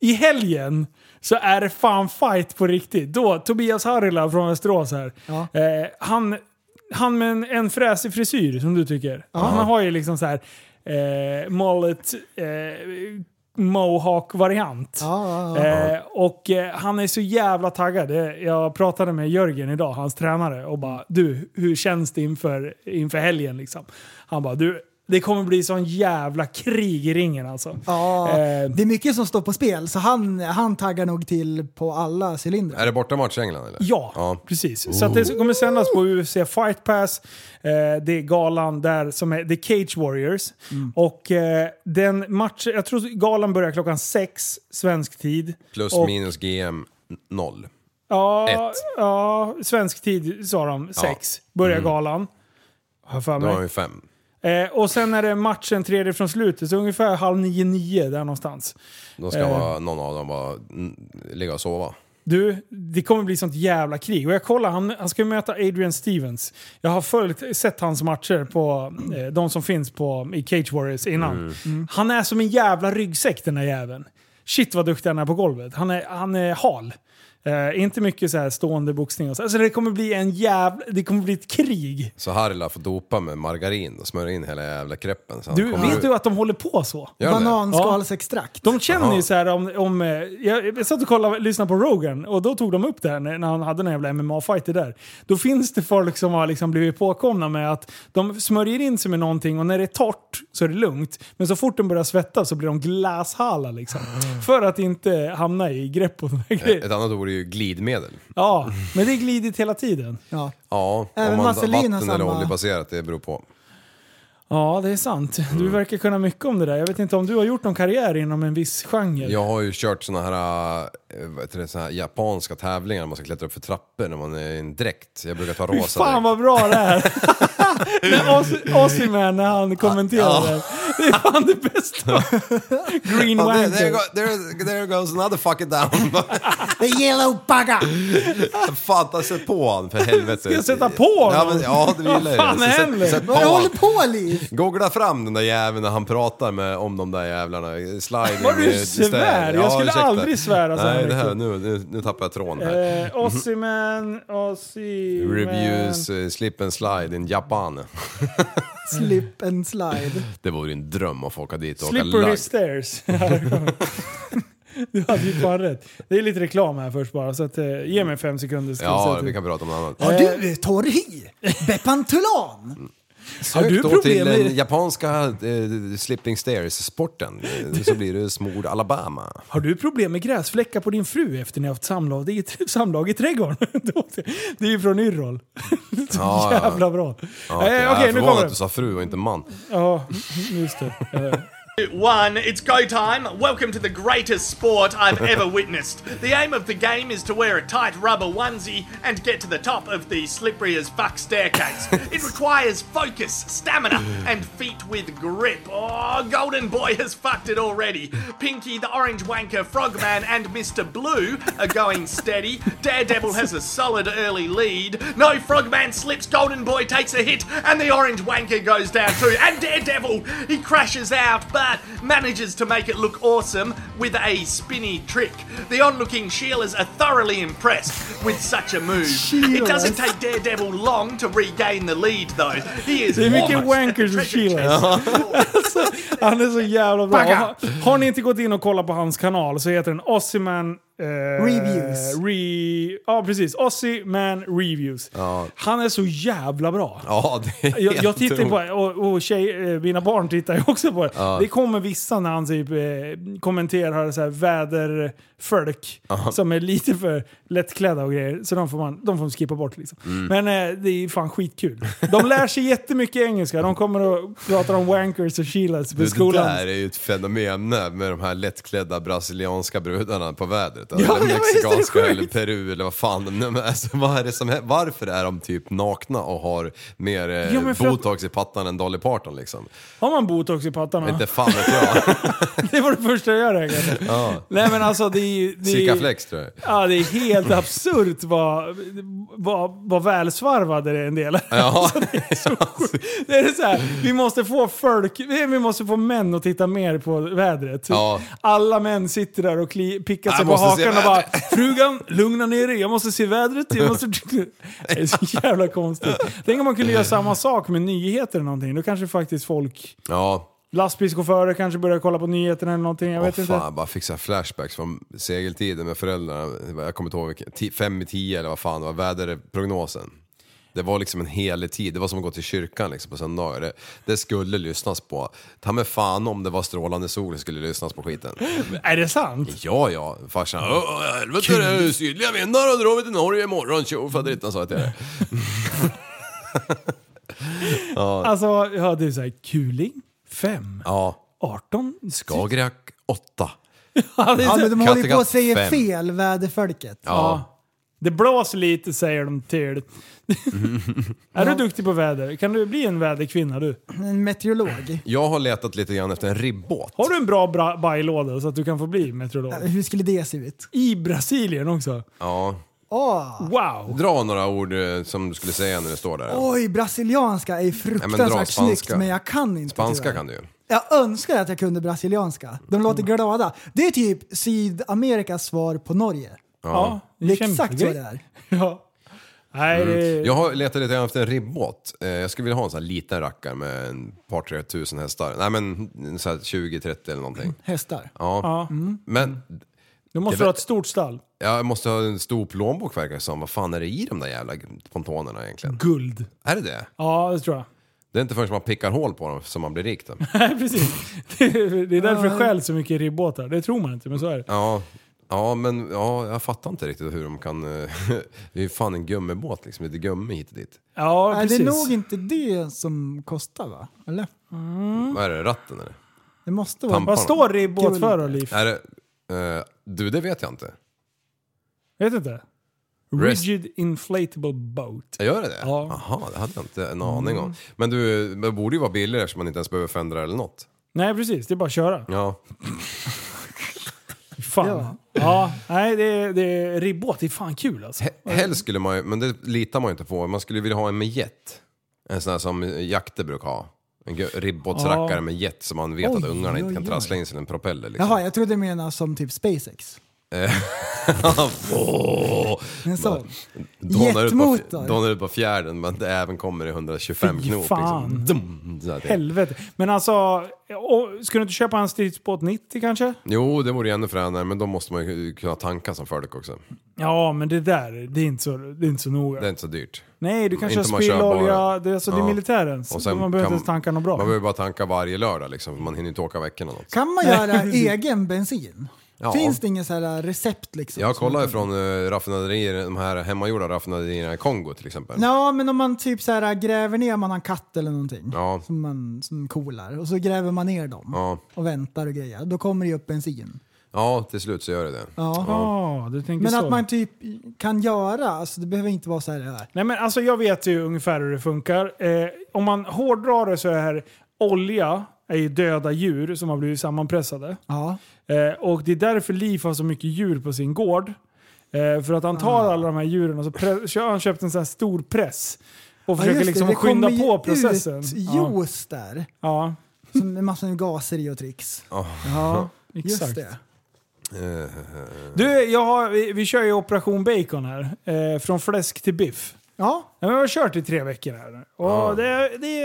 F: i helgen så är det fan fight på riktigt. Då, Tobias Harila från Västerås här,
E: Ja.
F: eh, han, han med en, en fräsig frisyr som du tycker. Han har ju liksom så här eh, mullet, eh, mohawk-variant.
E: Ja,
F: Eh, och eh, han är så jävla taggad. Eh, Jag pratade med Jörgen idag, hans tränare, och bara du, hur känns det inför, inför helgen liksom? Han bara du, det kommer bli sån jävla krig i ringen alltså.
E: Ja,
F: Eh,
E: det är mycket som står på spel, så han, han taggar nog till på alla cylindrar.
G: Är det bortamatch i England eller?
F: Ja,
G: Ja.
F: precis. Så att det kommer sändas på UFC Fight Pass. Eh, det är galan där som är The Cage Warriors.
G: Mm.
F: Och eh, den matchen, jag tror galan börjar klockan sex svensk tid.
G: Plus
F: och,
G: minus GM noll.
F: Ja,
G: ett.
F: ja, svensk tid sa de. Sex börjar
G: Mm.
F: galan. Har jag för
G: Då har vi
F: mig.
G: fem.
F: Eh, och sen är det matchen tredje från slutet, så ungefär halv nio, nio där någonstans.
G: Då ska
F: Eh.
G: vara, någon av dem bara mm, ligga och sova.
F: Du, det kommer bli sånt jävla krig. Och jag kollar, han, han ska ju möta Adrian Stevens. Jag har följt, sett hans matcher på eh, de som finns på, i Cage Warriors innan.
G: Mm.
F: Han är som en jävla ryggsäck den här jäveln. Shit vad duktig han är på golvet. Han är, han är hal. Eh, inte mycket så här stående boxning och så. Alltså det kommer bli en jävla... Det kommer bli ett krig.
G: Så Harila får dopa med margarin och smörja in hela jävla kreppen. Så han
F: Du,
G: kommer
F: vet
G: ut.
F: du att de håller på så?
G: Gör de det?
E: Bananskalsextrakt.
F: De känner
G: Jaha.
F: ju så här om... om eh, jag, jag satt och kollade, lyssnade på Rogan och då tog de upp det här när, när han hade den jävla MMA-fighter där. Då finns det folk som har liksom blivit påkomna med att de smörjer in sig med någonting och när det är torrt så är det lugnt. Men så fort de börjar svettas så blir de glashala liksom. För att inte hamna i grepp och sådana
G: Ett
F: grejer.
G: annat ord är ju glidmedel.
F: Ja, men det är glidit hela tiden.
E: Ja.
G: Ja,
E: Även
G: om man,
E: vaselin har
G: vatten eller
E: samma-
G: oljebaserat, det beror på.
F: Ja, det är sant. Du verkar kunna mycket om det där. Jag vet inte om du har gjort någon karriär inom en viss genre.
G: Jag har ju kört såna här, eh, vad heter det, såna här japanska tävlingar när man ska klättra upp för trappor när man är i en dräkt. Jag brukar ta
F: Fy
G: rosa
F: fan
G: dräkt.
F: vad bra
G: *laughs*
F: det är! När Oss- Ossiman när han kommenterade. det. Det är fan det bästa. Green
G: Ja, there, there,
F: Wagon.
G: go, there, there goes another fucking down.
F: *laughs*
E: The yellow bugger!
G: fan, ta sätt på han för helvete. Ska
F: jag sätta på honom?
G: Ja, men, ja det gillar
F: Vad fan
G: jag. Så sätt-
F: händer?
G: sätt på
E: Vad
G: han.
E: håller på Liv?
G: Googla fram den där jäveln när han pratar med, om de där jävlarna. Sliding
F: Vad du
G: eh, stair.
F: svär. Jag skulle
G: ursäkta.
F: aldrig svära så här
G: Nej, det här,
F: mycket.
G: nu, nu, nu tappar jag tråden här.
F: Eh, Ossiman, Ossiman.
G: Reviews, eh, slip and slide in Japan.
E: Slip and slide.
G: Det vore ju en dröm att få åka dit och åka
F: Slippery
G: lagg.
F: stairs. *laughs* du hade ju fan rätt. Det är lite reklam här först bara, så att, eh, ge mig fem sekunder. Ska
G: Ja,
F: säga till.
G: vi kan prata om något annat.
E: Har du torrhy? Bepantulan?
G: Sök
F: du
G: då
F: problem
G: till den
F: med-
G: japanska eh, slipping
F: *laughs*
G: stairs-sporten eh, så blir det smord Alabama.
F: Har du problem med gräsfläckar på din fru efter ni har haft samlag i, *laughs* samlag i trädgården? det är ju från Yrrol. *laughs* Så
G: Ja, ja.
F: jävla bra.
G: Ja,
F: Eh, Okej,
G: jag är
F: nu
G: förvånad
F: kommer
G: att du
F: det.
G: sa fru och inte man.
F: Ja, *laughs* just det. Eh,
I: One, it's go time. Welcome to the greatest sport I've ever witnessed. The aim of the game is to wear a tight rubber onesie and get to the top of the slippery as fuck staircase. it requires focus, stamina, and feet with grip. Oh, Golden Boy has fucked it already. Pinky, the Orange Wanker, Frogman, and Mr. Blue are going steady. Daredevil has a solid early lead. No, Frogman slips, Golden Boy takes a hit, and the Orange Wanker goes down too. And Daredevil, he crashes out, but manages to make it look awesome with a spinny trick. The onlooking Sheilas are thoroughly impressed with such a move. It doesn't take Daredevil long to regain the lead, though. He is
F: Det är
I: almost
F: mycket
I: at the
F: wankers och
I: treasure
F: Sheilas.
I: chest.
F: han är *laughs* så jävla bra. Har, har ni inte gått in och kollat på hans kanal så heter den Ossiman... Eh,
E: Reviews.
F: Re, ja, precis. Ossiman Reviews. Han är så jävla bra.
G: Ja, det är
F: Jag, jag
G: helt
F: tittar ju på
G: otroligt.
F: det och, och tjej, eh, mina barn tittar ju också på det. Det kommer vissa när han typ, eh, kommenterar så här väderfolk som är lite för lättklädda och grejer. Så de får man, de får man skippa bort liksom.
G: Mm.
F: Men eh, det är ju fan skitkul. De lär sig jättemycket engelska. De kommer och pratar om wankers och chilas på
G: Du, det
F: skolan.
G: där är ju ett fenomen med de här lättklädda brasilianska brudarna på vädret.
F: Ja,
G: eller
F: ja, visst är det
G: mexikanska
F: sjukt?
G: eller Peru eller vad fan de nu är. Alltså, vad är det som, hä- varför är de typ nakna och har mer eh,
F: Ja, men för att-
G: botox i pattan än Dolly Parton liksom?
F: Har man botox i pattarna?
G: Inte fan vet jag.
F: *laughs* Det var det första jag gör egentligen. Nej men alltså det är ju... det är ju-
G: Sikaflex tror jag.
F: Ja, det är helt absurt vad, vad, vad välsvarvade det är en del. *laughs*
G: Ja.
F: Det är så här, vi måste få folk, vi måste få män att titta mer på vädret.
G: Ja.
F: Alla män sitter där och kli, pickar sig
G: Jag
F: på
G: måste se
F: hakan och bara
G: vädret.
F: “Frugan, lugna ner dig, jag måste se vädret”.
G: *laughs*
F: Jag måste... Det är så jävla konstigt. Tänk om man kunde göra samma sak med nyheter eller någonting. Då kanske faktiskt folk...
G: Ja.
F: Lastbilschaufförer kanske börjar kolla på nyheterna eller någonting. Jag
G: Åh
F: vet
G: fan,
F: inte.
G: jag bara fick så här flashbacks från segeltiden med föräldrarna. Jag kommer inte ihåg vilken, ti- fem i tio eller vad fan det var, väderprognosen. Det var liksom en helig tid, det var som att gå till kyrkan liksom på söndagar. Det, det skulle lyssnas på. Ta med fan om det var strålande sol det skulle lyssnas på skiten.
F: Är det sant?
G: Ja, ja, farsan. "Åh, åh, Helvete, det är sydliga vindar och drar vi till Norge imorgon. Tjo faderittan sa jag
F: *laughs*
G: till dig.
F: Alltså, jag hade ju såhär kuling, typ. 5,
G: Ja,
F: 18.
G: Skagerrak 8.
F: Ja, det, är
E: Ja, men
F: så,
E: de håller ju på att
G: Kattegatt
E: säga
G: fem.
E: fel, väderfolket.
G: Ja.
F: det blåser lite säger de
G: *laughs*
F: till. är du duktig på väder? Kan du bli en väderkvinna du?
E: En meteorolog.
G: Jag har letat lite grann efter en ribbåt.
F: Har du en bra bra bajlåda så att du kan få bli meteorolog?
E: Hur skulle det se ut?
F: I Brasilien också?
G: Ja.
E: Åh,
F: Wow!
G: Dra några ord eh, som du skulle säga när du står där.
E: Oj, brasilianska är
G: Ja, men dra
E: fruktansvärt
G: spanska.
E: snyggt men jag kan inte
G: Spanska
E: tyvärr.
G: kan Mm. du ju.
E: Jag önskar att jag kunde brasilianska. De låter glada. Det är typ Sydamerikas svar på Norge.
F: Ja,
E: Det är exakt så det är.
F: Ja. Nej, det-
G: Jag har letat lite grann efter en ribbåt. Eh, Jag skulle vilja ha en sån här liten rackare med en par, tre tusen hästar. Nej men en sån här 20-30 eller någonting.
E: Hästar.
G: Ja. Mm.
F: Mm.
G: Men
F: du måste
G: det-
F: ha ett stort stall.
G: jag måste ha en stor plånbok verkar det som. Vad fan är det i de där jävla pontonerna egentligen?
F: Guld.
G: Är det det?
F: Ja, det tror jag. *laughs*
G: Det är inte förrän man pickar hål på dem som man blir rik då.
F: Nej, precis. Det är det är därför det skäl så mycket ribbåtar. Det tror man inte, men så är det.
G: Ja. Ja, men ja, jag fattar inte riktigt hur de kan... eh, *laughs* det är ju fan en gummibåt liksom, lite gummi hit och dit.
F: Ja,
E: Nej, det
F: precis.
E: är nog inte det som kostar va? Eller?
G: Vad är det, ratten eller?
E: Det måste vara...
G: Tamp-
F: Mm. Vad står ribbåt
E: Guld.
F: för då, Liv?
G: Är det, eh, du, det vet jag inte.
F: Vet inte.
G: Rest-
F: Rigid inflatable boat.
G: Gör det det?
F: Ja.
G: Aha, det hade jag inte en aning om. Men du, det borde ju vara billigare eftersom man inte ens behöver förändra eller något.
F: Nej, precis. Det är bara att köra.
G: Ja.
F: Fan. Ja,
E: Ja.
F: nej, det är, det är ribbåt. Det är fan kul alltså.
G: He- Helst skulle man ju, men det litar man ju inte på. Man skulle ju vilja ha en med jet. En sån här som jakter brukar ha. En gu- ribbåtsrackare
F: Ja.
G: med jet som man vet att
E: Oj,
G: ungarna inte
E: oj,
G: kan
E: oj.
G: trassla in sig i en propeller liksom.
E: Jaha, jag trodde du menade som typ SpaceX.
G: *laughs*
E: En sån.
G: Donar ut på-
E: Jetmotor.
G: Donar ut på fjärden men det även kommer i 125
F: Fy
G: knop.
F: fan.
G: Liksom. Dum, så här ting.
F: Helvete. Men alltså, och, ska du inte köpa en stridsbåt 90 kanske?
G: Jo, det vore ju ännu fränare men då måste man ju kunna tanka som förduk också.
F: Ja, men det där, det är inte så, det är inte så noga.
G: Det är inte så dyrt.
F: Nej, du kanske
G: Inte
F: har
G: man kör
F: spillolja.
G: bara-
F: Det, är alltså, det är
G: Ja.
F: militärens.
G: Och
F: man
G: sen
F: behöver
G: kan-
F: inte ens tanka något bra.
G: Man behöver bara tanka varje lördag liksom, för man hinner inte åka veckorna något.
E: Kan man göra egen bensin?
G: Ja.
E: Finns det inget så här recept liksom?
G: Jag
E: som man
G: kollar
E: kan-
G: ifrån eh, raffinaderier, de här hemmagjorda raffinaderierna i Kongo till exempel.
E: Ja, men om man typ så här gräver ner, man har en katt eller någonting
G: Ja.
E: som, man, som kolar och så gräver man ner dem
G: Ja.
E: och väntar och grejer. Då kommer det ju upp bensin.
G: Ja, till slut så gör det det.
E: Ja.
F: Ja, du tänker
E: Men
F: så.
E: att man typ kan göra, alltså det behöver inte vara så här. här.
F: Nej, men alltså, jag vet ju ungefär hur det funkar. Eh, om man hårdrar det så är olja är ju döda djur som har blivit sammanpressade.
E: Ja.
F: Eh, och det är därför Liv har så mycket djur på sin gård. Eh, för att han
E: Ah.
F: tar alla de här djuren och så pre- kö- har han köpt en sån här stor press. Och
E: ja,
F: försöker
E: just det,
F: liksom
E: det
F: skynda
E: kommer ju
F: på processen.
E: Ut
F: ja.
E: juice där.
F: ja,
E: Som en massa gaser i och tricks.
F: ja,
E: Just
F: exakt.
E: det.
F: Du, jag har, vi, vi kör ju Operation Bacon här. Eh, från fläsk till biff.
E: Ja,
F: Ja, men Jag har kört i tre veckor här. nu. Och det, det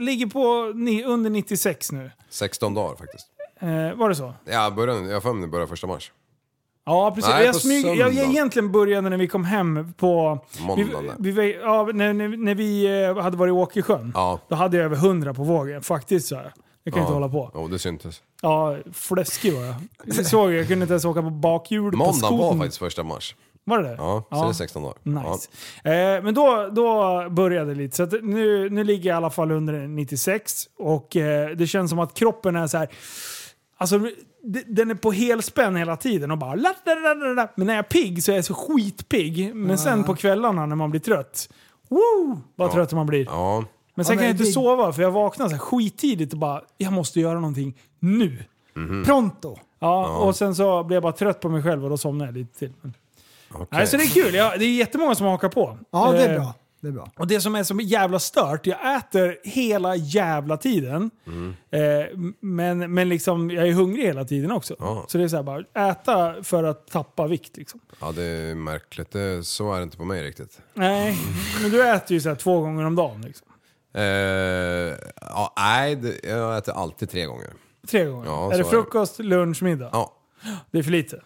F: ligger på ni, under 96 nu.
G: 16 dagar faktiskt.
F: Eh, var det så?
G: Ja, jag började, jag har för mig det börjar första mars.
F: Ja, precis.
G: Nej,
F: jag,
G: på
F: smyg, jag, jag
G: söndag.
F: egentligen började när vi kom hem på...
G: Måndagen.
F: Vi, vi, ja, när, när, när vi eh, hade varit i Åkersjön.
G: Ja.
F: Då hade jag över 100 på vågen. Faktiskt så här. Jag kan inte hålla på.
G: Jo, det syntes.
F: Ja, fläskig var jag. Jag såg jag kunde inte ens åka på bakhjulet på
G: Måndagen var
F: skotern.
G: faktiskt första mars.
F: Var det det?
G: Ja, så det är 16 dagar.
F: Nice. Eh, men då, då började det lite. Så att nu, nu ligger jag i alla fall under 96 och eh, det känns som att kroppen är så här. Alltså, d- den är på helspänn hela tiden och bara... la, la, la, la, la. Men när jag är pigg så är jag så skitpigg. Men sen på kvällarna när man blir trött. Woo! Vad trött man blir.
G: Ja.
F: Men sen
E: Ja,
F: kan
E: men
F: jag inte
E: det-
F: sova för jag vaknar så här skittidigt och bara... Jag måste göra någonting nu.
E: pronto.
F: Ja, och sen så blir jag bara trött på mig själv och då somnar jag lite till. Men,
G: Ja, okej.
F: Nej, så det är kul. Jag, det är jättemånga som hakar på.
E: Ja, det är
F: Eh,
E: bra. Det är bra.
F: och det som är så jävla stört, jag äter hela jävla tiden. Eh, men, men liksom, jag är hungrig hela tiden också.
G: Ja.
F: Så det är så här bara, äta för att tappa vikt liksom.
G: ja, det är märkligt. Det, så är det inte på mig riktigt.
F: Nej, men du äter ju så här två gånger om dagen. Liksom.
G: Eh, ja, nej, det- jag äter alltid tre gånger.
F: Tre gånger.
G: Ja, så
F: är
G: är
F: det
G: det.
F: frukost, lunch, middag?
G: Ja.
F: Det är för lite.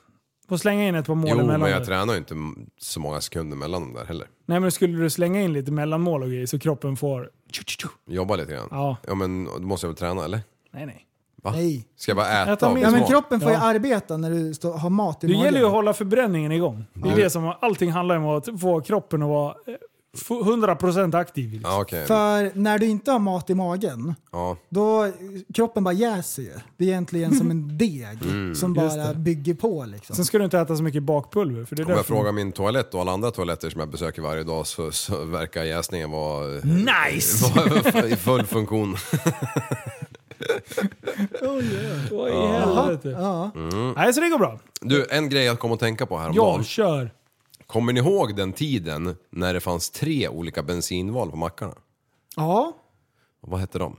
F: Får slänga in ett par mål
G: Jo,
F: emellan.
G: men jag
F: där.
G: tränar ju inte m- så många sekunder mellan dem där heller.
F: Nej men skulle du slänga in lite mellanmål och grejer så kroppen får... Tju, tju, tju.
G: Jobbar lite grann.
F: Ja.
G: ja men då måste jag väl träna eller?
F: Nej nej.
G: Va?
E: Nej.
G: Ska jag bara äta,
F: Äta
G: och
F: mer.
G: bli
E: Ja, men
G: smal?
E: kroppen får ju
F: Ja.
E: arbeta när du står, har mat i
F: Det
E: magen.
F: gäller ju att hålla förbränningen igång. Det är
G: Du-
F: det som allting handlar om, att få kroppen att vara eh, f- 100% aktiv. Liksom.
G: Ja, okej.
E: För när du inte har mat i magen,
G: Ja.
E: då kroppen bara jäser ju. Det är egentligen som en deg
G: *laughs* Mm,
E: som bara bygger på liksom.
F: Sen ska du inte äta så mycket bakpulver. För det är
G: Om jag
F: därför-
G: frågar min toalett och alla andra toaletter som jag besöker varje dag så, så verkar jäsningen vara
F: Mm. Nice!
G: *laughs* vara i full funktion.
F: Vad i helvete?
G: Mm.
F: Nej, så det går bra.
G: Du, en grej jag kom att tänka på
F: Ja,
G: häromdagen.
F: kör.
G: Kommer ni ihåg den tiden när det fanns tre olika bensinval på mackarna?
E: Ja,
G: Vad hette de?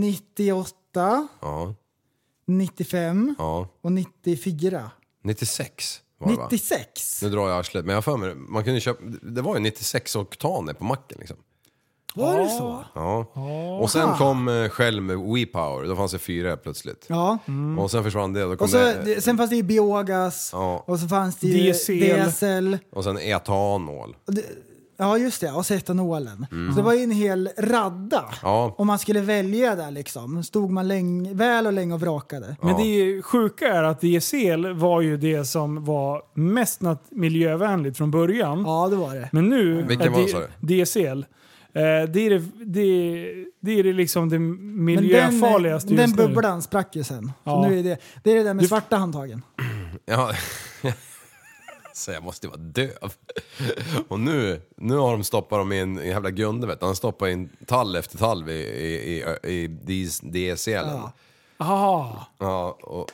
E: 98,
G: Ja,
E: 95
G: ja.
E: och 94.
G: 96 var det va?
E: 96?
G: Nu drar jag arslet, men jag har för mig man kunde köpa, det var ju 96 oktaner på macken liksom.
E: Var det så?
G: Ja. Och
E: Ah.
G: sen kom eh, Shell med WePower, då fanns det fyra plötsligt.
E: Ja.
G: Och sen försvann det, då kom
E: Mm. Och så,
G: det,
E: det- sen fanns det ju biogas
G: Ja.
E: och så fanns det ju
F: DSL.
E: DSL.
G: och sen etanol.
E: Ja just det, och så etanolen. Så det var ju en hel radda.
G: Mm. Ja.
E: Om man skulle välja där liksom. Stod man länge, väl och länge och vrakade.
F: Men det är ju- sjuka är att diesel var ju det som var mest nat- miljövänligt från början.
E: Ja det var det.
F: Men nu...
G: Vilken
F: är
G: var
F: di-
G: det, sa du?
F: DSL. eh, Det är det, det, det är det liksom det
E: Men den,
F: miljöfarligaste
E: den
F: just nu.
E: bubblan sprack ju sen.
F: Ja.
E: Så nu är det, det är det där med
F: Du-
E: svarta handtagen.
G: Ja. *laughs* Så jag måste ju vara döv. Och nu, nu har de stoppat dem i en en jävla gunde vet du. Han stoppar in tall efter tall i, i, i, i dis- DSL. Ja.
F: Ah,
G: Ja, och,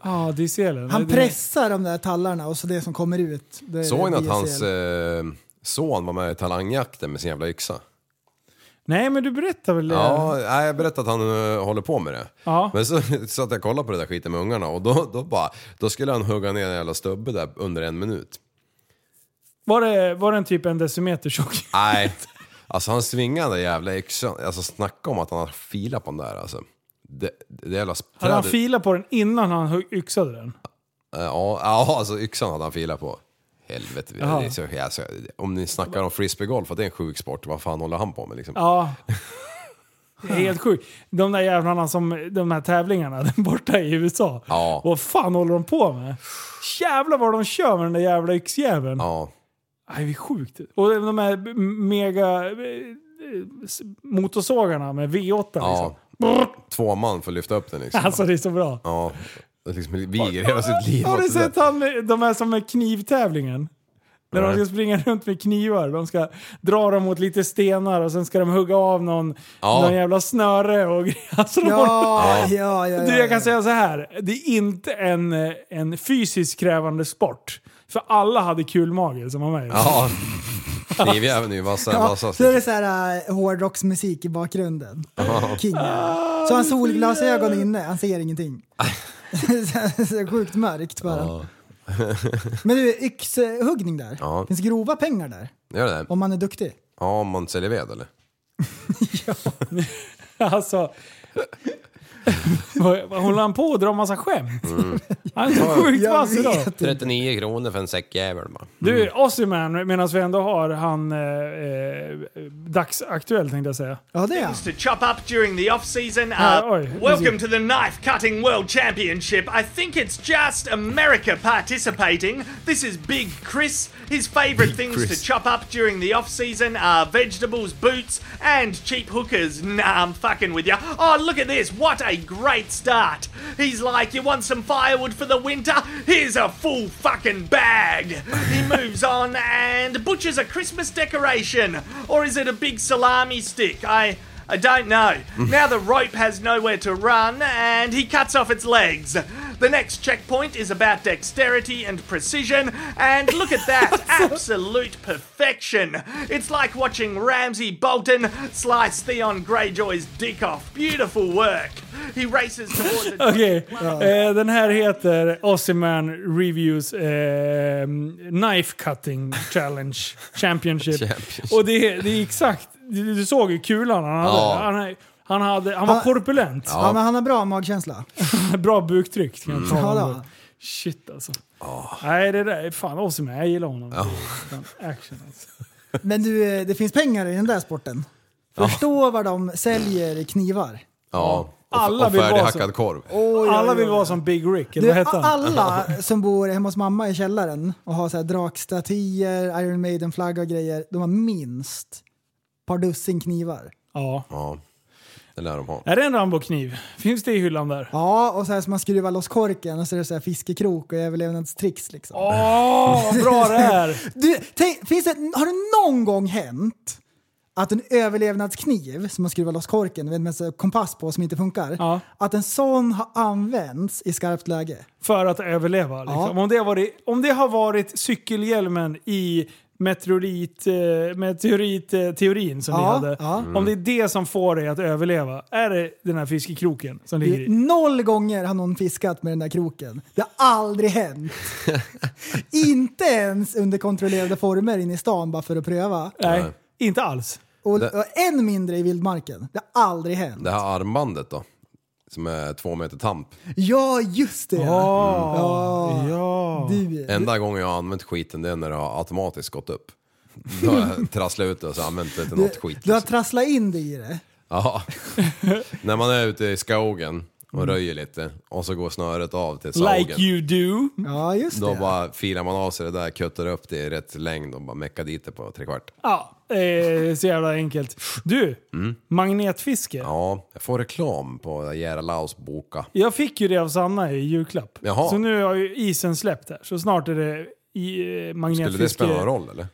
F: ah, dieselen.
E: Han
F: Det-
E: pressar de där tallarna och så det som kommer ut. det är
G: såg ni att
E: DSL.
G: hans eh, son var med i talangjakten med sin jävla yxa?
F: Nej, men du berättar väl det?
G: Ja, nej, jag berättade att han eh, håller på med det.
F: Ja.
G: Men så *laughs* satt jag och kollade på det där skiten med ungarna och då, då bara, då skulle han hugga ner en jävla stubbe där under en minut.
F: Var, det, var den typ en decimeter tjock? *laughs*
G: Nej. Alltså han svingade den jävla yxan. Alltså snacka om att han har filat på den där alltså. Det, det jävla
F: Hade han
G: trädet-
F: filat på den innan han hö- yxade den?
G: Eh, Ja, *laughs* ja, alltså yxan hade han filat på. Helvete. Det
F: Jaha.
G: är så, alltså, om ni snackar om frisbeegolf, att det är en sjuk sport, vad fan håller han på med liksom?
F: Ja. Det är *laughs* Helt sjukt. De där jävlarna som, de här tävlingarna *laughs* borta i USA.
G: Ja.
F: Vad fan håller de på med? Jävlar vad de kör med den där jävla yxjäveln.
G: Ja.
F: Nej, det är sjukt. Och de här b- mega eh, s- motorsågarna med V8 liksom. *laughs*
G: ja. Två man för att lyfta upp den liksom.
F: Alltså det är så bra.
G: Ja. Det liksom viger hela sitt liv
F: Har du
G: åt det där.
F: sett han, de här som är knivtävlingen? När de
G: Nej.
F: ska springa runt med knivar. De ska dra dem mot lite stenar och sen ska de hugga av någon,
G: Ja.
F: någon jävla snöre och *laughs* grejer. alltså, de har-
E: Ja, ja, ja. ja,
F: Du, jag
E: ja.
F: kan säga så här. Det är inte en, eh, en fysiskt krävande sport. För alla hade kulmage som var med.
G: Ja. *laughs* Knivjäveln är ju vassare än
E: Ja,
G: vassast.
E: så är det så här äh, hårdrocksmusik i bakgrunden. King. Så han solglasögon inne, han ser ingenting. *laughs* Så- så Sjukt mörkt bara.
G: *laughs*
E: Men du, yxhuggning där.
G: Ja.
E: Finns grova pengar där?
G: Gör det?
E: Om man är duktig?
G: Ja, om man säljer ved eller?
F: *laughs* Alltså... vad- vad Håller han på att dra massa skämt? *laughs* Han är så sjukt
E: Mm. Jag
F: vass idag.
E: vet.
G: 39 kronor för en säck jävel bara.
F: Du, Ossiman, medan vi ändå har han eh, eh, dagsaktuell tänkte jag säga.
E: Ja, det är han.
K: to chop up during the off season.
F: Ah,
K: Uh,
F: oi, is
K: welcome
F: it-
K: to the knife cutting world championship. I think it's just America participating. This is Big Chris. His favorite things
G: Chris.
K: to chop up during the off season are vegetables, boots, and cheap hookers. Nah, I'm fucking with ya. Oh, look at this. What a great start. He's like, you want some firewood for the winter? Here's a full fucking bag. He moves on and butchers a Christmas decoration. Or is it a big salami stick? I I don't know. now the rope has nowhere to run, and he cuts off its legs. The next checkpoint is about dexterity and precision, and look at
F: *laughs*
K: that absolute perfection. It's like watching Ramsay Bolton slice Theon Greyjoy's dick off. Beautiful work. He races
F: *laughs*
K: towards the.
F: Okej, eh, den här heter Ossiman
K: *laughs*
F: Reviews eh, Knife Cutting Challenge Championship.
G: Championship.
F: Och det, är- det är exakt Du, du såg ju kulan han hade.
G: Ja.
F: Han, han, hade, han var
E: Han-
F: korpulent.
E: Ja. men han har bra magkänsla.
F: *laughs* Bra buktryck. kan jag
E: Mm.
F: tala om.
E: Ja, då.
F: Shit alltså. Nej, det där är fan awesome. Jag gillar honom. Fan, Action
E: *laughs*
F: alltså.
E: Men du, eh, det finns pengar i den där sporten.
G: Ja.
E: Förstå vad de säljer i knivar.
G: Ja. Och,
E: Alla
G: och
E: vill vara
G: färdighackad
E: så.
G: korv.
F: Alla vill vara som Big Rick, eller
E: Du,
F: vad heter han?
E: alla som bor hemma hos mamma i källaren och har så här drakstatyer, Iron Maiden-flagga och grejer, de har minst ett par dussin knivar.
F: Ja.
G: ja. Det lär de ha.
F: Är det en Rambo-kniv? Finns det i hyllan där?
E: Ja, och så här som man skruvar loss korken och så är det så här fiskekrok och överlevnadstricks liksom.
F: Åh, vad Ah, bra det är!
E: Du, tänk, finns det, har det någon gång hänt att en överlevnadskniv som man skruvar loss korken med en sån kompass på som inte funkar, att en sån har använts i skarpt läge?
F: För att överleva. Liksom. Om, det har varit, om det har varit cykelhjälmen i meteorit, eh, meteorit-teorin som vi
E: Ja,
F: hade.
E: ja.
F: Om det är det som får dig att överleva, är det den här fiskekroken som ligger
E: Du,
F: i?
E: noll gånger har någon fiskat med den där kroken. Det har aldrig
F: *laughs*
E: hänt. inte ens under kontrollerade former inne i stan bara för att pröva.
F: Nej, inte alls.
E: Och,
G: Det-
E: och än mindre i vildmarken. Det har aldrig hänt.
G: Det här armbandet då? Som är två meter tamp.
E: Ja, just det!
F: Ah.
E: ja. Du,
G: Enda gången jag har använt skiten det är när det har automatiskt gått upp. Då har jag *laughs* trasslat ut det och så använt det till något skit.
E: eh, du
F: alltså.
E: har trasslat in dig i det.
G: Ja. När man är ute i skogen och röjer lite och så går snöret av till sågen.
F: Like you do.
E: Ja, just
G: Då
E: det.
G: bara filar man av sig det där, kuttar upp det i rätt längd och bara meckar dit det på tre kvart.
F: Ja, eh, så jävla enkelt. Du, magnetfiske.
G: Mm. Ja, jag får reklam på Jära Laos boka.
F: Jag fick ju det av Sanna i julklapp.
G: Jaha.
F: Så nu har ju isen släppt här, så snart är det i, eh, magnetfiske.
G: Skulle det spela någon roll eller?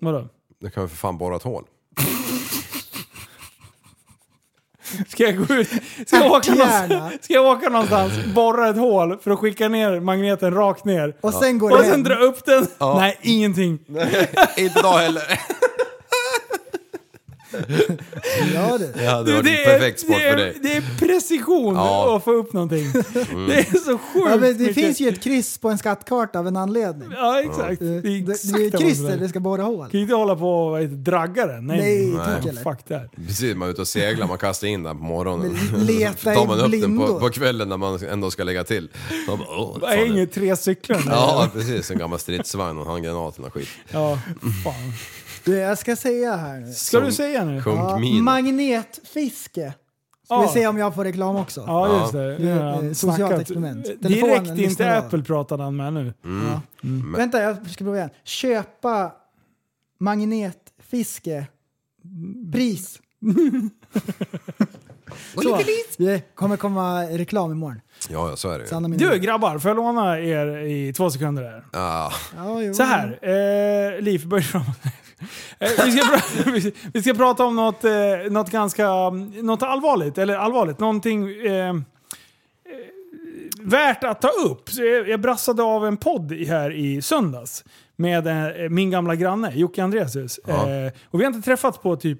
F: Vadå?
G: Nu kan vi för fan borra ett hål. *laughs*
F: Ska jag gå ut? Ska jag, åka
E: Ärtgärna.
F: någonstans, ska jag åka någonstans, borra ett hål för att skicka ner magneten rakt ner?
E: Och sen går
F: Och
E: det hem.
F: sen dra upp den? Nej, ingenting.
G: Inte idag heller.
E: Ja, du.
G: Det hade varit
F: Du,
G: en perfekt sport
F: det, är,
G: för dig.
F: det är precision
G: Ja. Mm.
F: att få upp någonting. Det är så sjukt
E: Ja, men det
F: mycket-
E: finns ju ett kryss på en skattkarta av en anledning.
F: Ja, exakt.
E: Eh,
F: Det är exakt
E: det är
F: vad
E: kryss
F: som
E: där det ska borra hål.
F: Kan ju inte hålla på och vad heter det, dragga den. Nej,
E: Nej, tack,
F: nej.
E: eller?
F: fuck det här.
G: Precis, man är ute och seglar, man kastar in den på morgonen. *laughs*
E: Men leta
G: Så tar
E: i
G: man upp den
E: blindo.
G: på, på kvällen när man ändå ska lägga till. Man bara, åh,
F: Vad
G: fan,
F: hänger
G: det-
F: tre cyklar nu?
G: Ja, precis. En gammal stridsvagn och handgranaten och skit.
F: ja, fan.
E: Du, jag ska säga här nu.
F: Ska du säga nu?
E: Ja,
G: Sjunkmin.
E: magnetfiske. Ska
F: Ja.
E: vi se om jag får reklam också.
F: Ja, just det.
E: Det är
F: Nu
E: ett,
F: har han
E: eh, socialt
F: snackat.
E: experiment. Telefonen
F: Direkt in
E: lyssnar
F: till
E: av.
F: Apple pratade han med nu.
E: Vänta, jag ska prova igen. Köpa magnetfiske.
F: *laughs*
E: Pris. Så, det kommer komma reklam imorgon.
G: Ja, ja, så är det ju.
E: Sanna min-
F: Du grabbar, får jag låna er i två sekunder här?
G: Ah,
E: Ja, jo.
F: Så här, eh, Liv, börja framåt. *laughs* Eh, vi, ska pra- *laughs* vi- vi ska prata om något, eh, något ganska mm, något allvarligt, eller allvarligt, någonting eh, eh, värt att ta upp. Så jag, jag brassade av en podd i- här i söndags med eh, min gamla granne Jocke Andreasius. Eh, och vi har inte träffats på typ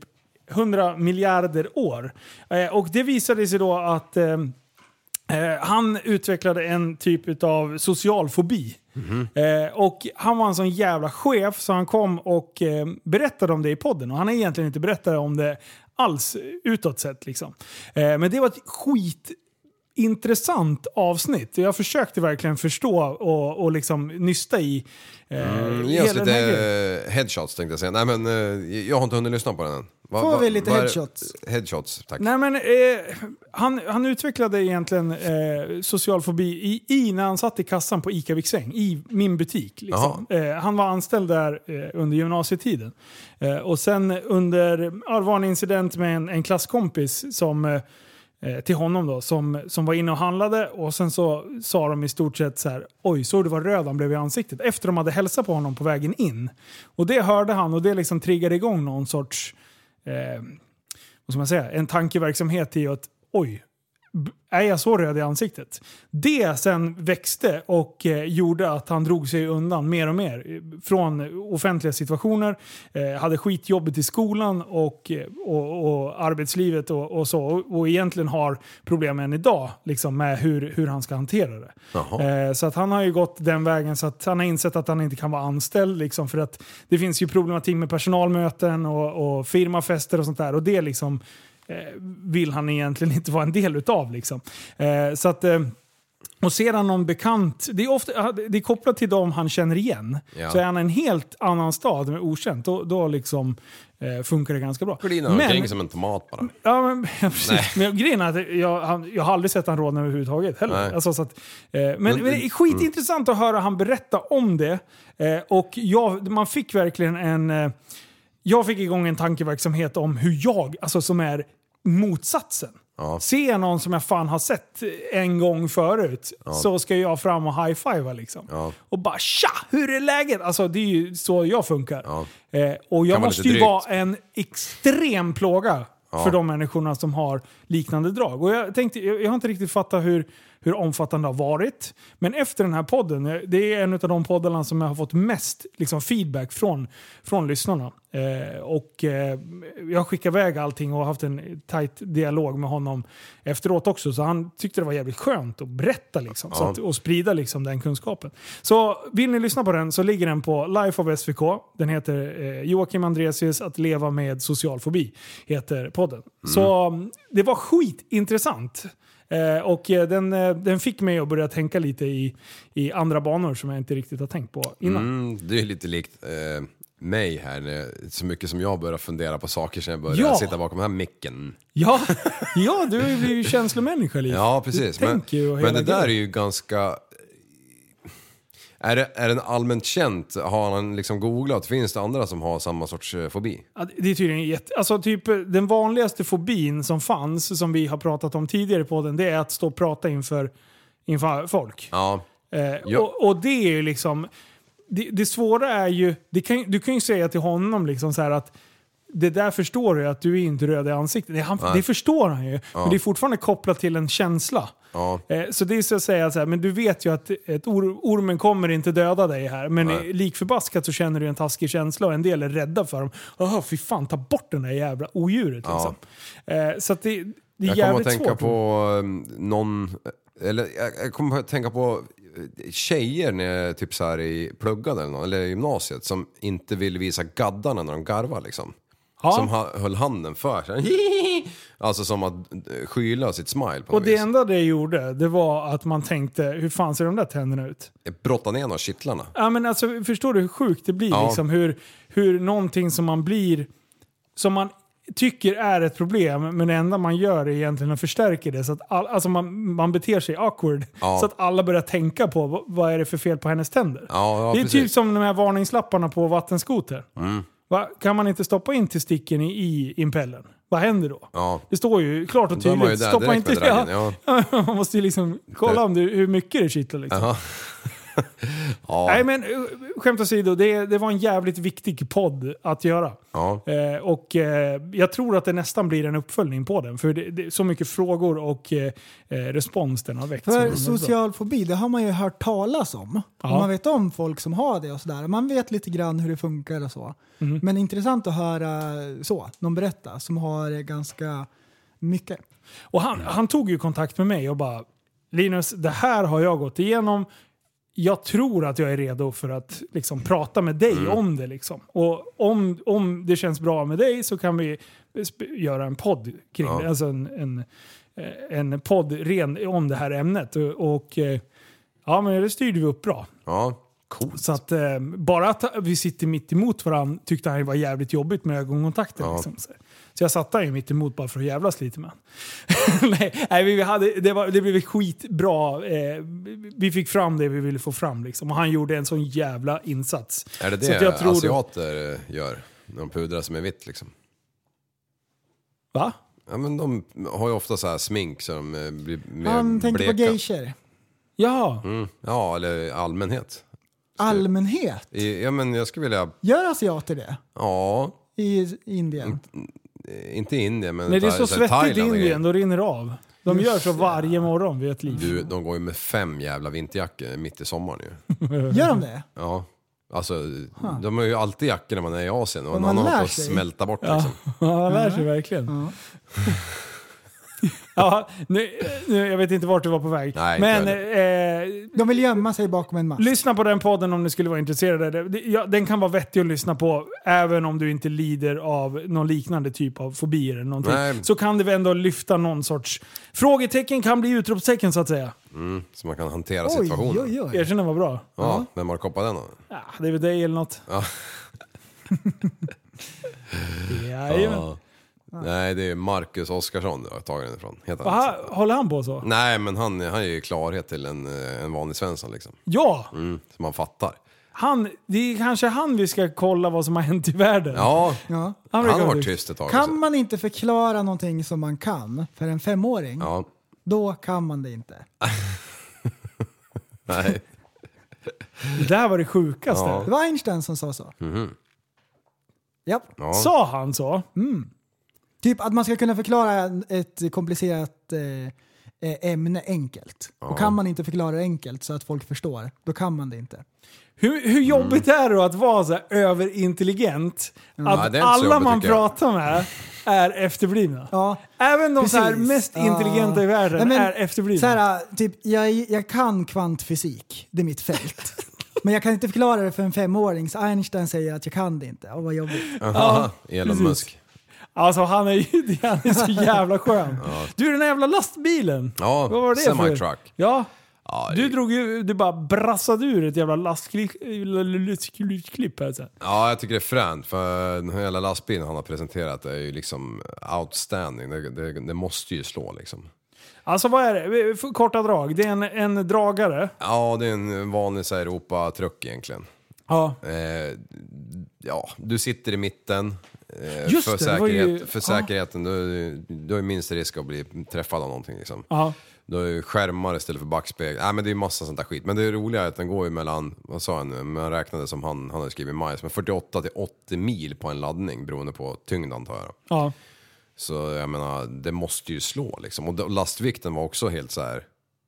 F: 100 miljarder år. Eh, och det visade sig då att eh, Eh, han utvecklade en typ av social fobi. Eh, och han var en sån jävla chef så han kom och eh, berättade om det i podden. Och han har egentligen inte berättat om det alls eh, utåt sett. Liksom. Eh, men det var ett skit intressant avsnitt. Jag försökte verkligen förstå och, och liksom nysta i eh,
G: Ge oss
F: hela
G: Mm,
F: den
G: lite
F: här grejen.
G: eh, headshots tänkte jag säga. Nej men eh, jag har inte hunnit lyssna på den än. Va-
E: Får
G: va-
E: vi lite
G: vad är-
E: headshots?
G: Headshots, tack.
F: Nej, men, eh, han, han utvecklade egentligen eh, social fobi i, i när han satt i kassan på ICA Viksäng, i min butik. Liksom. Eh, han var anställd där eh, under gymnasietiden. Eh, och sen under, ja, det var en incident med en, en klasskompis som eh, eh, till honom då, som, som var inne och handlade och sen så sa de i stort sett så här oj såg du vad röd han blev i ansiktet? Efter de hade hälsat på honom på vägen in. Och det hörde han och det liksom triggade igång någon sorts eh, vad ska man säga, en tankeverksamhet i att oj, b- är jag så röd i ansiktet? Det sen växte och eh, gjorde att han drog sig undan mer och mer eh, från offentliga situationer, eh, hade skitjobbet i skolan och, eh, och, och arbetslivet och, och så. Och, och egentligen har problem än idag liksom, med hur, hur han ska hantera det. Eh, så att han har ju gått den vägen så att han har insett att han inte kan vara anställd. Liksom, för att det finns ju problematik med personalmöten och, och firmafester och sånt där. Och det liksom eh, vill han egentligen inte vara en del utav. Liksom. Eh, så att, eh, och ser han någon bekant, det är, ofta, det är kopplat till dem han känner igen.
G: Ja.
F: Så är han i en helt annan stad med okänt, då, då liksom, eh, funkar det ganska bra.
G: Glider han omkring som en tomat bara.
F: Ja, men, *laughs* ja, precis. men grejen är att jag, han, jag har aldrig sett han rodna överhuvudtaget heller.
G: Nej.
F: Alltså, så att, eh, men, men det är skitintressant att höra han berätta om det. Eh, och jag, man fick verkligen en... Eh, jag fick igång en tankeverksamhet om hur jag, alltså som är motsatsen. Ser jag någon som jag fan har sett en gång förut så ska jag fram och high-fiva liksom. Och bara tja, hur är läget? Alltså det är ju så jag funkar. Eh, och jag
G: Kan vara
F: måste
G: lite
F: ju
G: drygt.
F: vara en extrem plåga
G: Ja.
F: för de människorna som har liknande drag. Och jag, tänkte, jag, jag har inte riktigt fattat hur, hur omfattande det har varit. Men efter den här podden, eh, det är en av de poddarna som jag har fått mest liksom, feedback från, från lyssnarna. Eh, och eh, jag skickar iväg allting och har haft en tajt dialog med honom efteråt också. Så han tyckte det var jävligt skönt att berätta liksom, så
G: Ja.
F: att, och sprida liksom, den kunskapen. Så vill ni lyssna på den så ligger den på Life of SVK. Den heter eh, Joakim Andresius att leva med social fobi. Heter podden. Så mm, det var skitintressant. Eh, och eh, den, eh, den fick mig att börja tänka lite i, i andra banor som jag inte riktigt har tänkt på innan.
G: Mm, det är lite likt eh, mig här, när- så mycket som jag börjar fundera på saker sen jag börjar
F: Ja.
G: sitta bakom den här micken.
F: Ja, *laughs* ja, du är ju känslomänniska Liv.
G: Ja, precis.
F: Du
G: Men,
F: tänker ju och hela
G: men det där
F: grejen.
G: är ju ganska... Är det, är den allmänt känt? Har han liksom googlat? Finns det andra som har samma sorts eh, fobi?
F: Ja, det är tydligen jätte... Alltså typ eh, den vanligaste fobin som fanns, som vi har pratat om tidigare på den, det är att stå och prata inför, inför folk.
G: Ja.
F: Eh,
G: Ja.
F: och, och det är ju liksom... Det, det svåra är ju... Det kan, du kan ju säga till honom liksom så här att det där förstår du att du är inte röd i ansiktet. Det, han,
G: Nej.
F: det förstår han ju.
G: Ja.
F: Men det är fortfarande kopplat till en känsla.
G: Ja.
F: Eh, Så det är så att säga så här, men du vet ju att ett or ormen kommer inte döda dig här. Men
G: Nej.
F: likförbaskat så känner du en taskig känsla och en del är rädda för dem. Åh, fy fan, ta bort den där jävla odjuret
G: Ja.
F: liksom. Eh, Så att det,
G: Jag
F: det är
G: kommer att
F: jävligt
G: tänka
F: svårt.
G: på eh, någon... Eller jag, jag kommer att tänka på eh, tjejer när jag typ så här i pluggade eller, någon, eller i gymnasiet som inte vill visa gaddarna när de garvar liksom.
F: Ja.
G: Som ha, höll handen för sig. *laughs* Alltså som att eh, skyla sitt smile på
F: Och
G: något
F: det
G: vis.
F: enda det gjorde, det var att man tänkte, hur fan ser de där tänderna ut?
G: Eh, Brotta ner någon kittlarna.
F: Ja, men alltså, förstår du hur sjukt det blir?
G: Ja.
F: Liksom, hur, hur någonting som man blir, som man tycker är ett problem, men det enda man gör är egentligen att förstärka det. Så att all, alltså man, man beter sig awkward.
G: Ja.
F: Så att alla börjar tänka på vad, vad är det för fel på hennes tänder.
G: Ja, ja
F: det är
G: precis.
F: typ som de här varningslapparna på vattenskoter.
G: Mm.
F: Va? Kan man inte stoppa in testikeln i, i impellen? Vad händer då?
G: Ja.
F: Det står ju klart och
G: Då är man ju
F: tydligt.
G: där
F: Stoppa
G: direkt
F: inte...
G: med
F: *laughs*
G: draggen, ja.
F: man måste ju liksom kolla om det, hur mycket det kittlar. Liksom. *laughs*
G: Jaha. ja.
F: Nej men eh, skämt åsido, det, det var en jävligt viktig podd att göra.
G: ja.
F: Eh, och eh, jag tror att det nästan blir en uppföljning på den. För det, det, så mycket frågor och eh, eh, respons den har väckt. som
E: För
F: är bra.
E: social fobi, det har man ju hört talas om.
F: Ja.
E: Och Man vet om folk som har det och sådär. Man vet lite grann hur det funkar och så.
F: Mm.
E: Men intressant att höra så, någon berätta som har eh, ganska mycket.
F: Och han, han tog ju kontakt med mig och bara Linus, det här har jag gått igenom. Jag tror att jag är redo för att liksom, prata med dig om det. Liksom. Och om, om det känns bra med dig så kan vi sp- göra en podd kring
G: Ja.
F: det. Alltså en, en, eh, en podd ren om det här ämnet. Och, och eh, ja, men det styrde vi upp bra.
G: Ja, coolt.
F: Så att, eh, bara att vi sitter mitt emot varandra tyckte han ju var jävligt jobbigt med ögonkontakten.
G: Ja.
F: Liksom. Så så jag satte han ju mitt emot bara för att jävlas lite med honom. *laughs* Nej, nej, vi hade, det, var, det blev skitbra. Eh, vi fick fram det vi ville få fram liksom. Och han gjorde en sån jävla insats.
G: Är det
F: så
G: det
F: att jag tror
G: asiater eh, gör? När de pudrar sig med vitt liksom?
F: Va?
G: Ja men de har ju ofta så här smink så de eh, blir mer
E: Han tänkte på
G: bleka.
E: geishor.
F: Ja.
G: Mm. Ja, eller allmänhet.
E: Allmänhet.
G: I, ja men jag skulle vilja,
E: Gör asiater det?
G: ja,
E: I Indien?
F: Mm.
G: eh, inte Indien men
F: Nej, det är
G: Tha-
F: så
G: här, alltså, Thailand
F: svettigt i
G: och grejer.
F: Indien, då rinner det av. De gör så varje morgon vid ett liv.
G: Du, de går ju med fem jävla vinterjackor mitt i sommaren ju.
E: Gör de det?
G: Ja. Alltså, de har ju alltid jackor när man är i Asien och
E: Men
G: en
E: man
G: annan
E: lär
G: håller på att
E: sig.
G: smälta bort
F: Ja,
G: liksom.
F: man lär sig verkligen. *laughs* Ja, nu, nu, jag vet inte vart du var på väg.
G: Nej, inte
F: Men
G: jag
F: eh,
E: De vill gömma sig bakom en mast.
F: lyssna på den podden om ni skulle vara intresserade. Det- det- ja, Den kan vara vettig att lyssna på även om du inte lider av någon liknande typ av fobier eller någonting.
G: Nej.
F: Så kan det väl ändå lyfta någon sorts... Frågetecken kan bli utropstecken så att säga.
G: Mm, så man kan hantera
E: Oj,
G: situationen.
E: oj, oj.
F: Erkänn den var bra.
G: Ja, vem har koppat den då?
F: Ja, det är väl dig eller något.
G: *laughs* Ja.
F: Jajamän.
G: Ja. Nej, det är Marcus Oskarsson jag har tagit den ifrån. Heter han.
F: Aha, håller han på så?
G: Nej, men han, han ger ju klarhet till en, eh, en vanlig svensson liksom.
F: Ja!
G: Mm, så man fattar.
F: Han, det är kanske han vi ska kolla vad som har hänt i världen.
G: Ja,
E: Ja.
G: han
F: brukar
G: har
F: vara
G: varit tyst ett tag. också.
E: Mm. Kan man inte förklara någonting som man kan för en femåring,
G: Ja,
E: då kan man det inte.
G: *laughs* nej.
F: Det där var det sjukaste.
G: Ja. Mhm.
E: Det var Einstein som sa så. Japp.
G: Ja.
F: Sa han så? Mm.
E: Typ att man ska kunna förklara ett komplicerat eh, eh, ämne enkelt. Och kan man inte förklara det enkelt så att folk förstår, då kan man det inte.
F: Hur, hur jobbigt är det då att vara så här överintelligent?
G: Mm. Ja,
F: Att
G: det är inte så
F: alla
G: jobbigt,
F: man
G: tycker jag.
F: pratar med är efterblivna.
E: Ja,
F: Även de så här
E: precis.
F: mest
E: Ja.
F: intelligenta i världen
E: Nej, men,
F: är efterblivna.
E: Så här, typ, jag, jag kan kvantfysik, det är
G: *laughs*
E: mitt fält. men jag kan inte förklara det för en femåring, så Einstein säger att jag kan det inte. Åh,
G: *laughs*
E: vad jobbigt.
G: Aha, Elon
F: precis.
G: Musk.
F: Alltså han är ju *laughs* han är så jävla skön. Du den här jävla lastbilen.
G: Ja,
F: Vad var det för?
G: semi-truck.
F: Ja.
G: Ja,
F: Du drog ju, du bara brassade ur ett jävla lastklipp här sen.
G: Ja, jag tycker det är fränt för den här jävla lastbilen han har presenterat är ju liksom outstanding. Det, det, det måste ju slå liksom.
F: Alltså vad är det? F- Korta drag. Det är en, en dragare.
G: Ja, det är en vanlig så här, Europa-truck egentligen.
F: Ja.
G: Eh, ja, du sitter i mitten. Eh,
F: Just
G: för,
F: det, det var
G: säkerhet,
F: ju-
G: för
F: ja.
G: säkerheten, du, du har ju minst risk att bli träffad av någonting liksom.
F: Ja.
G: Du har ju skärmar istället för backspegel. Nej men det är ju massa sånt där skit. Men det roliga är att den går ju mellan, vad sa jag nu, men jag räknade som han, han hade skrivit majs, men 48 till 80 mil på en laddning beroende på tyngd antar jag.
F: ja.
G: Så jag menar, det måste ju slå liksom. Och då- lastvikten var också helt så här,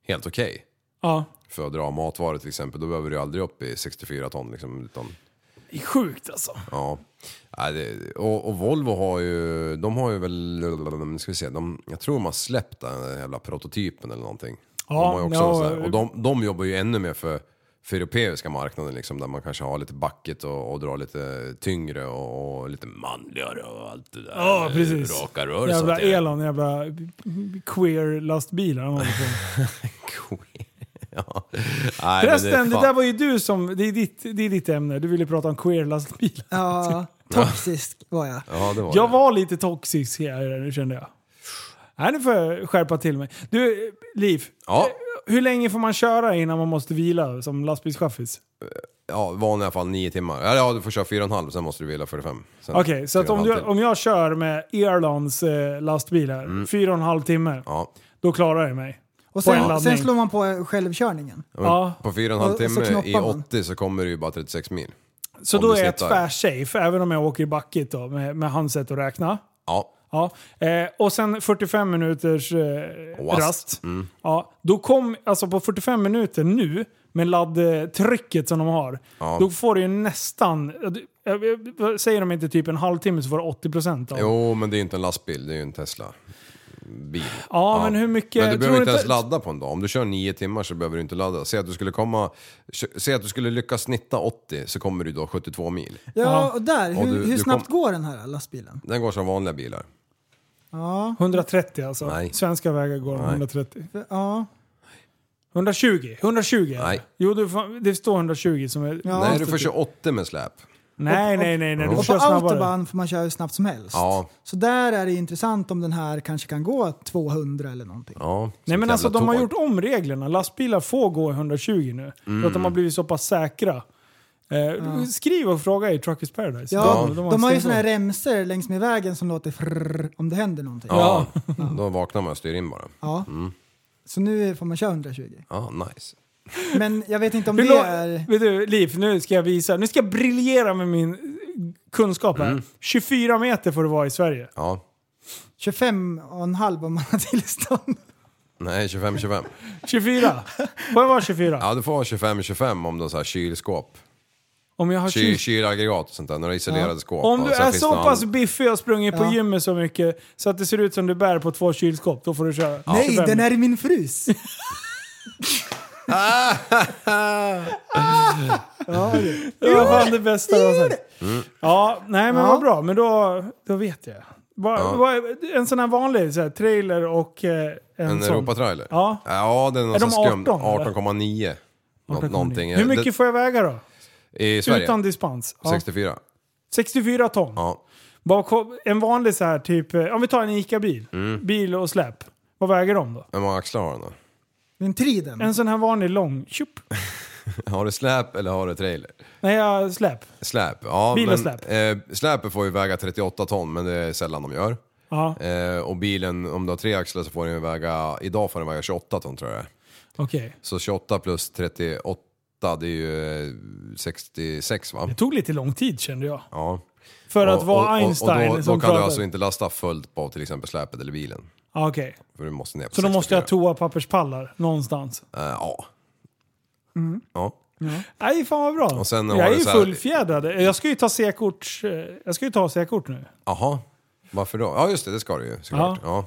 G: helt okej.
F: Ja.
G: För att dra matvaror till exempel, då behöver du ju aldrig upp i 64 ton liksom. Utan,
F: Det är sjukt alltså.
G: ja. Nej, det, och, och Volvo har ju, de har ju väl, nu ska vi se, de, jag tror de har släppt den här jävla prototypen eller någonting.
F: Ja,
G: de har ju också
F: ja,
G: en sån här, och de, de jobbar ju ännu mer för, för europeiska marknaden liksom, där man kanske har lite bucket och, och drar lite tyngre och, och lite manligare och allt det där.
F: Ja, precis.
G: Raka rör och
F: Jävla
G: sånt *laughs* där.
F: Elon, jävla queer lastbilar han håller på med.
G: Queer. ja. Nej, men
F: Förresten, det,
G: fan-
F: där var ju du som... Det är ditt, det är ditt ämne. Du ville prata om queer lastbilar.
E: Ja, toxisk var jag.
G: Ja, det var
F: Jag
G: det.
F: var lite toxisk här nu kände jag. Nej, nu får jag skärpa till mig. Du, Liv.
G: Ja.
F: Hur länge får man köra innan man måste vila som lastbilschaffis?
G: Ja, vanliga fall nio timmar. Eller ja, du får köra fyra och en halv, sen måste du vila 45. Sen
F: Okej, så
G: fyra
F: att
G: och en
F: om,
G: halv
F: du,
G: till.
F: om jag kör med Erlands eh, lastbil här, fyra och en halv timme,
G: Mm. Ja,
F: då klarar jag mig.
E: Och
F: På en
E: sen,
F: laddning.
E: sen slår man på eh, självkörningen.
G: men
F: Ja.
G: på fyra och en halv
E: Och- och så
G: timme i
E: knoppar man.
G: 80 så kommer det ju bara 36 mil.
F: Så
G: Om
F: då
G: du
F: är jag
G: snittar.
F: tvärsafe, även om jag åker i backet då, med, med hans sätt att räkna.
G: Ja,
F: Ja. Eh, och sen 45 minuters eh,
G: Rast. Mm.
F: rast. Ja, då kom, alltså på 45 minuter nu, med laddtrycket som de har,
G: Ja.
F: då får du ju nästan... eh, eh, Säger de inte typ en halvtimme så får du 80% av.
G: jo men det är ju inte en lastbil, det är ju en Tesla-bil.
F: Ja, men hur mycket...
G: Men du
F: tror
G: behöver inte
F: att-
G: ens ladda på en dag. Om du kör nio timmar så behöver du inte ladda. Säg att du skulle komma... Säg att du skulle lyckas snitta 80 så kommer du då 72 mil.
F: Ja.
E: Ja, och där,
G: Och
E: hur,
G: du-
E: hur
G: du
E: snabbt
G: kom-
E: går den här lastbilen?
G: Den går som vanliga bilar.
E: Ja,
F: 130 alltså.
G: Nej.
F: Svenska vägar går
G: Nej.
F: 130.
E: för- ja.
F: 120? 120?
G: Nej.
F: Jo, du, får- det står 120 som är... typ-
E: Ja.
G: Nej, du får köra 80 med släp.
F: nej, nej, nej, nej. Du
E: Och
F: kör
E: på
F: snabbare.
E: autobahn får man köra hur snabbt som helst.
G: Ja.
E: Så där är det intressant om den här kanske kan gå 200 eller någonting.
G: Ja,
F: Nej
G: som
F: men
G: ett
F: alltså
G: jävla
F: de har
G: tåg.
F: gjort om reglerna. Lastbilar får gå i 120 nu. För att
G: Mm.
F: de har blivit så pass säkra. Eh, Skriv och fråga i Truckers Paradise.
E: Ja,
F: de,
E: De har ju sådana här remsor längs med vägen som låter frrrr om det händer någonting.
G: Ja, då vaknar man och styr in bara.
E: Ja. Så nu får man köra 120.
G: Ja, nice.
E: Men jag vet inte om
F: Hur
E: det är...
F: lång- Vet du, Liv, nu ska jag visa. Nu ska jag briljera med min eh, kunskap
G: Mm.
F: här. 24 meter får det vara i Sverige.
G: Ja.
E: 25 och en halv om man har tillstånd.
G: Nej, 25-25.
F: 24. Får jag vara 24?
G: Ja, du får ha 25-25 om du har så här kylskåp.
F: Om jag har
G: Ky,
F: kyl...
G: kylaggregat och sånt där, några isolerade skåp.
F: Om
G: och
F: du
G: sen
F: är
G: finns
F: så
G: det någon-
F: pass biffig och har sprungit på
E: Ja.
F: gymmet så mycket så att det ser ut som du bär på två kylskåp, då får du köra.
E: Nej,
F: 25.
E: den är i min frys.
F: Det var fan det bästa jag har sett.
G: Mm.
F: Ja, nej men
E: Ja.
F: vad bra. Men då, då vet jag. Bara,
G: Ja.
F: bara- en sån här vanlig så här, trailer och eh, en,
G: En
F: sån.
G: Europatrailer?
F: Ja.
G: Ja, den är,
F: Är
G: någon
F: de
G: sån skum.
F: 18, eller?
G: 18,9. Nå- Någonting.
F: Hur mycket
G: Det-
F: får jag väga då?
G: I Sverige?
F: Utan dispens? Ja.
G: 64.
F: 64 ton?
G: Ja.
F: Bakom, en vanlig så här typ, eh, om vi tar en ICA-bil.
G: Mm.
F: Bil och släp. Vad väger de då?
G: Hur många axlar har den då? *laughs*
E: Den triden.
F: En sån här vanlig lång, tjup.
G: Har du släp eller har du trailer?
F: Nej, jag släp.
G: Släp. Ja,
F: Bil och
G: men,
F: släp.
G: Eh, släpet får ju väga 38 ton, men det är sällan de gör.
F: Ja,
G: Eh, och bilen, om du har tre axlar så får den ju väga, idag får den väga 28 ton tror jag.
F: okej.
G: Så 28 plus 38, det är ju eh, 66 va?
F: Det tog lite lång tid kände jag.
G: Ja.
F: För att
G: Och-
F: vara
G: och- och-
F: Einstein
G: Och då,
F: som
G: då kan du
F: pratade.
G: alltså inte lasta fullt på till exempel släpet eller bilen.
F: Ja, Ah, Okej,
G: För du måste ner på
F: så då måste jag ha
G: 64.
F: toapapperspallar någonstans.
G: Eh, ja. ja.
F: Nej, fan vad bra.
G: Och sen har
F: jag är
G: du
F: ju
G: så här-
F: fullfjädrad. Jag ska ju ta C-kort eh, Jag ska ju ta C-kort nu.
G: Aha. Varför då? Ja just det, det ska du ju såklart. Ja.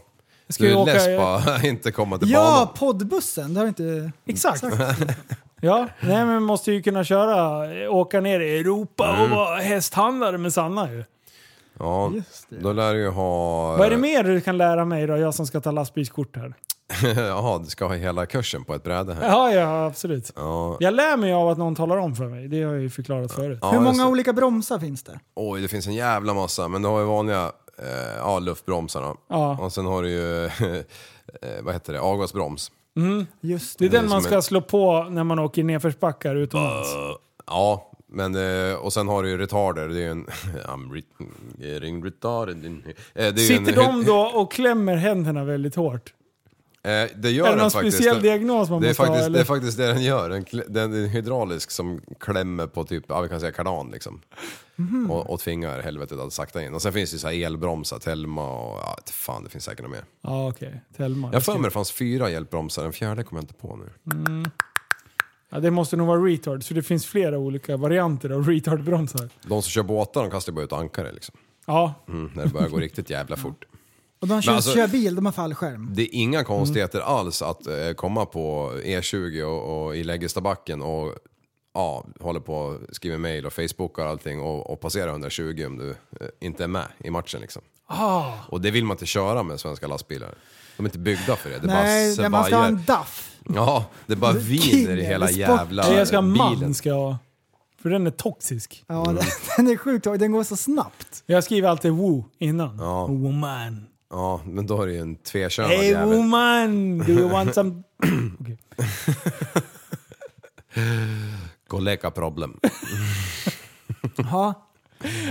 F: Ska
G: Du
F: jag
G: är
F: åka-
G: less på att *laughs* inte komma till
E: Ja,
G: banan.
E: poddbussen. Det har inte...
F: Exakt. *laughs* ja, nej men måste ju kunna köra, åka ner i Europa
G: Mm.
F: och vara hästhandlare med Sanna ju.
G: Ja, då lär du ju ha...
F: Vad är det mer du kan lära mig då, jag som ska ta lastbilskort här?
G: *laughs* Jaha, du ska ha hela kursen på ett bräde här.
F: Ja, ja absolut.
G: Ja.
F: Jag lär mig av att någon talar om för mig, det har jag ju förklarat förut.
G: Ja,
E: Hur
G: just
E: många
G: det.
E: olika bromsar finns det?
G: Oj, det finns en jävla massa. Men du har ju vanliga eh, ja, luftbromsar då.
F: Ja.
G: Och sen har du ju, *laughs* eh, vad heter det, avgasbroms.
E: Just
F: Det är
E: det.
F: den
G: som
F: man ska
G: en-
F: slå på när man åker nedförsbackar utomlands.
G: Eh, Ja, men eh, och sen har du ju retarder. Det är ju en... *laughs* I'm re- getting retarded. in here. Eh, det är ju
F: Sitter
G: en,
F: de då och klämmer händerna väldigt hårt?
G: *laughs* Eh, det
F: Är
G: gör
F: det
G: den
F: någon
G: faktiskt.
F: speciell
G: Den-
F: diagnos man
G: det är,
F: måste ha,
G: faktiskt,
F: eller?
G: det är faktiskt det den gör. Den, kl- den är hydraulisk som klämmer på typ, ja vi kan säga kardan liksom.
F: Mhm.
G: Och, och tvingar helvetet att sakta in. Och sen finns det ju så här elbromsar, Telma och ja, inte fan det finns säkert något mer.
F: Ja, okej. Telma.
G: Jag har för mig det fanns fyra hjälpbromsar, den fjärde kommer jag inte på nu.
F: Mm. Ja, det måste nog vara retard, så det finns flera olika varianter av retardbromsar.
G: De som kör båtar de kastar ju bara ut ankare liksom.
F: Ja,
G: Mm, när det börjar gå riktigt jävla fort.
E: Och de kör,
G: Men alltså-
E: kör bil, de har fallskärm.
G: Det är inga konstigheter alls att eh, komma på E20 och, och i Läggestabacken och ja, håller på och skriver mejl och facebookar och allting och, och passerar 120 om du eh, inte är med i matchen liksom.
E: Ah.
G: Och det vill man inte köra med svenska lastbilar. De är inte byggda för det. Det
E: Nej,
G: bara
E: när Eh, man ska ha
G: svajar.
E: en DAF.
G: Ja, det bara viner i
E: King,
G: hela
E: det är
G: jävla
F: Nej, jag ska ha
G: bilen.
F: man ska jag ha. För den är toxisk.
E: Ja,
G: Mm.
E: *laughs* den är sjukt Den går så snabbt.
F: Jag skriver alltid woo innan.
G: Ja.
F: Woman.
G: Ja, men då är det ju en tvekönad
F: Hey
G: jävel.
F: woman! Do you
G: *laughs*
F: want some... Okej.
G: Kollega problem.
E: Ja.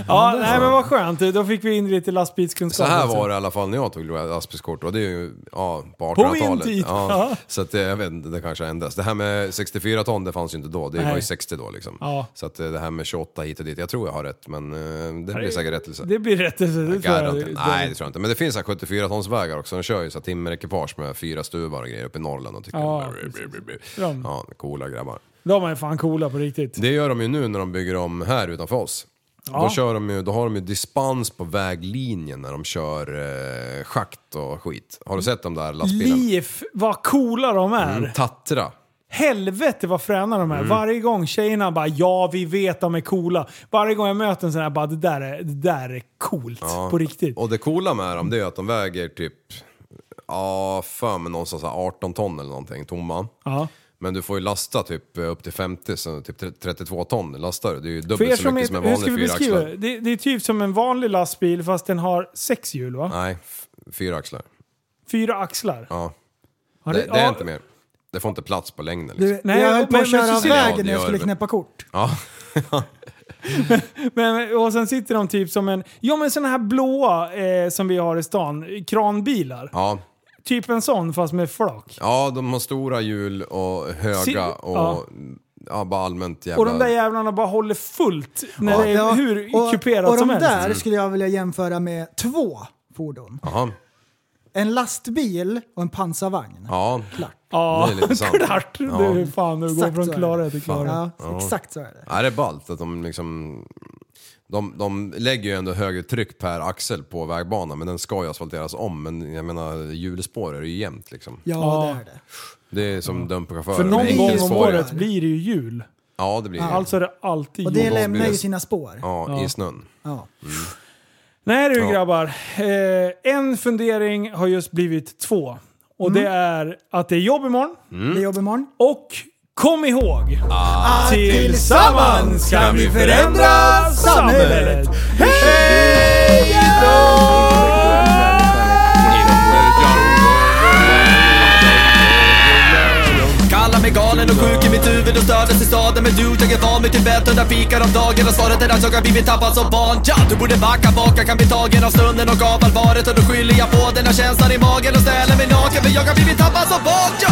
F: Ja, nej men vad skönt. Då fick vi in lite lastbilskunskap.
G: Så här
F: också.
G: var det i alla fall när jag tog lastbilskort och det är ju ja, på
F: På min
G: 1800-talet.
F: tid, ja.
G: Ja, så att, eh, jag vet inte, det kanske har ändrats. Det här med 64 ton, det fanns ju inte då. Det var
F: Nej.
G: ju 60 då liksom.
F: Ja.
G: Så att eh, det här med 28 hit och dit, jag tror jag har rätt men eh, det blir säkert rättelse.
F: Det blir rättelse. Det tror jag.
G: Garanterat. Nej det tror jag inte. Men det finns 74 tons vägar också. De kör ju så här timmerekipage med fyra stuvar och grejer uppe i Norrland och tycker...
F: Ja, De-
G: ja, coola grabbar.
F: De är fan coola på riktigt.
G: Det gör de ju nu när de bygger om här utanför oss. Då, kör de ju, då har de ju dispens på väglinjen när de kör eh, schakt och skit. Har du sett de där lastbilarna?
F: Liv, vad coola de är!
G: Mm, Tatra.
F: Helvete vad fräna de är. Varje gång tjejerna bara ja vi vet de är coola. Varje gång jag möter en sån här bara det där är, det där är coolt på riktigt.
G: Och det coola med dem det är att de väger typ, ja för mig någonstans så här 18 ton eller någonting tomma.
F: Ja.
G: Men du får ju lasta typ eh, upp till 50, så typ 32 ton lastar du. Det är ju
F: För er
G: dubbelt så
F: som
G: mycket som
F: inte,
G: en
F: hur ska vi
G: vanlig
F: beskriva
G: fyraxlare.
F: det? det? Det är typ som en vanlig lastbil fast den har sex hjul va?
G: Nej, f- fyra axlar.
F: Fyra axlar.
G: Ja.
F: Har
G: Det,
F: du-
G: det är
F: ja,
G: inte mer. Det får inte plats på längden liksom.
E: Du,
F: Nej,
E: jag höll på
F: men-
E: att köra av
F: men- Ja,
G: det
E: vägen
G: gör
E: när jag skulle
G: det.
E: knäppa kort.
G: Ja.
F: Men, och sen sitter de typ som en, ja men såna här blåa eh, som vi har i stan, kranbilar.
G: ja,
F: Typ en sån fast med flak.
G: Ja, de har stora hjul och
F: Si-
G: höga och
F: ja.
G: ja. bara allmänt jävla...
F: Och de där jävlarna bara håller fullt när det är
E: Ja,
F: hur
E: och,
F: kuperat
E: och
F: som
E: de
F: helst.
E: där skulle jag vilja jämföra med två fordon.
G: Jaha.
E: En lastbil och en pansarvagn.
G: Ja,
F: Ja,
G: det är lite sant.
F: klart.
G: Ja.
F: *laughs* Det är fan att gå
E: Exakt
F: från
E: så är
F: klarhet
E: det.
F: till klarhet.
E: Ja,
G: Ja.
E: exakt så är det.
G: Ja, det är ballt att de liksom... De, de lägger ju ändå högre tryck per axel på vägbanan, men den ska ju asfalteras om. Men jag menar, hjulspår är det ju jämnt liksom.
E: Ja,
F: Ja.
E: det är det.
G: Det är som dumpchaufförer.
F: För
G: med
F: någon gång om
G: enkelspår.
F: året blir det ju jul.
G: Ja, det blir det.
F: Alltså är det alltid
E: Och
F: jul.
E: det
G: då
E: lämnar
G: blir
E: ju
G: det-
E: sina spår.
G: Ja, i snön.
E: Ja.
F: Nej du
G: Ja.
F: grabbar. Eh, en fundering har just blivit två. Och
E: Mm.
F: det är att det är jobb imorgon.
G: Mm.
E: Det är jobb imorgon.
F: Och kom ihåg!
E: Att
F: tillsammans kan vi förändra samhället. Hej
B: Kallar mig galen och sjuk i mitt huvud och stördes i staden Men du, jag är van vid Tibet och där fikar om dagen Och svaret är att jag har blivit tappad som barn ja, Du borde backa bak, jag kan bli tagen av stunden och av allvaret Och då skyller jag på den här känslan i magen och ställer mig naken För jag har blivit tappad som barn ja.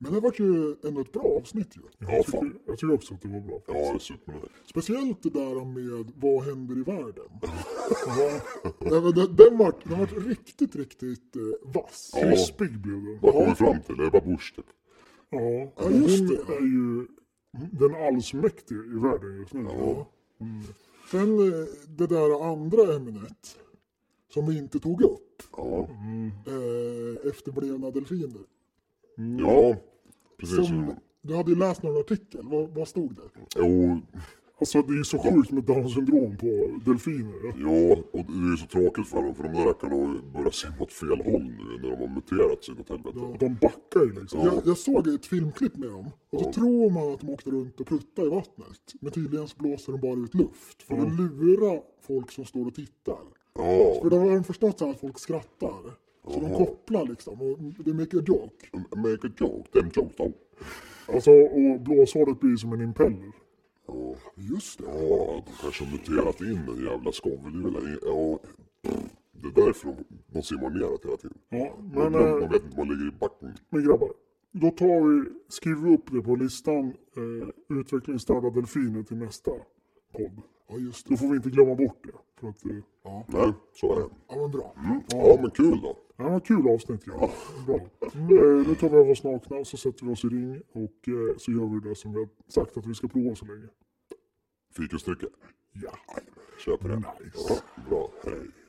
L: Men det vart ju ändå ett bra avsnitt ju. Ja, jag, tycker, jag tycker också att det var bra. Ja, det är super. Speciellt det där med vad händer i världen. ja. Nej, men den, den, vart, den vart riktigt, riktigt eh, vass.
H: Ja.
L: Krispig blev den.
H: Vad kom vi fram till? Ebba Busch typ.
L: Ja, ja just det. är ju den allsmäktige i världen just nu. Ja. Mm. Sen eh, det där andra ämnet som vi inte tog upp.
H: Ja,
L: Eh, efterblivna delfiner.
H: ja precis.
L: Som, du hade ju läst någon artikel, vad, vad stod det?
H: Jo,
L: Alltså det är så sjukt med Downs syndrom på delfiner.
H: ja, och det är ju så tråkigt för dem för de där rackarna har ju börjat simma åt fel håll nu när de har muterat sig åt helvete.
L: De backar ju liksom.
H: Ja.
L: Jag, jag såg ett filmklipp med dem och då tror man att de åkte runt och pruttade i vattnet. Men tydligen så blåser de bara ut luft för att lura folk som står och tittar.
H: Ja,
L: För då har de förstått så här att folk skrattar. Så de kopplar liksom och det är mycket joke.
H: make a joke, them jokes don't.
L: Alltså och blåshåret blir som en impeller.
H: Ja,
L: Just det.
H: ja, de kanske har muterat in en jävla skovel i Ja, det är därför de, de simmar neråt hela tiden.
L: Ja,
H: Men,
L: men,
H: de,
L: eh,
H: de vet inte vad ligger i backen.
L: Men grabbar, då tar vi, skriver vi upp det på listan eh, utvecklingsstörda delfiner till nästa podd. Ja just Då får vi inte glömma bort det. För att, eh, ja.
H: Nej, så är det. Mm.
L: ja men bra.
H: Ja, men kul då.
L: Ja, vad kul avsnitt grabbar. Bra. Eh, nu tar vi av oss nakna så sätter vi oss i ring och eh, så gör vi det som vi har sagt att vi ska prova så länge.
H: Fikastrycket.
L: Ja.
H: Köper det.
L: Nice.
H: Ja, bra, hej.